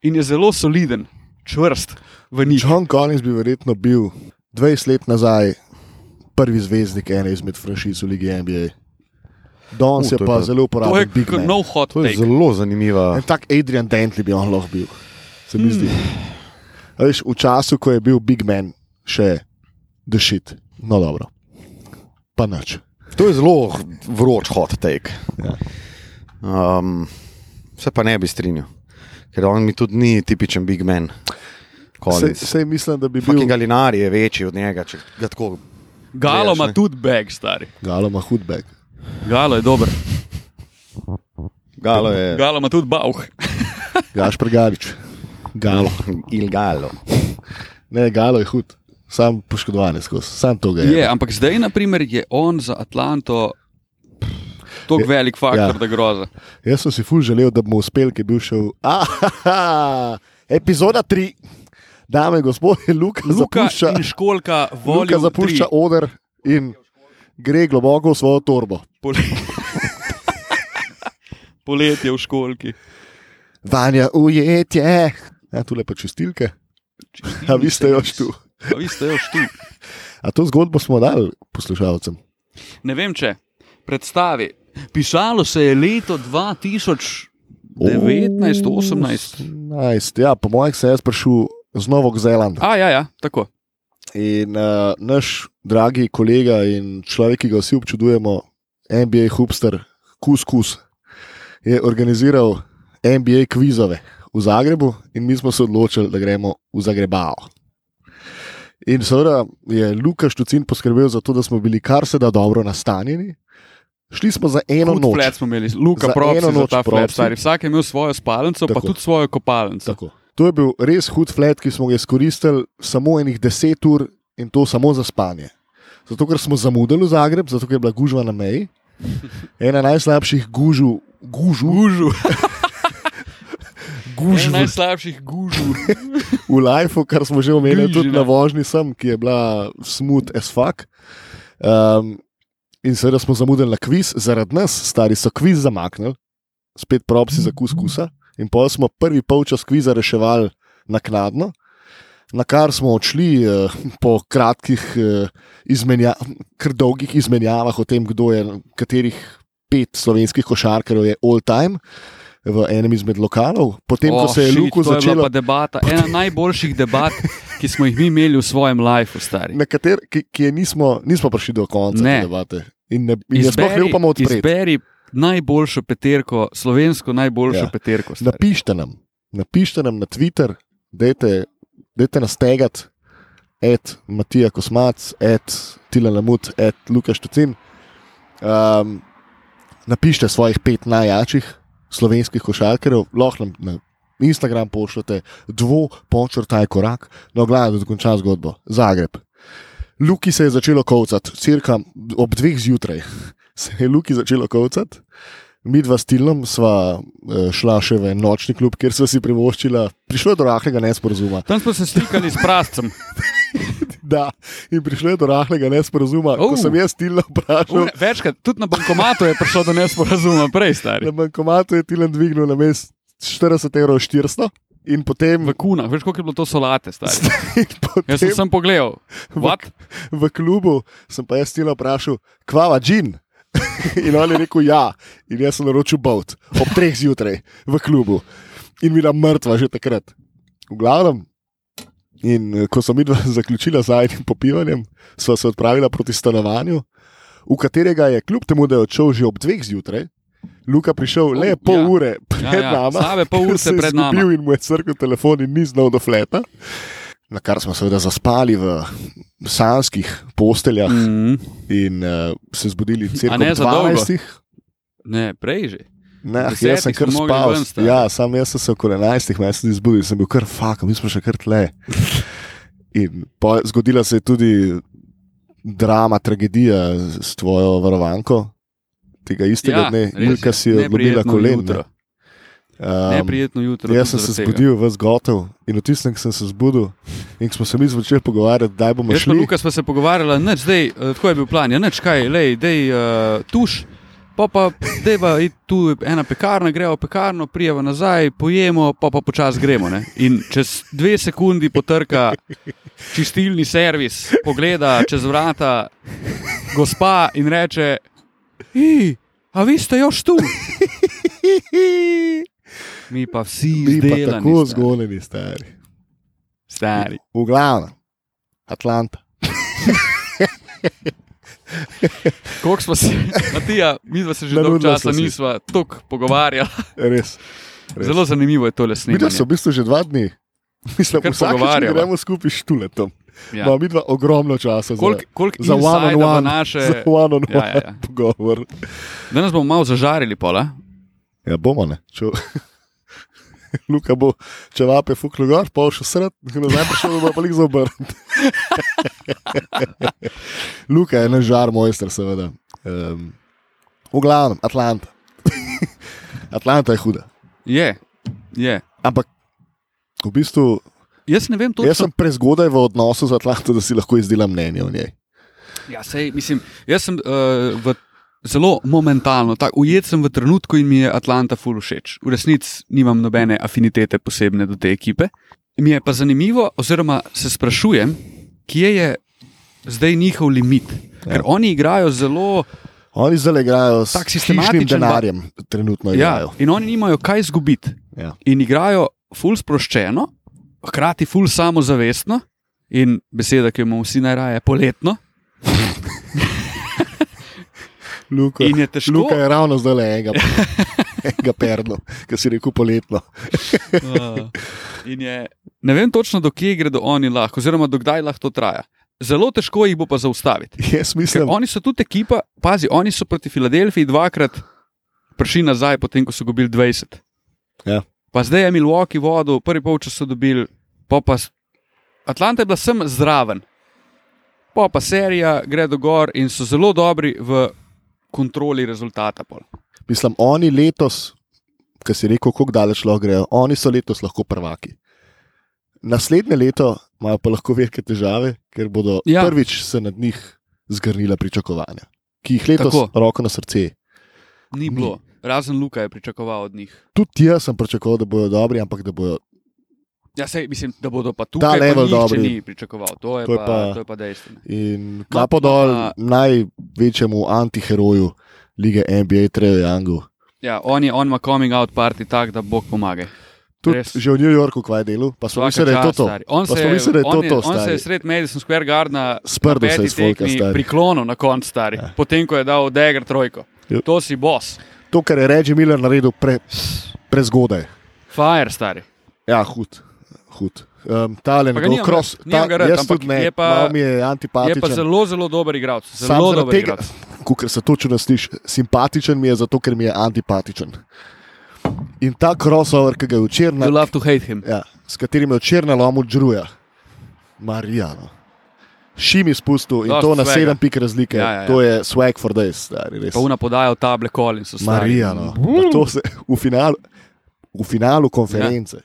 Speaker 2: in je zelo soliden, čvrst v njih.
Speaker 1: John Collins bi verjetno bil 20 let nazaj prvi zvezdnik ene izmed franšiz v Ligi NBA. Danes
Speaker 3: U,
Speaker 1: je
Speaker 3: to je
Speaker 1: pa
Speaker 3: pa-
Speaker 1: zelo
Speaker 2: To je no,
Speaker 1: uporaben. big
Speaker 2: kot
Speaker 1: man.
Speaker 2: nov hot
Speaker 3: To je
Speaker 2: take.
Speaker 3: zelo zanimiva.
Speaker 1: En tak Adrian Dentley bi on lahko bil, se mi zdi. A Veš, v času, ko je bil Big Man še dešit, no dobro, pa nič.
Speaker 3: To je zelo h- vroč hot take.
Speaker 1: Ja.
Speaker 3: Um, se pa ne bi strinjal, ker on mi tudi ni tipičen big man.
Speaker 1: Sej,
Speaker 3: Collins.
Speaker 1: sej mislim, da bi
Speaker 3: Fucking
Speaker 1: bil
Speaker 3: Galinari je večji od njega, če ga tako.
Speaker 2: Galo ima
Speaker 3: ne.
Speaker 2: tudi bag, stari.
Speaker 1: Galo ima hudbek.
Speaker 2: Galo je dober.
Speaker 3: Galo je.
Speaker 2: Galo ima tudi bauh.
Speaker 1: Gaš pregarič. Galo.
Speaker 3: Il Galo.
Speaker 1: Ne, Galo je hud, sam poškodovan je skozi, sam to ga je.
Speaker 2: Je, ampak zdaj, na primer, je on za Atlanto tako velik faktor,
Speaker 1: ja.
Speaker 2: ja. da groza.
Speaker 1: Jaz sem si ful želel, da bomo uspeli, ki je bil še v. Ahaha, epizoda 3. Dame in gospodje, Luka,
Speaker 2: Luka
Speaker 1: zapušča,
Speaker 2: in školka
Speaker 1: Luka
Speaker 2: volja
Speaker 1: zapušča oder in gre globoko v svojo torbo.
Speaker 2: (laughs) Poletje v školki.
Speaker 1: Vanja ujetje. Ja, tu lepo čistilke. A Ja, vi ste još tu.
Speaker 2: A vi ste još tu.
Speaker 1: A to zgodbo smo dali poslušalcem.
Speaker 2: Ne vem, če predstavi. Pisalo se je leto 2019, 18.
Speaker 1: 18. Ja, po mojih se je jaz prišel z Novog Zelanda.
Speaker 2: A, ja, ja, tako.
Speaker 1: In uh, naš dragi kolega in človek, ki ga vsi občudujemo, NBA hubster, Kuskus, je organiziral NBA kvizove v Zagrebu in mi smo se odločili, da gremo v Zagrebao. In seveda je Luka Štucin poskrbel za to, da smo bili kar se da dobro nastanjeni. Šli smo za eno
Speaker 2: Kud
Speaker 1: noč.
Speaker 2: flat smo imeli, Luka
Speaker 1: Za
Speaker 2: Props
Speaker 1: eno
Speaker 2: je za
Speaker 1: noč
Speaker 2: ta flat,
Speaker 1: propsi.
Speaker 2: stari. Vsak je imel svojo spalnico,
Speaker 1: Tako.
Speaker 2: pa tudi svojo kopalnico.
Speaker 1: Tako. To je bil res hud flat, ki smo ga izkoristili samo enih deset ur in to samo za spanje. Zato, ker smo zamudili v Zagreb, zato ker je bila gužva na meji. Ena najslabših gužv, gužv,
Speaker 2: Gužu,
Speaker 1: gužv
Speaker 2: ena najslabših gužu.
Speaker 1: v lifeu, kar smo že omenili,
Speaker 2: Gužina.
Speaker 1: tudi na vožnji sem, ki je bila smut as fuck. Um, in seveda smo zamudili na kviz, zaradi nas, stari so kviz zamaknili, spet propsi za kuskusa. In pa smo prvi polčas kviza reševali naknadno, na kar smo odšli eh, po kratkih, eh, izmenja, kar dolgih izmenjavah o tem, kdo je, katerih pet slovenskih košarkarjev je all time. V enem izmed lokalov, potem ko se je
Speaker 2: shit,
Speaker 1: Luko
Speaker 2: to je bila
Speaker 1: začelo
Speaker 2: pa debata, ena najboljših debat, ki smo jih mi imeli v svojem lifeu, stari.
Speaker 1: na kater, ki, ki je nismo, nismo prišli do konca
Speaker 2: Ne.
Speaker 1: ne. debate. In ne, in je sploh ne upamo odpreti.
Speaker 2: izberi najboljšo peterko, slovensko
Speaker 1: Ja.
Speaker 2: najboljšo ja. peterko. stari.
Speaker 1: Napišite nam, napišite nam na Twitter, dajte, dajte nas tegati, et Matija Kosmac, et Tila Lamut, et Lukaš Tucin. Um, napišite svojih pet najjačih slovenskih košarkarjev, lahko nam na Instagram pošljete, dvo, počrtaj korak, no gledaj, da dokonča zgodbo. Zagreb. Luki se je začelo kovcati, cirka ob dveh zjutraj (laughs) se je Luki začelo kovcati. Mi dva s Tilom sva eh, šla še v en nočni klub, kjer sva si privoščila, prišlo je do rahlega nesporazuma.
Speaker 2: Tam smo se slikali s prascem.
Speaker 1: (laughs) Da, in prišlo je do rahlega nesporazuma, oh. ko
Speaker 2: Oh.
Speaker 1: sem jaz Tilom vprašal.
Speaker 2: Une, večkrat, tudi na bankomatu je prišlo do nesporazuma, prej stari.
Speaker 1: Na bankomatu je Tilom dvignil na mest 40 evrov 400 in
Speaker 2: V
Speaker 1: potem,
Speaker 2: kunah, veš koliko je bilo to solate, stari.
Speaker 1: in potem
Speaker 2: Jaz sem sem pogledal. What?
Speaker 1: v klubu sem pa jaz Tilom vprašal, kvava džin. (laughs) in on je rekel ja, in jaz sem naročil boat ob treh zjutraj v klubu in bila mrtva že takrat. V glavnem. In eh, ko sem midva (laughs) zaključila z najnim popivanjem, sva se odpravila proti stanovanju, v katerega je kljub temu, da je odšel že ob dveh zjutraj, Luka prišel le
Speaker 2: Ja.
Speaker 1: pol ja. ure pred
Speaker 2: ja,
Speaker 1: nama.
Speaker 2: slabe pol
Speaker 1: ker
Speaker 2: ure
Speaker 1: se je
Speaker 2: pred nama.
Speaker 1: izgubil In mu je crkvel telefon in ni znal do fleta. Na kar smo seveda zaspali v sanskih posteljah mm.
Speaker 2: Mm,
Speaker 1: in uh, se zbudili
Speaker 2: A
Speaker 1: cirka
Speaker 2: ne
Speaker 1: ob
Speaker 2: za dolgo?
Speaker 1: 12.
Speaker 2: ne, prej že.
Speaker 1: Ne,
Speaker 2: Ob
Speaker 1: jaz sem
Speaker 2: desetih
Speaker 1: kar
Speaker 2: smo mogli
Speaker 1: spal.
Speaker 2: ven, stari.
Speaker 1: Ja, sam jaz sem se okoli 11. meni se ni zbudil, sem bil kar fak, mi smo še kar tle. In po, zgodila se je tudi drama, tragedija z- s tvojo varovanko. Tega istega
Speaker 2: Ja,
Speaker 1: dne,
Speaker 2: res je.
Speaker 1: Ilka si je odlomila
Speaker 2: Neprijetno
Speaker 1: kolen.
Speaker 2: jutro.
Speaker 1: Um,
Speaker 2: Neprijetno jutro.
Speaker 1: Jaz sem
Speaker 2: tudi
Speaker 1: se
Speaker 2: zaradi tega.
Speaker 1: zbudil, vas gotov in v tistem, ko sem se zbudil in ko smo se mi začeli pogovarjati, da bomo
Speaker 2: Jaz pa
Speaker 1: šli.
Speaker 2: Luka sva se pogovarjala, nič, dej, eh, tako je bil plan, ja, nič kaj, lej, dej, uh, tuš, pa pa deva, iti tu je ena pekarna, greva v pekarno, prijeva nazaj, pojemo, pa pa počasi gremo. Ne? In čez dve sekundi potrka čistilni servis, pogleda čez vrata gospa in reče, "Ij, a vi ste još
Speaker 1: (laughs)
Speaker 2: tu. Mi pa vsi
Speaker 1: Mi pa
Speaker 2: izdelani,
Speaker 1: tako
Speaker 2: stari.
Speaker 1: zgonjeni, stari.
Speaker 2: stari.
Speaker 1: V glavnem, Atlanta.
Speaker 2: Koliko smo se, (laughs) Matija, mi dva se že
Speaker 1: Nanudila
Speaker 2: dolgo časa
Speaker 1: sva si.
Speaker 2: nisva tako pogovarjala.
Speaker 1: Res. Res.
Speaker 2: Zelo zanimivo je tole
Speaker 1: Mi da
Speaker 2: snemanje.
Speaker 1: so v bistvu že dva dni. Mislim,
Speaker 2: Kar
Speaker 1: da
Speaker 2: pogovarjava.
Speaker 1: gremo skupaj štuletom. Ja.
Speaker 2: Ja.
Speaker 1: No, mi dva ogromno časa
Speaker 2: Kolik,
Speaker 1: za,
Speaker 2: kolik
Speaker 1: za one on
Speaker 2: insajda v
Speaker 1: one,
Speaker 2: naše...
Speaker 1: (laughs) za one on
Speaker 2: Ja,
Speaker 1: one
Speaker 2: ja, ja.
Speaker 1: pogovor.
Speaker 2: Danes bomo malo zažarili, pola.
Speaker 1: Ja, bomo ne. Če... (laughs) Luka bo čevape fuknil gor, pa bo šel sred, (laughs) nazaj pa še bo pa lik zobrn. (laughs) Luka je naš žar mojster, seveda. Um, v glavnem, Atlanta. (laughs) Atlanta je huda.
Speaker 2: Je, je.
Speaker 1: Ampak v bistvu
Speaker 2: Jaz ne vem
Speaker 1: Točno. Jaz sem
Speaker 2: točno.
Speaker 1: prezgodaj v odnosu z Atlanto, da si lahko izdelam mnenje o njej.
Speaker 2: Ja, sej, mislim, jaz sem uh, v, zelo momentalno, tak, ujet sem v trenutku in mi je Atlanta ful všeč. V resnici nimam nobene afinitete posebne do te ekipe. Mi je pa zanimivo, oziroma se sprašujem, kje je zdaj njihov limit. Ker
Speaker 1: Ja.
Speaker 2: oni igrajo zelo.
Speaker 1: Oni zdaj igrajo s
Speaker 2: Tak
Speaker 1: hišnim
Speaker 2: sistematičen ba-
Speaker 1: denarjem, trenutno
Speaker 2: Ja,
Speaker 1: igrajo.
Speaker 2: in oni nimajo kaj izgubiti.
Speaker 1: Ja.
Speaker 2: In igrajo ful sproščeno, hkrati ful samozavestno in beseda, ki jo imamo vsi najraje, poletno.
Speaker 1: Luka,
Speaker 2: In je težko.
Speaker 1: Luka je ravno zdaj le enega, (laughs) enega perlo, ki si rekel poletno.
Speaker 2: (laughs) Uh, in je, ne vem točno, dokje gredo oni lahko, oziroma dokdaj lahko to traja. Zelo težko jih bo pa zaustaviti.
Speaker 1: Jaz
Speaker 2: Ker
Speaker 1: mislim,
Speaker 2: oni so tudi ekipa, pazi, oni so proti Filadelfiji dvakrat prišli nazaj, potem ko so dobili 20.
Speaker 1: Ja.
Speaker 2: Pa zdaj je Milwaukee vodo, prvi polčas so dobili, pa pa s- Atlanta je bila sem zraven. Pa pa serija gre do gor in so zelo dobri v kontroli rezultata. Pol.
Speaker 1: mislim, oni letos, ki si rekel, kako daleč lahko grejo, oni so letos lahko prvaki. Naslednje leto imajo pa lahko velike težave, ker bodo
Speaker 2: Ja.
Speaker 1: ja. prvič se nad njih zgrnila pričakovanja, ki jih letos,
Speaker 2: Tako.
Speaker 1: Tako. roko na srce,
Speaker 2: Ni bilo, razen Luka je pričakoval od njih.
Speaker 1: Tudi jaz sem pričakoval, da bodo dobri, ampak da bodo.
Speaker 2: Ja, sej, mislim, da bodo pa tukaj
Speaker 1: level
Speaker 2: pa nihče
Speaker 1: dobri.
Speaker 2: ni pričakoval. To je, to je pa, pa, to je pa dejstvo. ne.
Speaker 1: In
Speaker 2: No,
Speaker 1: kapo dol
Speaker 2: pa-
Speaker 1: največjemu antiheroju lige NBA, Trejo Jangu.
Speaker 2: Ja, on, je, on ima coming out party tak, da Bog pomaga.
Speaker 1: Tudi
Speaker 2: Res.
Speaker 1: že v New Yorku, kaj je delal, pa smo
Speaker 2: Svaka
Speaker 1: mislili, da je to
Speaker 2: čast,
Speaker 1: to.
Speaker 2: stari. On
Speaker 1: Pa
Speaker 2: se
Speaker 1: smo
Speaker 2: je,
Speaker 1: mislili, da je to
Speaker 2: on je,
Speaker 1: to,
Speaker 2: on se
Speaker 1: stari.
Speaker 2: je sred Madison Square Gardena
Speaker 1: Sprdel se je iz folka, stari.
Speaker 2: priklonil na koncu, stari,
Speaker 1: Ja.
Speaker 2: potem ko je dal Degger trojko.
Speaker 1: Ja.
Speaker 2: To si boss,
Speaker 1: To, kar je Reggie Miller naredil pre, prezgodaj.
Speaker 2: fire, stari.
Speaker 1: Ja, hud. hud. Um, tale
Speaker 2: Pa ga
Speaker 1: nekdo,
Speaker 2: nimam
Speaker 1: cross,
Speaker 2: rad, nimam ga rad,
Speaker 1: jaz
Speaker 2: ampak
Speaker 1: tudi ne,
Speaker 2: je pa-
Speaker 1: malo mi je
Speaker 2: Je pa
Speaker 1: antipatičen.
Speaker 2: zelo, zelo dober igralec.
Speaker 1: Sam
Speaker 2: Zelo
Speaker 1: zaradi
Speaker 2: dober
Speaker 1: tega-
Speaker 2: igralec.
Speaker 1: ko ker se točno sliši, simpatičen mi je, zato ker mi je antipatičen. In ta crossover, ki ga je včeraj
Speaker 2: You love to hate him.
Speaker 1: ja, s katerim je včeraj na lomu Džruja, Marijano. Šim izpustil in
Speaker 2: Dosti
Speaker 1: to na
Speaker 2: swaga.
Speaker 1: sedem pik razlike.
Speaker 2: Ja, ja, ja.
Speaker 1: To je swag for days, stari Ja, res. no.
Speaker 2: Pa una podaja v table kolin so stari.
Speaker 1: Marijano. Pa To se v finalu, v finalu konference.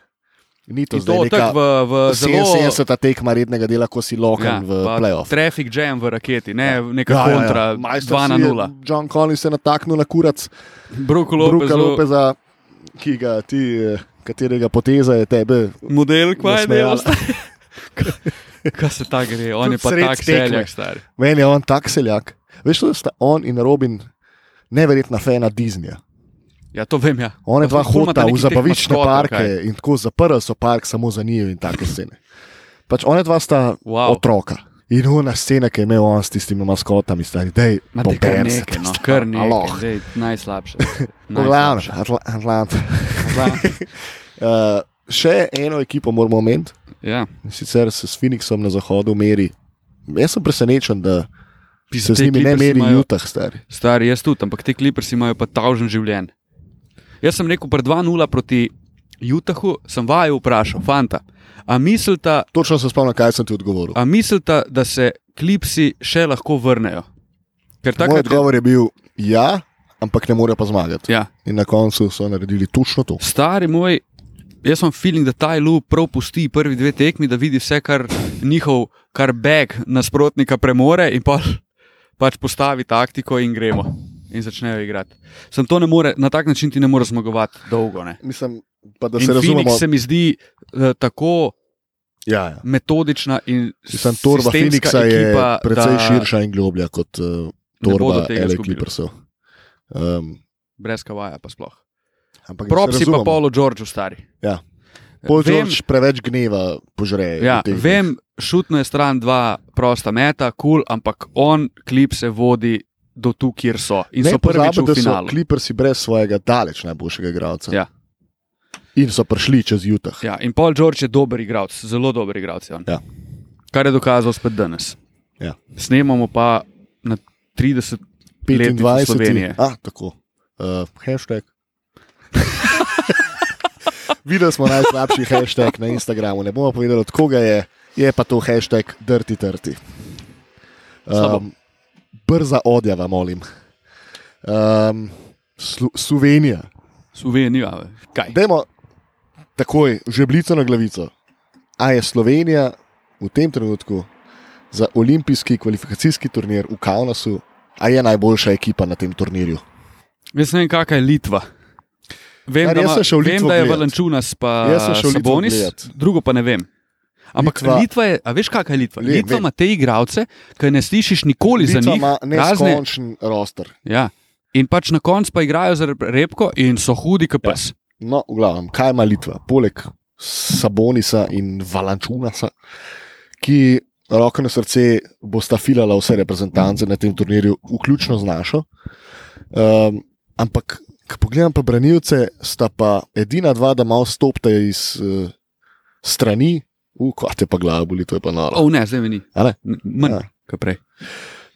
Speaker 1: Ni to
Speaker 2: Ja. In to
Speaker 1: zdaj
Speaker 2: tako v,
Speaker 1: neka
Speaker 2: v zelo... Ja,
Speaker 1: 77. tekma rednega dela, ko si lokan v
Speaker 2: pa
Speaker 1: playoff.
Speaker 2: Traffic jam v raketi, ne neka ja, kontra, ja, ja.
Speaker 1: Majster
Speaker 2: 2 na
Speaker 1: si je-
Speaker 2: 0.
Speaker 1: John Collins se je nataknil na kurac.
Speaker 2: Bruko
Speaker 1: Bruka
Speaker 2: Lopez,
Speaker 1: Lopeza, ki ga ti, eh, katerega poteza je tebe.
Speaker 2: model, kva je
Speaker 1: Nasmejala.
Speaker 2: delal. (laughs) Kaj se ta gre,
Speaker 1: Tudi
Speaker 2: on je pa
Speaker 1: sred
Speaker 2: tak
Speaker 1: tekme.
Speaker 2: seljak star.
Speaker 1: Meni je on tak seljak. Veš, to, da sta on in Robin neverjetna fena Disneyja.
Speaker 2: Ja, to vem, ja.
Speaker 1: One dva
Speaker 2: ful imata
Speaker 1: hota v
Speaker 2: nekih teh
Speaker 1: zabaviščne
Speaker 2: maskotov, kaj.
Speaker 1: parke in tako zaprli so park samo za njih in take scene. Pač one dva sta
Speaker 2: Wow.
Speaker 1: otroka. In ona scena, ki je imel on s tistimi maskotami, stari, da je
Speaker 2: Ma, te kar nekaj, no, kar nekaj, zdaj,
Speaker 1: (laughs)
Speaker 2: najslabše.
Speaker 1: Poglavno, (laughs) Atlant.
Speaker 2: Najslabše.
Speaker 1: Uh, še eno ekipo moramo omeniti,
Speaker 2: Ja,
Speaker 1: in sicer se s Phoenixom na zahodu meri. Jaz sem presenečen, da se z
Speaker 2: Te
Speaker 1: njimi ne
Speaker 2: Clippersi
Speaker 1: meri
Speaker 2: imajo-
Speaker 1: Jutah, stari.
Speaker 2: Stari, jaz tudi, ampak te klipersi imajo pa tavžen življenje. Jaz sem rekel, pred 2-0 proti Utahu, sem vaju vprašal, fanta, a mislite,
Speaker 1: Točno se spomnim, kaj sem ti odgovoril.
Speaker 2: a mislite, da se klipsi še lahko vrnejo? Ker
Speaker 1: Moj
Speaker 2: takrat,
Speaker 1: odgovor je bil ja, ampak ne more pa zmagati.
Speaker 2: ja,
Speaker 1: In na koncu so naredili točno to.
Speaker 2: stari moj, jaz sem feeling, da ta Ilu prav pusti prvi dve tekmi, da vidi vse, kar njihov, kar beg nasprotnika premore in pa, pač postavi taktiko in gremo. In začnejo igrati. Sem to ne more, na tak način ti ne moreš zmagovati dolgo. Ne?
Speaker 1: Mislim, pa, da
Speaker 2: In
Speaker 1: se razumemo.
Speaker 2: Phoenix se mi zdi eh, tako
Speaker 1: Ja, ja.
Speaker 2: metodična in
Speaker 1: Mislim, torba
Speaker 2: sistemska
Speaker 1: Phoenixa je
Speaker 2: ekipa,
Speaker 1: precej
Speaker 2: da
Speaker 1: širša in globlja kot uh,
Speaker 2: bodo
Speaker 1: torba
Speaker 2: tega
Speaker 1: L.A.
Speaker 2: izgubili.
Speaker 1: Clippersov. Um,
Speaker 2: Brez kavaja, pa sploh.
Speaker 1: ampak se
Speaker 2: Prop si pa
Speaker 1: razumemo.
Speaker 2: Paulo Georgeu, stari.
Speaker 1: Ja. Paul
Speaker 2: Vem-
Speaker 1: George preveč gneva požre.
Speaker 2: Ja,
Speaker 1: v teh dneh.
Speaker 2: vem, šutno je stran dva prosta meta, kul, cool, ampak on klip se vodi do tu, kjer so. In
Speaker 1: Ne
Speaker 2: so prvič
Speaker 1: pozabi,
Speaker 2: v
Speaker 1: da so
Speaker 2: finalu.
Speaker 1: Clippersi brez svojega daleč najboljšega igralca.
Speaker 2: Ja.
Speaker 1: In so prišli čez Utah.
Speaker 2: Ja, in Paul George je dober igralec, zelo dober igralec. je on.
Speaker 1: Ja.
Speaker 2: Kar je dokazal spet danes.
Speaker 1: Ja.
Speaker 2: Snemamo pa na 30 letnici
Speaker 1: 25.
Speaker 2: Slovenije.
Speaker 1: Ah, tako. Uh, hashtag. (laughs) Videli smo najslabši hashtag na Instagramu, ne bomo povedali, od koga je, je pa to hashtag Dirty Dirty.
Speaker 2: Slabo.
Speaker 1: Um, brza odjava, molim. Um, Slu Slovenija.
Speaker 2: Slovenija. Kaj?
Speaker 1: Dajmo takoj, žebljico na glavico. A je Slovenija v tem trenutku za olimpijski kvalifikacijski turnir v Kaunasu, a je najboljša ekipa na tem turnirju?
Speaker 2: Jaz ne vem, kakšna je Litva. Vem,
Speaker 1: Stari,
Speaker 2: da,
Speaker 1: jaz
Speaker 2: ima,
Speaker 1: sem šel v
Speaker 2: vem
Speaker 1: Litvo
Speaker 2: da je
Speaker 1: gledat.
Speaker 2: Valenčunas, pa
Speaker 1: Jaz sem šel v Litvo
Speaker 2: Sabonis,
Speaker 1: gledat.
Speaker 2: drugo pa ne vem. Ampak
Speaker 1: Litva-
Speaker 2: Litva, Litva je, a veš, kakšna je Litva?
Speaker 1: Ne,
Speaker 2: Le, Litva
Speaker 1: vem.
Speaker 2: ima te igralce, ki ne slišiš nikoli za
Speaker 1: Litva
Speaker 2: njih.
Speaker 1: ima
Speaker 2: razne,
Speaker 1: neskončen roster.
Speaker 2: ja. In pač na koncu pa igrajo za rep- repko in so hudi, kot pes.
Speaker 1: No, v glavnem, kaj ima Litva, poleg Sabonisa in Valančunasa, ki roko na srce bosta filala vse reprezentance na tem turnirju, vključno z našo. Um, ampak, ko pogledam pa branilce, sta pa edina dva, da malo stopta iz uh, strani, uh, kot je pa glava boli, to je pa noro.
Speaker 2: O, Oh, ne, zdaj mi ni.
Speaker 1: Ja. A ne?
Speaker 2: N- Manj,
Speaker 1: Ja.
Speaker 2: ja. kot prej.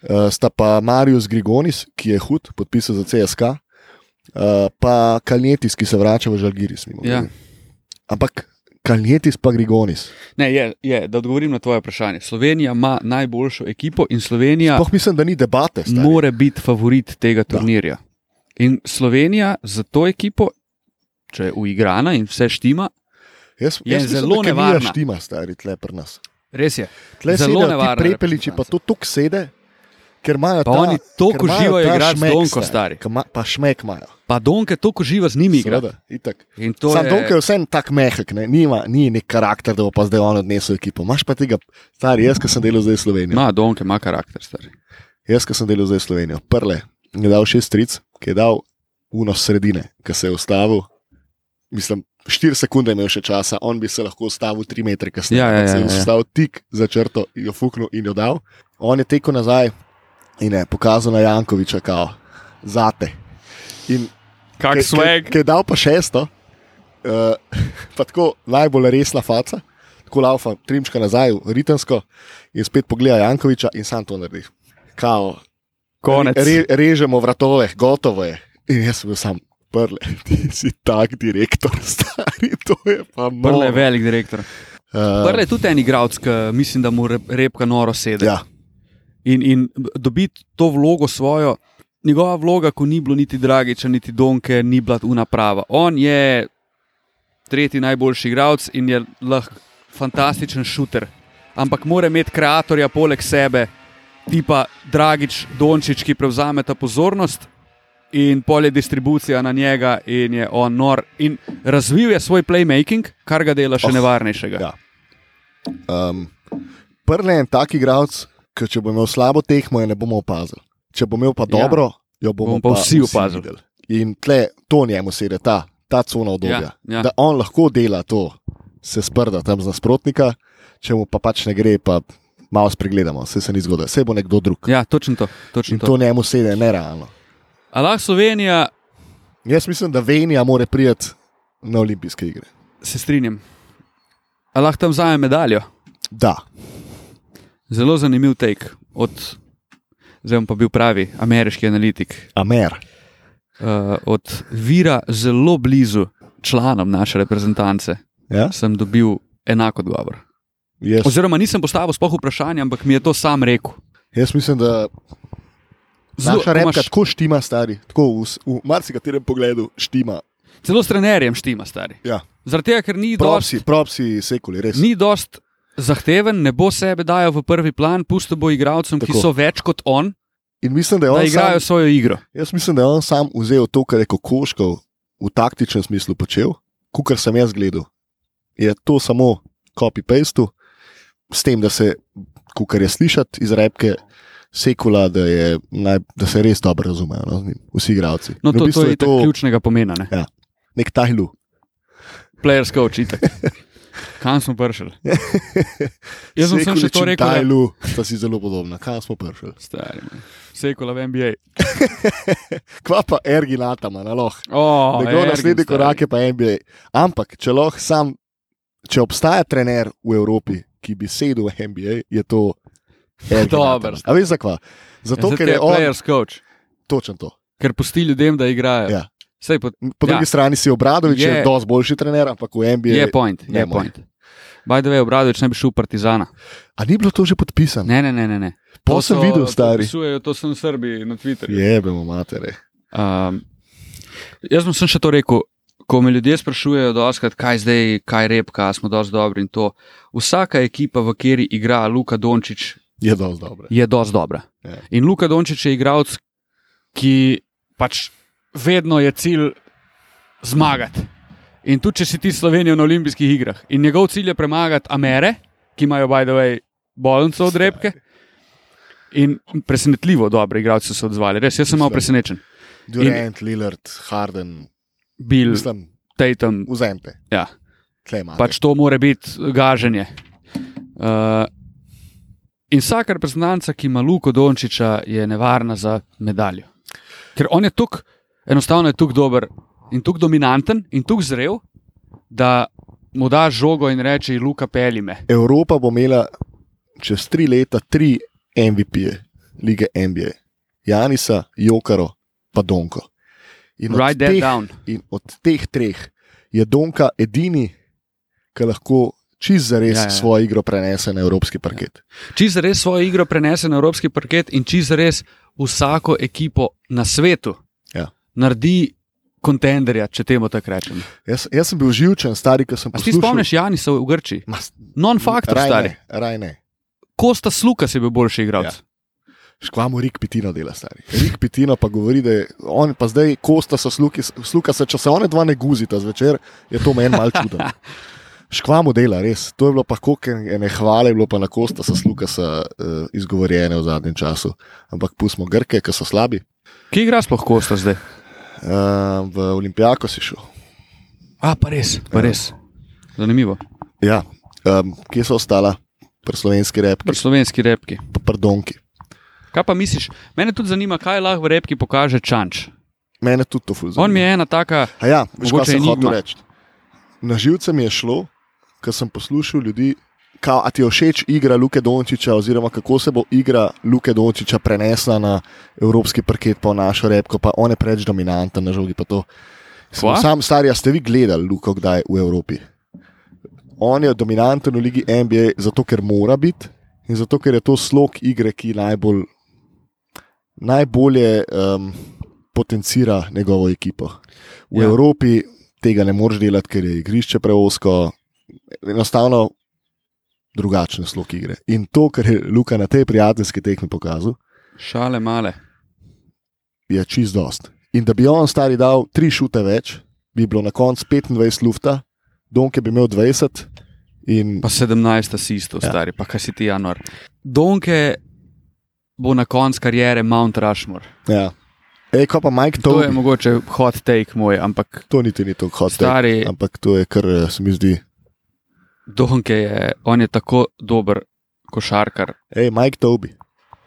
Speaker 1: Uh, sta pa Marius Grigonis, ki je hud, podpisal za CSK, uh, pa Kaljetis, ki se vrača v Žalgiris. mimogrede.
Speaker 2: Ja.
Speaker 1: Ampak Kaljetis pa Grigonis.
Speaker 2: Ne, je, je, da odgovorim na tvoje vprašanje. Slovenija ima najboljšo ekipo in Slovenija
Speaker 1: Sploh mislim, da ni debate. stari.
Speaker 2: mora biti favorit tega turnirja. In Slovenija za to ekipo, če je uigrana in vse štima,
Speaker 1: Jaz,
Speaker 2: je
Speaker 1: jaz mislim,
Speaker 2: zelo
Speaker 1: da
Speaker 2: nevarna.
Speaker 1: Kemija štima, stari tle pri nas.
Speaker 2: res je.
Speaker 1: Tle
Speaker 2: Zelo
Speaker 1: sedejo ti
Speaker 2: nevarna
Speaker 1: Prepeliči pa
Speaker 2: reprezentanca.
Speaker 1: to tuk sede, ker imajo
Speaker 2: Pa
Speaker 1: ta-
Speaker 2: oni toliko
Speaker 1: ker imajo
Speaker 2: uživajo
Speaker 1: ta
Speaker 2: igrati z
Speaker 1: šmek,
Speaker 2: Donko, stari.
Speaker 1: Ke ima- Pa šmek imajo.
Speaker 2: Pa Donke toliko živa z njimi igra.
Speaker 1: Seveda, itak.
Speaker 2: In to
Speaker 1: Sam
Speaker 2: je-
Speaker 1: Donko je vsem tak mehek, ne? Nima, ni nek karakter, da bo pa zdaj on odnesel ekipo. Imaš pa tega, stari, jaz, ki sem delal zdaj v Sloveniji.
Speaker 2: Ma, Donke ima karakter, star.
Speaker 1: Jaz, ki sem delal zdaj v Slovenijo, prle je dal šest stric, ki je dal uno sredine, ki se je ustavil. Mislim, štiri sekunde je imel še časa, on bi se lahko ustavil tri metre kasneje.
Speaker 2: Ja, ja,
Speaker 1: ampak se je
Speaker 2: ja, ja.
Speaker 1: ustavil tik za črto, jo fuknil in jo dal. On je tekel nazaj in je pokazal na Jankoviča, kao, zate. In
Speaker 2: Kak
Speaker 1: Ke- ke- Ki je dal pa šesto, uh, (laughs) pa tako najbolj resna faca, tako laufa, trimčka nazaj, ritansko in spet pogleda Jankoviča in sam to naredi. Kao,
Speaker 2: Konec.
Speaker 1: Re, režemo vratove, gotovo je. In jaz sem bil sam prle, (laughs) ti si tak direktor, (laughs) stari, to je pa malo.
Speaker 2: Prle je velik direktor. Prle
Speaker 1: Uh,
Speaker 2: je tudi en igralec, ki mislim, da mu rep- repka noro sedi.
Speaker 1: ja,
Speaker 2: In, in dobiti to vlogo svojo, njegova vloga, ko ni bilo niti Dragiča, niti Donke, ni bila unaprava. On je tretji najboljši igralec in je lahko fantastičen šuter. Ampak mora imeti kreatorja poleg sebe, tipa Dragič, Dončič, ki prevzame ta pozornost. In pol je distribucija na njega, in je on nor. In razvil je svoj playmaking, kar ga dela še
Speaker 1: Oh,
Speaker 2: oh, nevarnejšega.
Speaker 1: ja. um, prle je en tak igralec, ki če bo imel slabo tekmo, je ne bomo opazili. Če bo imel pa
Speaker 2: Ja.
Speaker 1: dobro, jo bomo,
Speaker 2: Bomo pa vsi opazili.
Speaker 1: videli. In tle, to njemu sedi, ta, ta cona obdobja.
Speaker 2: Ja, ja.
Speaker 1: Da on lahko dela to, se sprda tam z nasprotnika, če mu pa pač ne gre, pa malo spregledamo, se, se ni zgodilo, se bo nekdo drug.
Speaker 2: Ja, točno to. Točno
Speaker 1: In
Speaker 2: to.
Speaker 1: to njemu sedi nerealno.
Speaker 2: A lahko Slovenija,
Speaker 1: Jaz mislim, da Venija mora priti na olimpijske igre.
Speaker 2: se strinjam, a lahko tam vzame medaljo.
Speaker 1: Da,
Speaker 2: Zelo zanimiv tek od, zdaj bom pa bil pravi, ameriški analitik,
Speaker 1: Amer.
Speaker 2: uh, od vira zelo blizu članom naše reprezentance,
Speaker 1: Ja?
Speaker 2: sem dobil enak odgovor.
Speaker 1: Jaz,
Speaker 2: Oziroma, nisem postavil spoh vprašanja, ampak mi je to sam rekel.
Speaker 1: jaz mislim, da
Speaker 2: Zelo-
Speaker 1: naša
Speaker 2: ko
Speaker 1: repka
Speaker 2: imaš-
Speaker 1: imaš... tako štima, stari, tako v, s- v marsikaterem pogledu štima.
Speaker 2: Celo s trenerjem štima, stari.
Speaker 1: Ja.
Speaker 2: Zaradi tega, ker ni dosti
Speaker 1: Propsi, propsi, sekuli, res.
Speaker 2: ni dost zahteven, ne bo sebe dajal v prvi plan, pusto bo igralcem, ki
Speaker 1: Tako.
Speaker 2: so več kot on,
Speaker 1: In mislim, da je
Speaker 2: da
Speaker 1: on sam
Speaker 2: igrajo svojo igro.
Speaker 1: Jaz mislim, da je on sam vzel to, kar je Kokoškov v taktičnem smislu počel, kar sem jaz gledal. Je to samo copy-paste, s tem, da se, kar je slišati iz repke, sekula, da, je, naj, da se res dobro razumejo no, z njim, vsi igravci.
Speaker 2: No, to, to je to...
Speaker 1: to
Speaker 2: ključnega pomena, ne?
Speaker 1: nek tajlu.
Speaker 2: Playerska
Speaker 1: (laughs)
Speaker 2: očitek. Kam smo prišli? (laughs) Jaz sem samo še to rekel. ja. da-
Speaker 1: Tajlu, sta si zelo podobna, kam smo prišli.
Speaker 2: Stari, man. Sekula v NBA.
Speaker 1: Kva pa erginatama, naloh.
Speaker 2: Oh,
Speaker 1: Njegov naslednji korak je pa NBA. Ampak, če lahko sam, če obstaja trener v Evropi, ki bi sedel v NBA, je to Ergin
Speaker 2: Dober.
Speaker 1: Ataman. A veš zakaj?
Speaker 2: Ja,
Speaker 1: Zato, ker je on
Speaker 2: players coach,
Speaker 1: točen to.
Speaker 2: ker pusti ljudem, da igrajo.
Speaker 1: Ja.
Speaker 2: Sej, po,
Speaker 1: Po drugi
Speaker 2: Ja.
Speaker 1: ja. strani si Obradovič, je,
Speaker 2: Je-
Speaker 1: je dosti boljši trener, ampak v NBA.
Speaker 2: je point, je
Speaker 1: ne more.
Speaker 2: point. By the way, Obradovič ne bi šel v Partizana.
Speaker 1: A ni bilo to že podpisano?
Speaker 2: Ne, ne, ne, ne. ne.
Speaker 1: To sem
Speaker 2: so-
Speaker 1: videl, stari.
Speaker 2: Podpisujejo, to sem Srbi na Twitterju.
Speaker 1: Jebemo matere.
Speaker 2: Um, jaz sem še to rekel, ko me ljudje sprašujejo, doskrat, kaj zdaj, kaj repka, a smo dosti dobri in to. Vsaka ekipa, v kateri igra Luka Dončić,
Speaker 1: Je dosti dobro.
Speaker 2: je dosti dobra.
Speaker 1: Ja.
Speaker 2: In Luka Dončić je igralec, ki pač vedno je cilj zmagati. In tudi, če si ti Slovenijo na olimpijskih igrah. In njegov cilj je premagati Amere, ki imajo, by the way, bolnico od repke. In presenetljivo dobro, igralci so se odzvali. Res, jaz sem malo
Speaker 1: Mislim.
Speaker 2: presenečen.
Speaker 1: Durant, In... Lillard, Harden,
Speaker 2: Bil,
Speaker 1: mislim,
Speaker 2: Tatum,
Speaker 1: vzemite.
Speaker 2: ja,
Speaker 1: Tle imate.
Speaker 2: pač to more biti gaženje. Uh, in vsaka reprezentanca, ki ima Luko Dončiča, je nevarna za medaljo. Ker on je tukaj, enostavno je tukaj dober in tukaj dominanten in tukaj zrel, da mu da žogo in reče: Luka, peli me.
Speaker 1: Evropa bo imela čez tri leta tri MVP-je, lige NBA. Janisa, Jokaro, pa Donko. In od,
Speaker 2: Write that
Speaker 1: teh,
Speaker 2: down.
Speaker 1: in od teh treh je Donka edini, ki lahko čist zares
Speaker 2: Ja,
Speaker 1: ja, ja.
Speaker 2: ja.
Speaker 1: svojo igro prenese na evropski parket.
Speaker 2: Čiz res svojo igro prenese na evropski parket in čiz res vsako ekipo na svetu
Speaker 1: Ja.
Speaker 2: naredi kontenderja, če temu tako rečem.
Speaker 1: Jaz, jaz sem bil živčen, stari, ko sem
Speaker 2: A si ti
Speaker 1: poslušal.
Speaker 2: spomniš Janisa v Grčiji?
Speaker 1: Ma,
Speaker 2: Non-faktor,
Speaker 1: raj
Speaker 2: stari.
Speaker 1: ne, Raj ne.
Speaker 2: Kosta sluka si bil boljši igralec. Ja.
Speaker 1: Škvamo Rik Pitino dela, stari. Rik Pitino pa govori, da je on, pa zdaj Kosta so sluki, sluka se, če se one dva ne guzita zvečer, je to meni malce čudno. Škvamo dela, res. To je bilo pa koliko ene hvale, je bilo pa na Kosta so sluka se uh, izgovorjene v zadnjem času. Ampak pustimo Grke, ki so slabi.
Speaker 2: Kje igra sploh Kosta zdaj?
Speaker 1: Uh, v Olimpijako si šel.
Speaker 2: A, pa res, pa res. Zanimivo.
Speaker 1: Ja. Um, kje so ostala? Pri slovenski
Speaker 2: Pri
Speaker 1: repki,
Speaker 2: slovenski repki.
Speaker 1: pa pri Donki.
Speaker 2: Kaj pa misliš? Mene tudi zanima, kaj lahko v repki pokaže Čanč.
Speaker 1: Mene tudi to fuzira.
Speaker 2: On mi je ena taka,
Speaker 1: A Ja, veš, kaj
Speaker 2: Mogoče
Speaker 1: sem
Speaker 2: enigma.
Speaker 1: hotel reči. Na živce mi je šlo, ker sem poslušal ljudi, kao, a ti je všeč igra Luke Dončiča, oziroma kako se bo igra Luke Dončiča prenesla na evropski parket, pa v našo repko, pa on je preveč dominanten na žogi. pa to. Sem
Speaker 2: Kva?
Speaker 1: Sam stari, a ste vi gledali Luko kdaj v Evropi? On je dominanten v ligi NBA, zato ker mora biti in zato ker je to slog igre, ki najbolj, najbolje um, potencira njegovo ekipo. V
Speaker 2: Ja.
Speaker 1: ja. Evropi tega ne moreš delati, ker je igrišče preosko, enostavno drugačen slog igre. In to, kar je Luka na tej prijateljski tekmi pokazal,
Speaker 2: šale male.
Speaker 1: je čist dost. In da bi on stari dal tri šute več, bi bilo na koncu 25 lufta, Donke bi imel 20 in
Speaker 2: Pa 17 asistov, ja.
Speaker 1: Ja.
Speaker 2: stari, pa kaj si ti januar. Donke bo na koncu karijere Mount Rushmore.
Speaker 1: Ja. Ej, ko pa Mike
Speaker 2: To, to
Speaker 1: Toby,
Speaker 2: je mogoče hot take moj, ampak
Speaker 1: to niti ni tako hot. take,
Speaker 2: stari
Speaker 1: Ampak to je kar eh, se mi zdi.
Speaker 2: Donke je, on je tako dober košarkar.
Speaker 1: Ej, Mike Tobi.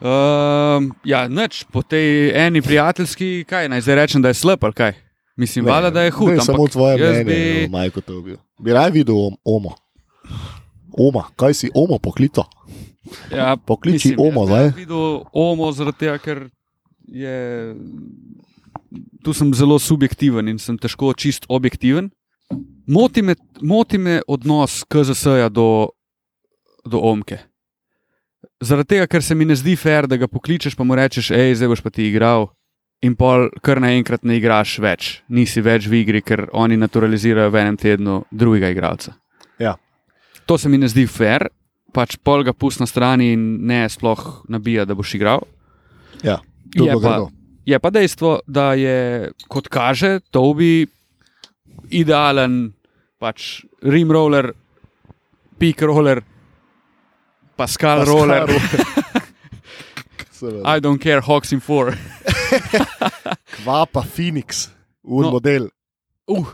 Speaker 2: Um, ja, noč po tej eni prijateljski, kaj naj zdaj rečem, da je slab ali kaj. Mislim,
Speaker 1: Ne,
Speaker 2: vlada, da je hud.
Speaker 1: Ne,
Speaker 2: ampak
Speaker 1: samo tvoje
Speaker 2: jaz
Speaker 1: mnenje, bi...
Speaker 2: Bi...
Speaker 1: Majko, to bil. Bi raje videl om- Omo. Oma, kaj si Omo poklito?
Speaker 2: Ja,
Speaker 1: Pokliči
Speaker 2: mislim,
Speaker 1: Omo,
Speaker 2: jaz bi
Speaker 1: zdaj.
Speaker 2: rad videl Omo, zaradi tega, ker je. Tu sem zelo subjektiven in sem težko čist objektiven. Moti me, moti me odnos KZS-ja do, do omke. Zaradi tega, ker se mi ne zdi fair, da ga pokličeš, pa mu rečeš, hej, zdaj boš pa ti igral. In pol kar naenkrat ne igraš več, nisi več v igri, ker oni naturalizirajo v enem tednu drugega igralca.
Speaker 1: Ja.
Speaker 2: To se mi ne zdi fair, pač pol ga pusti na strani in ne sploh nabija, da boš igral.
Speaker 1: Ja, to
Speaker 2: je,
Speaker 1: bo
Speaker 2: pa,
Speaker 1: grdo.
Speaker 2: je pa dejstvo, da je, kot kaže, Tobi idealen, pač rim roller, pik roller, Pascal,
Speaker 1: (laughs)
Speaker 2: Pascal roller, I don't care, Hawks in four. (laughs)
Speaker 1: Kva pa Phoenix, un
Speaker 2: No.
Speaker 1: no. model.
Speaker 2: Uh.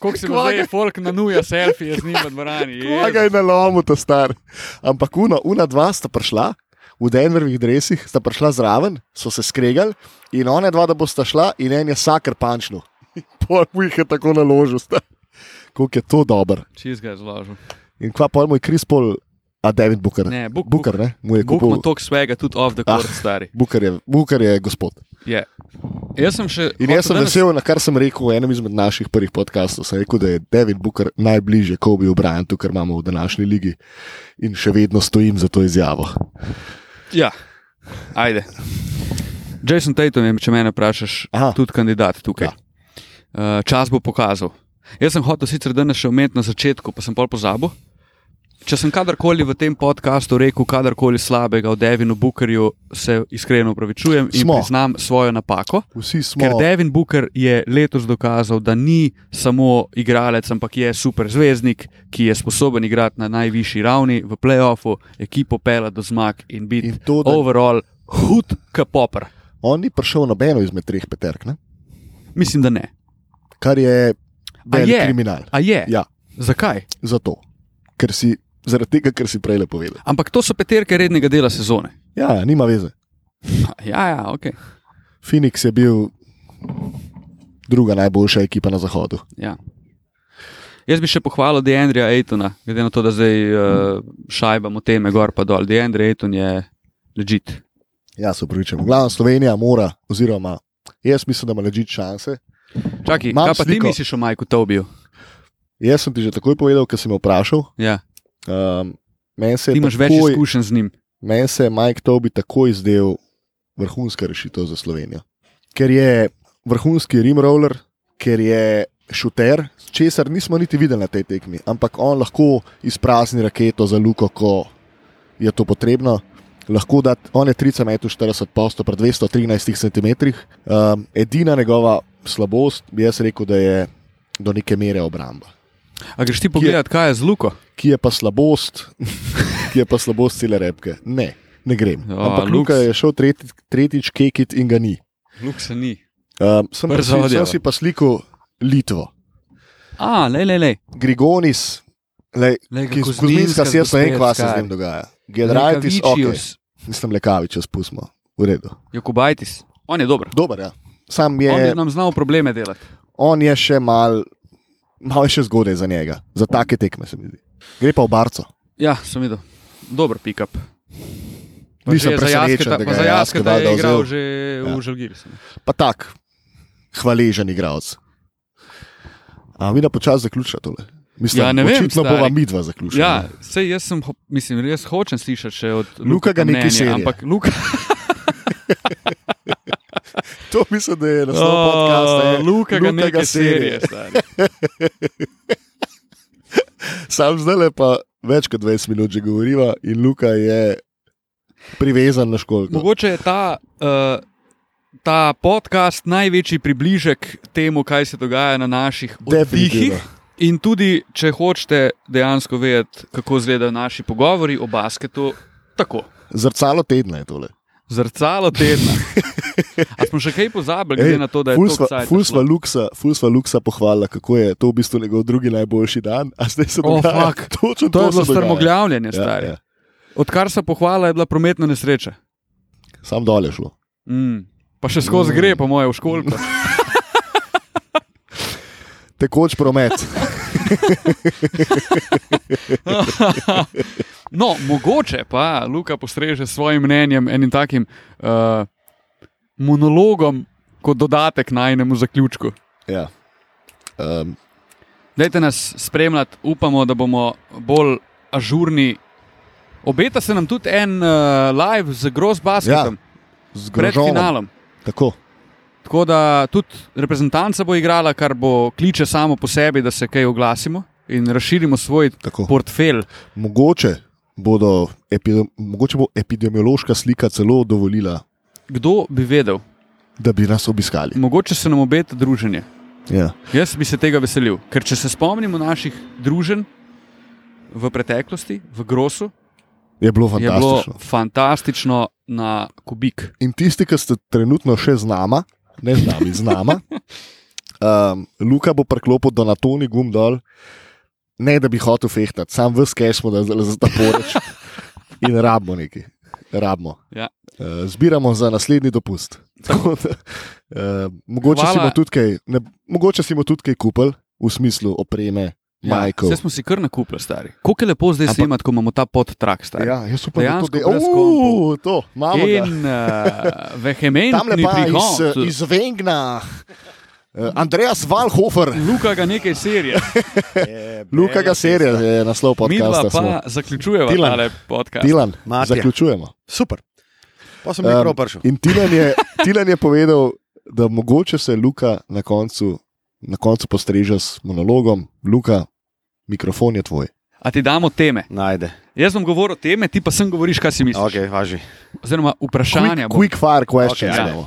Speaker 2: Kako se mu
Speaker 1: Kva
Speaker 2: zdaj,
Speaker 1: ga-
Speaker 2: folk na nuja selfije z njim v
Speaker 1: (laughs)
Speaker 2: dvorani.
Speaker 1: Kva ga je na lomu, ta star. Ampak una, una dva sta prišla. V Denverjih drevesih sta prišla zraven, so se skregali in ona dva, da bosta šla, in en je sakr pančno. (laughs) Pol mu jih je tako naložil, sta. koliko je to dober.
Speaker 2: Čez ga je zložil.
Speaker 1: In kva pa moj Krispol, a David Booker.
Speaker 2: Ne, Book-
Speaker 1: Booker, ne, mu je
Speaker 2: Bog ima
Speaker 1: kupil.
Speaker 2: toliko svega, tudi off the court, ah. stari.
Speaker 1: Booker je, Booker je gospod.
Speaker 2: Je. Jaz sem še.
Speaker 1: In jaz sem
Speaker 2: hotel danes-
Speaker 1: vesel, na kar sem rekel v enem izmed naših prvih podkastov. Sem rekel, da je David Booker najbližje Kobe Bryantu, kar imamo v današnji ligi. In še vedno stojim za to izjavo.
Speaker 2: Ja, ajde. Jason Tatum je, če me vprašaš,
Speaker 1: Aha.
Speaker 2: tudi kandidat tukaj.
Speaker 1: Ja.
Speaker 2: Uh, čas bo pokazal. Jaz sem hotel sicer danes še omeniti na začetku, pa sem pol pozabil. Če sem kadarkoli v tem podkastu rekel karkoli slabega o Devinu Bookerju, se iskreno upravičujem in
Speaker 1: Smo.
Speaker 2: priznam svojo napako.
Speaker 1: Vsi smo.
Speaker 2: Ker Devin Booker je letos dokazal, da ni samo igralec, ampak je superzvezdnik, ki je sposoben igrati na najvišji ravni v playoffu, ekipo pela do zmag in biti
Speaker 1: In to, da-
Speaker 2: overall hud, kapopr.
Speaker 1: On ni prišel nobeno izmed treh peterk, ne?
Speaker 2: Mislim, da ne.
Speaker 1: kar je
Speaker 2: A
Speaker 1: velik
Speaker 2: je?
Speaker 1: kriminal.
Speaker 2: A je?
Speaker 1: Ja,
Speaker 2: Zakaj?
Speaker 1: zato. Ker si, zaradi tega, kar si prej le povedal.
Speaker 2: Ampak to so peterke rednega dela sezone.
Speaker 1: Ja, ja, nima veze.
Speaker 2: Ja, ja, ok.
Speaker 1: Phoenix je bil druga najboljša ekipa na zahodu.
Speaker 2: Ja. Jaz bi še pohvalil Deandrija Aitona, glede na to, da zdaj uh, šajbamo teme gor in dol. Deandrij Aiton je ležit.
Speaker 1: Ja, se upravičujem. Glavno Slovenija mora, oziroma jaz mislim, da ima ležite šanse.
Speaker 2: Čakaj,
Speaker 1: Imam
Speaker 2: kaj pa ti
Speaker 1: sliko.
Speaker 2: misliš o Majku Tobiju?
Speaker 1: Jaz sem ti že takoj povedal, ker sem ga vprašal.
Speaker 2: Ja.
Speaker 1: Um, Meni se,
Speaker 2: Ti
Speaker 1: je
Speaker 2: imaš več
Speaker 1: takoj-
Speaker 2: izkušenj z njim.
Speaker 1: meni se je Mike Tobi takoj zdel vrhunska rešitev za Slovenijo. Ker je vrhunski rimroller, ker je šuter, česar nismo niti videli na tej tekmi, ampak on lahko izprazni raketo za luko, ko je to potrebno. Lahko da, on je 3 metrov 40 posto pri 213 cm. Um, edina njegova slabost, bi jaz rekel, da je do neke mere obramba
Speaker 2: A greš ti pogledat, kaj je z Luko?
Speaker 1: ki je pa slabost, (laughs) ki je pa slabost cele repke. Ne, ne grem.
Speaker 2: Ja,
Speaker 1: Ampak
Speaker 2: Luks.
Speaker 1: Luka je šel tretji, tretjič kekit in ga ni.
Speaker 2: Luk se ni.
Speaker 1: Um, sem, pa
Speaker 2: Brzo
Speaker 1: si,
Speaker 2: odjava.
Speaker 1: sem si pa sliko Litvo,
Speaker 2: A, le, le, le.
Speaker 1: Grigonis, lej,
Speaker 2: Lej,
Speaker 1: ki je
Speaker 2: Kuzminska
Speaker 1: Kuzminska,
Speaker 2: z
Speaker 1: jaz ne vem, kaj se
Speaker 2: Gospejec,
Speaker 1: z njim dogaja. Generalitis, ok,
Speaker 2: Lekavičius,
Speaker 1: nisem lekavič, spustimo, v redu.
Speaker 2: Jokubajtis. On je dober.
Speaker 1: Dober, ja. Sam je,
Speaker 2: On je nam znal probleme delati.
Speaker 1: on je še mal, malo je še zgodaj za njega, za take tekme se mi zdi. Gre pa v barco.
Speaker 2: Ja, sem videl. Dober pick-up. Pa
Speaker 1: Nisem
Speaker 2: že za
Speaker 1: presenečen,
Speaker 2: Jasketa-
Speaker 1: da ga
Speaker 2: pa za
Speaker 1: je
Speaker 2: jaske, da
Speaker 1: Jasketa
Speaker 2: je igral
Speaker 1: vzel.
Speaker 2: že v
Speaker 1: Ja.
Speaker 2: Žalgiri.
Speaker 1: pa tak, hvaležen igralec. A mi na počas zaključa tole. Mislim,
Speaker 2: Ja, ne vem,
Speaker 1: očitno
Speaker 2: stari.
Speaker 1: bova midva zaključila.
Speaker 2: Ja, sej jaz sem, ho- mislim, res hočem slišati še od
Speaker 1: Luka ga nekaj serije.
Speaker 2: ampak Luka,
Speaker 1: To mislim, da je naslov
Speaker 2: Oh,
Speaker 1: podcasta. je
Speaker 2: Luka ga nekaj serije. stari.
Speaker 1: Sam zdaj le pa več kot 20 minut že govoriva in Luka je privezan na školko.
Speaker 2: No. Mogoče je ta, uh, ta podcast največji približek temu, kaj se dogaja na naših
Speaker 1: Definitivno.
Speaker 2: oddihih. In tudi, če hočete dejansko vedeti, kako izgledajo naši pogovori o basketu, tako.
Speaker 1: Zrcalo tedna je tole.
Speaker 2: Zrcalo tedna. A smo še kaj pozabili, glede
Speaker 1: Ej,
Speaker 2: na to, da je
Speaker 1: ful
Speaker 2: to
Speaker 1: sva-
Speaker 2: vse?
Speaker 1: Ful sva Luksa- ful sva Luksa pohvalila, kako je to v bistvu njegov drugi najboljši dan, a zdaj se
Speaker 2: O,
Speaker 1: dogaja
Speaker 2: fuck.
Speaker 1: točno
Speaker 2: To
Speaker 1: se
Speaker 2: je
Speaker 1: dogaja.
Speaker 2: bilo strmoglavljanje,
Speaker 1: Ja,
Speaker 2: stari.
Speaker 1: ja.
Speaker 2: Odkar se pohvala, je bila prometna nesreča.
Speaker 1: Sam dol je šlo.
Speaker 2: Mm. Pa še skozi
Speaker 1: Mm.
Speaker 2: gre, po moje, v školko.
Speaker 1: Tekoč promet.
Speaker 2: No, mogoče pa Luka postreže s svojim mnenjem, enim takim uh, monologom, kot dodatek najnemu zaključku.
Speaker 1: (laughs) ja. um,
Speaker 2: Dajte nas spremljati, upamo, da bomo bolj ažurni. Obeta se nam tudi en uh, live z Grossbasketom ja,
Speaker 1: z
Speaker 2: pred
Speaker 1: grožnjom.
Speaker 2: finalom.
Speaker 1: Tako.
Speaker 2: Tako da tudi reprezentanca bo igrala, kar bo kliče samo po sebi, da se kaj oglasimo in razširimo svoj
Speaker 1: tako.
Speaker 2: portfelj.
Speaker 1: Mogoče, bodo, epi- mogoče bo epidemiološka slika celo dovolila,
Speaker 2: Kdo bi vedel?
Speaker 1: da bi nas obiskali.
Speaker 2: Mogoče se nam obeta druženje.
Speaker 1: Ja.
Speaker 2: Jaz bi se tega veselil, ker če se spomnimo naših družen v preteklosti, v Grosu,
Speaker 1: Je bilo
Speaker 2: je bilo
Speaker 1: fantastično. Je bilo...
Speaker 2: fantastično na kubik.
Speaker 1: In tisti, ki ste trenutno še z nami, ne z nami, z
Speaker 2: (laughs)
Speaker 1: nami, um, Luka bo preklopil do Natoni gum dol, ne da bi hotel fehtati, sam v skešmo, da za ta
Speaker 2: (laughs)
Speaker 1: poreč in rabimo neki. Rabimo.
Speaker 2: Ja.
Speaker 1: Eh, Zbiramo za naslednji dopust. (laughs) Tako da, eh, mogoče, si
Speaker 2: Hvala.
Speaker 1: bomo tudi kaj, ne, mogoče si bomo tudi kaj kupili v smislu opreme, majkov.
Speaker 2: Vse Ja, smo si kar nakupili, stari. Kako je lepo zdaj
Speaker 3: Ampak-
Speaker 2: snimati, ko imamo ta podtrak, stari.
Speaker 1: Ja, jaz upam, da to
Speaker 2: Dejansko
Speaker 1: delamo.
Speaker 2: brez kompov.
Speaker 1: Uf, to imamo. ga.
Speaker 2: In uh,
Speaker 1: Tam
Speaker 2: vehementni
Speaker 1: lepa iz, eh,
Speaker 2: prihod.
Speaker 1: iz Vengna, Eh, Andreas Valhofer,
Speaker 2: Luka ga nekaj serije,
Speaker 1: Luka Gaserja je naslov
Speaker 2: mi
Speaker 1: podcasta.
Speaker 2: dva
Speaker 1: smo.
Speaker 2: pa zaključujemo
Speaker 1: Tilan.
Speaker 2: tale podcast.
Speaker 1: Tilan,
Speaker 3: Matija.
Speaker 1: zaključujemo.
Speaker 3: Super. Pa sem
Speaker 1: Em,
Speaker 3: nekaj um, prišel.
Speaker 1: In Tilan
Speaker 2: (laughs)
Speaker 1: je, Tilan je povedal, da mogoče se Luka na koncu, na koncu postreže s monologom, Luka, mikrofon je tvoj.
Speaker 2: A ti damo teme?
Speaker 3: Najde.
Speaker 2: Jaz bom govoril teme, ti pa sem govoriš, kaj si misliš.
Speaker 3: Ok, važi.
Speaker 2: Oziroma, vprašanja.
Speaker 1: Quick,
Speaker 2: bom.
Speaker 1: quick fire questions.
Speaker 3: Okay, ja.
Speaker 1: Okay,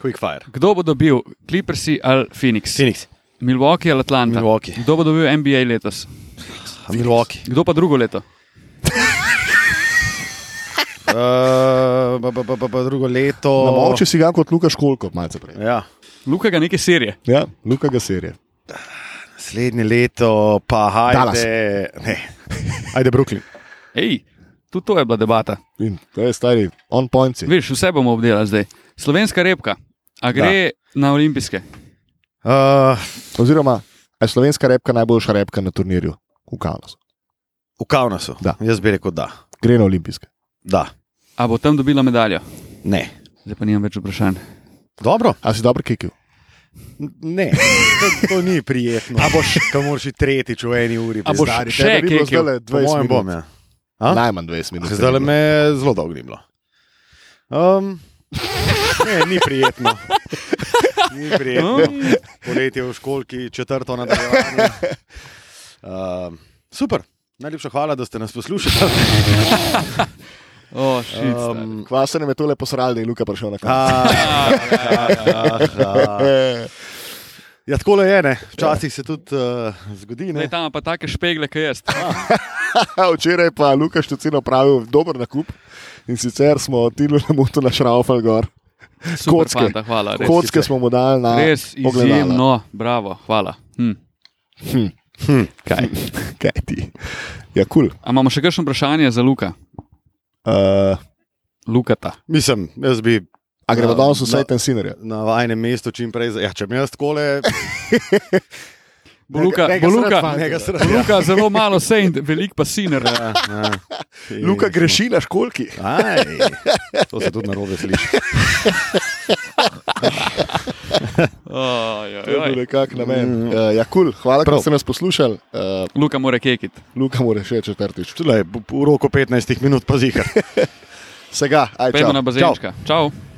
Speaker 3: Quick fire.
Speaker 2: Kdo bo dobil, Clippersi ali Phoenix?
Speaker 3: Phoenix.
Speaker 2: Milwaukee ali Atlanta?
Speaker 3: Milwaukee. Ah,
Speaker 2: Kdo bo dobil NBA letos?
Speaker 3: (laughs) Milwaukee.
Speaker 2: Kdo pa drugo leto?
Speaker 3: Uh, pa, pa, pa, pa, pa drugo leto.
Speaker 1: Na moči si ga kot Luka Školko, malce prej.
Speaker 3: Ja.
Speaker 2: Luka ga neke serije.
Speaker 1: Ja, Luka Gaserja.
Speaker 3: Naslednje leto pa
Speaker 1: Dallas.
Speaker 3: hajde. Ne. Ajde, Brooklyn.
Speaker 2: Ej, tudi to je bila debata.
Speaker 1: In to je stari on point. si.
Speaker 2: Veš, vse bomo obdelali zdaj. Slovenska repka, a gre da. na olimpijske?
Speaker 3: Uh,
Speaker 1: Oziroma, a je slovenska repka najboljša repka na turnirju v Kaunasu.
Speaker 3: v Kaunasu.
Speaker 1: Da.
Speaker 3: Jaz bi rekel, da.
Speaker 1: Gre na olimpijske.
Speaker 3: da.
Speaker 2: A bo tam dobila medaljo?
Speaker 3: Ne.
Speaker 2: Zdaj pa nimam več vprašanj.
Speaker 3: Dobro.
Speaker 1: A si dobro kikil?
Speaker 3: Ne, to, to ni prijetno. A boš, kam moraš iti tretjič v eni uri,
Speaker 2: A boš
Speaker 3: pizdariš.
Speaker 2: še
Speaker 1: Tebe bi bilo
Speaker 2: kikal?
Speaker 1: zdajle
Speaker 3: Po
Speaker 1: 20
Speaker 3: mojem
Speaker 1: minut.
Speaker 3: bom, ja. A?
Speaker 1: Najmanj 20 minut.
Speaker 3: Zdaj me je zelo dolgo ni bilo. Um, ne, ni prijetno. (laughs) Um. Ni prijetno.
Speaker 2: Mm.
Speaker 3: Poletje v školki, četrto nadaljevanje. (laughs) Um, super, najlepša hvala, da ste nas (laughs) poslušali.
Speaker 2: O,
Speaker 1: Ehm,
Speaker 2: šit, um,
Speaker 3: Um,
Speaker 1: Kva se nam je tole posral, da je Luka prišel na konec.
Speaker 3: ah, ah, ah, ah.
Speaker 1: Eh,
Speaker 3: Ja, tako je, ne. Včasih se tudi uh, zgodi.
Speaker 2: Zdaj
Speaker 3: Ne?
Speaker 2: tam pa take špegle, kaj jaz.
Speaker 1: (laughs) Ah, Včeraj je pa Luka Štucino pravil dober nakup in sicer smo Tilo na motu na Šraufel gor.
Speaker 2: Super,
Speaker 1: Kocke.
Speaker 2: fanta, hvala. Res,
Speaker 1: Kocke smo mu dali na
Speaker 2: res
Speaker 1: ogledala.
Speaker 2: izjemno, bravo, hvala. Hm.
Speaker 1: Hm.
Speaker 2: Kaj?
Speaker 1: Kaj (laughs) ti? Ja, kul. Cool.
Speaker 2: A imamo še kakšno vprašanje za Luka?
Speaker 1: Uh,
Speaker 2: Lukata.
Speaker 3: Mislim, jaz bi
Speaker 1: a gremo
Speaker 3: Ja,
Speaker 1: danes vse
Speaker 3: no.
Speaker 1: ten sinerje?
Speaker 3: na vajnem mestu čim prej. za- Ja, če bi jaz takole,
Speaker 2: Bo Luka,
Speaker 1: Njega- njega
Speaker 2: bo
Speaker 1: srd ja.
Speaker 2: Luka,
Speaker 1: fanta.
Speaker 3: nekaj
Speaker 2: bo
Speaker 3: srca.
Speaker 2: Luka zelo malo sejn, velik pa siner.
Speaker 1: Luka
Speaker 3: no.
Speaker 1: greši na školki.
Speaker 3: eh. Aj, to se tudi na robe sliši.
Speaker 2: Oj,
Speaker 1: To je
Speaker 2: oj,
Speaker 1: bil
Speaker 2: oj.
Speaker 1: nekak namen. Uh, ja, kul. Cool. Hvala, da
Speaker 3: Prav.
Speaker 1: ste nas poslušali. Uh,
Speaker 2: Luka mora kekit.
Speaker 1: Luka mora še četrtič.
Speaker 3: Pač, Tule, v v roku 15 minut pa zihar.
Speaker 1: Vsega, aj,
Speaker 2: Pejmo
Speaker 1: čau.
Speaker 2: na bazenčka. Čau. Čau.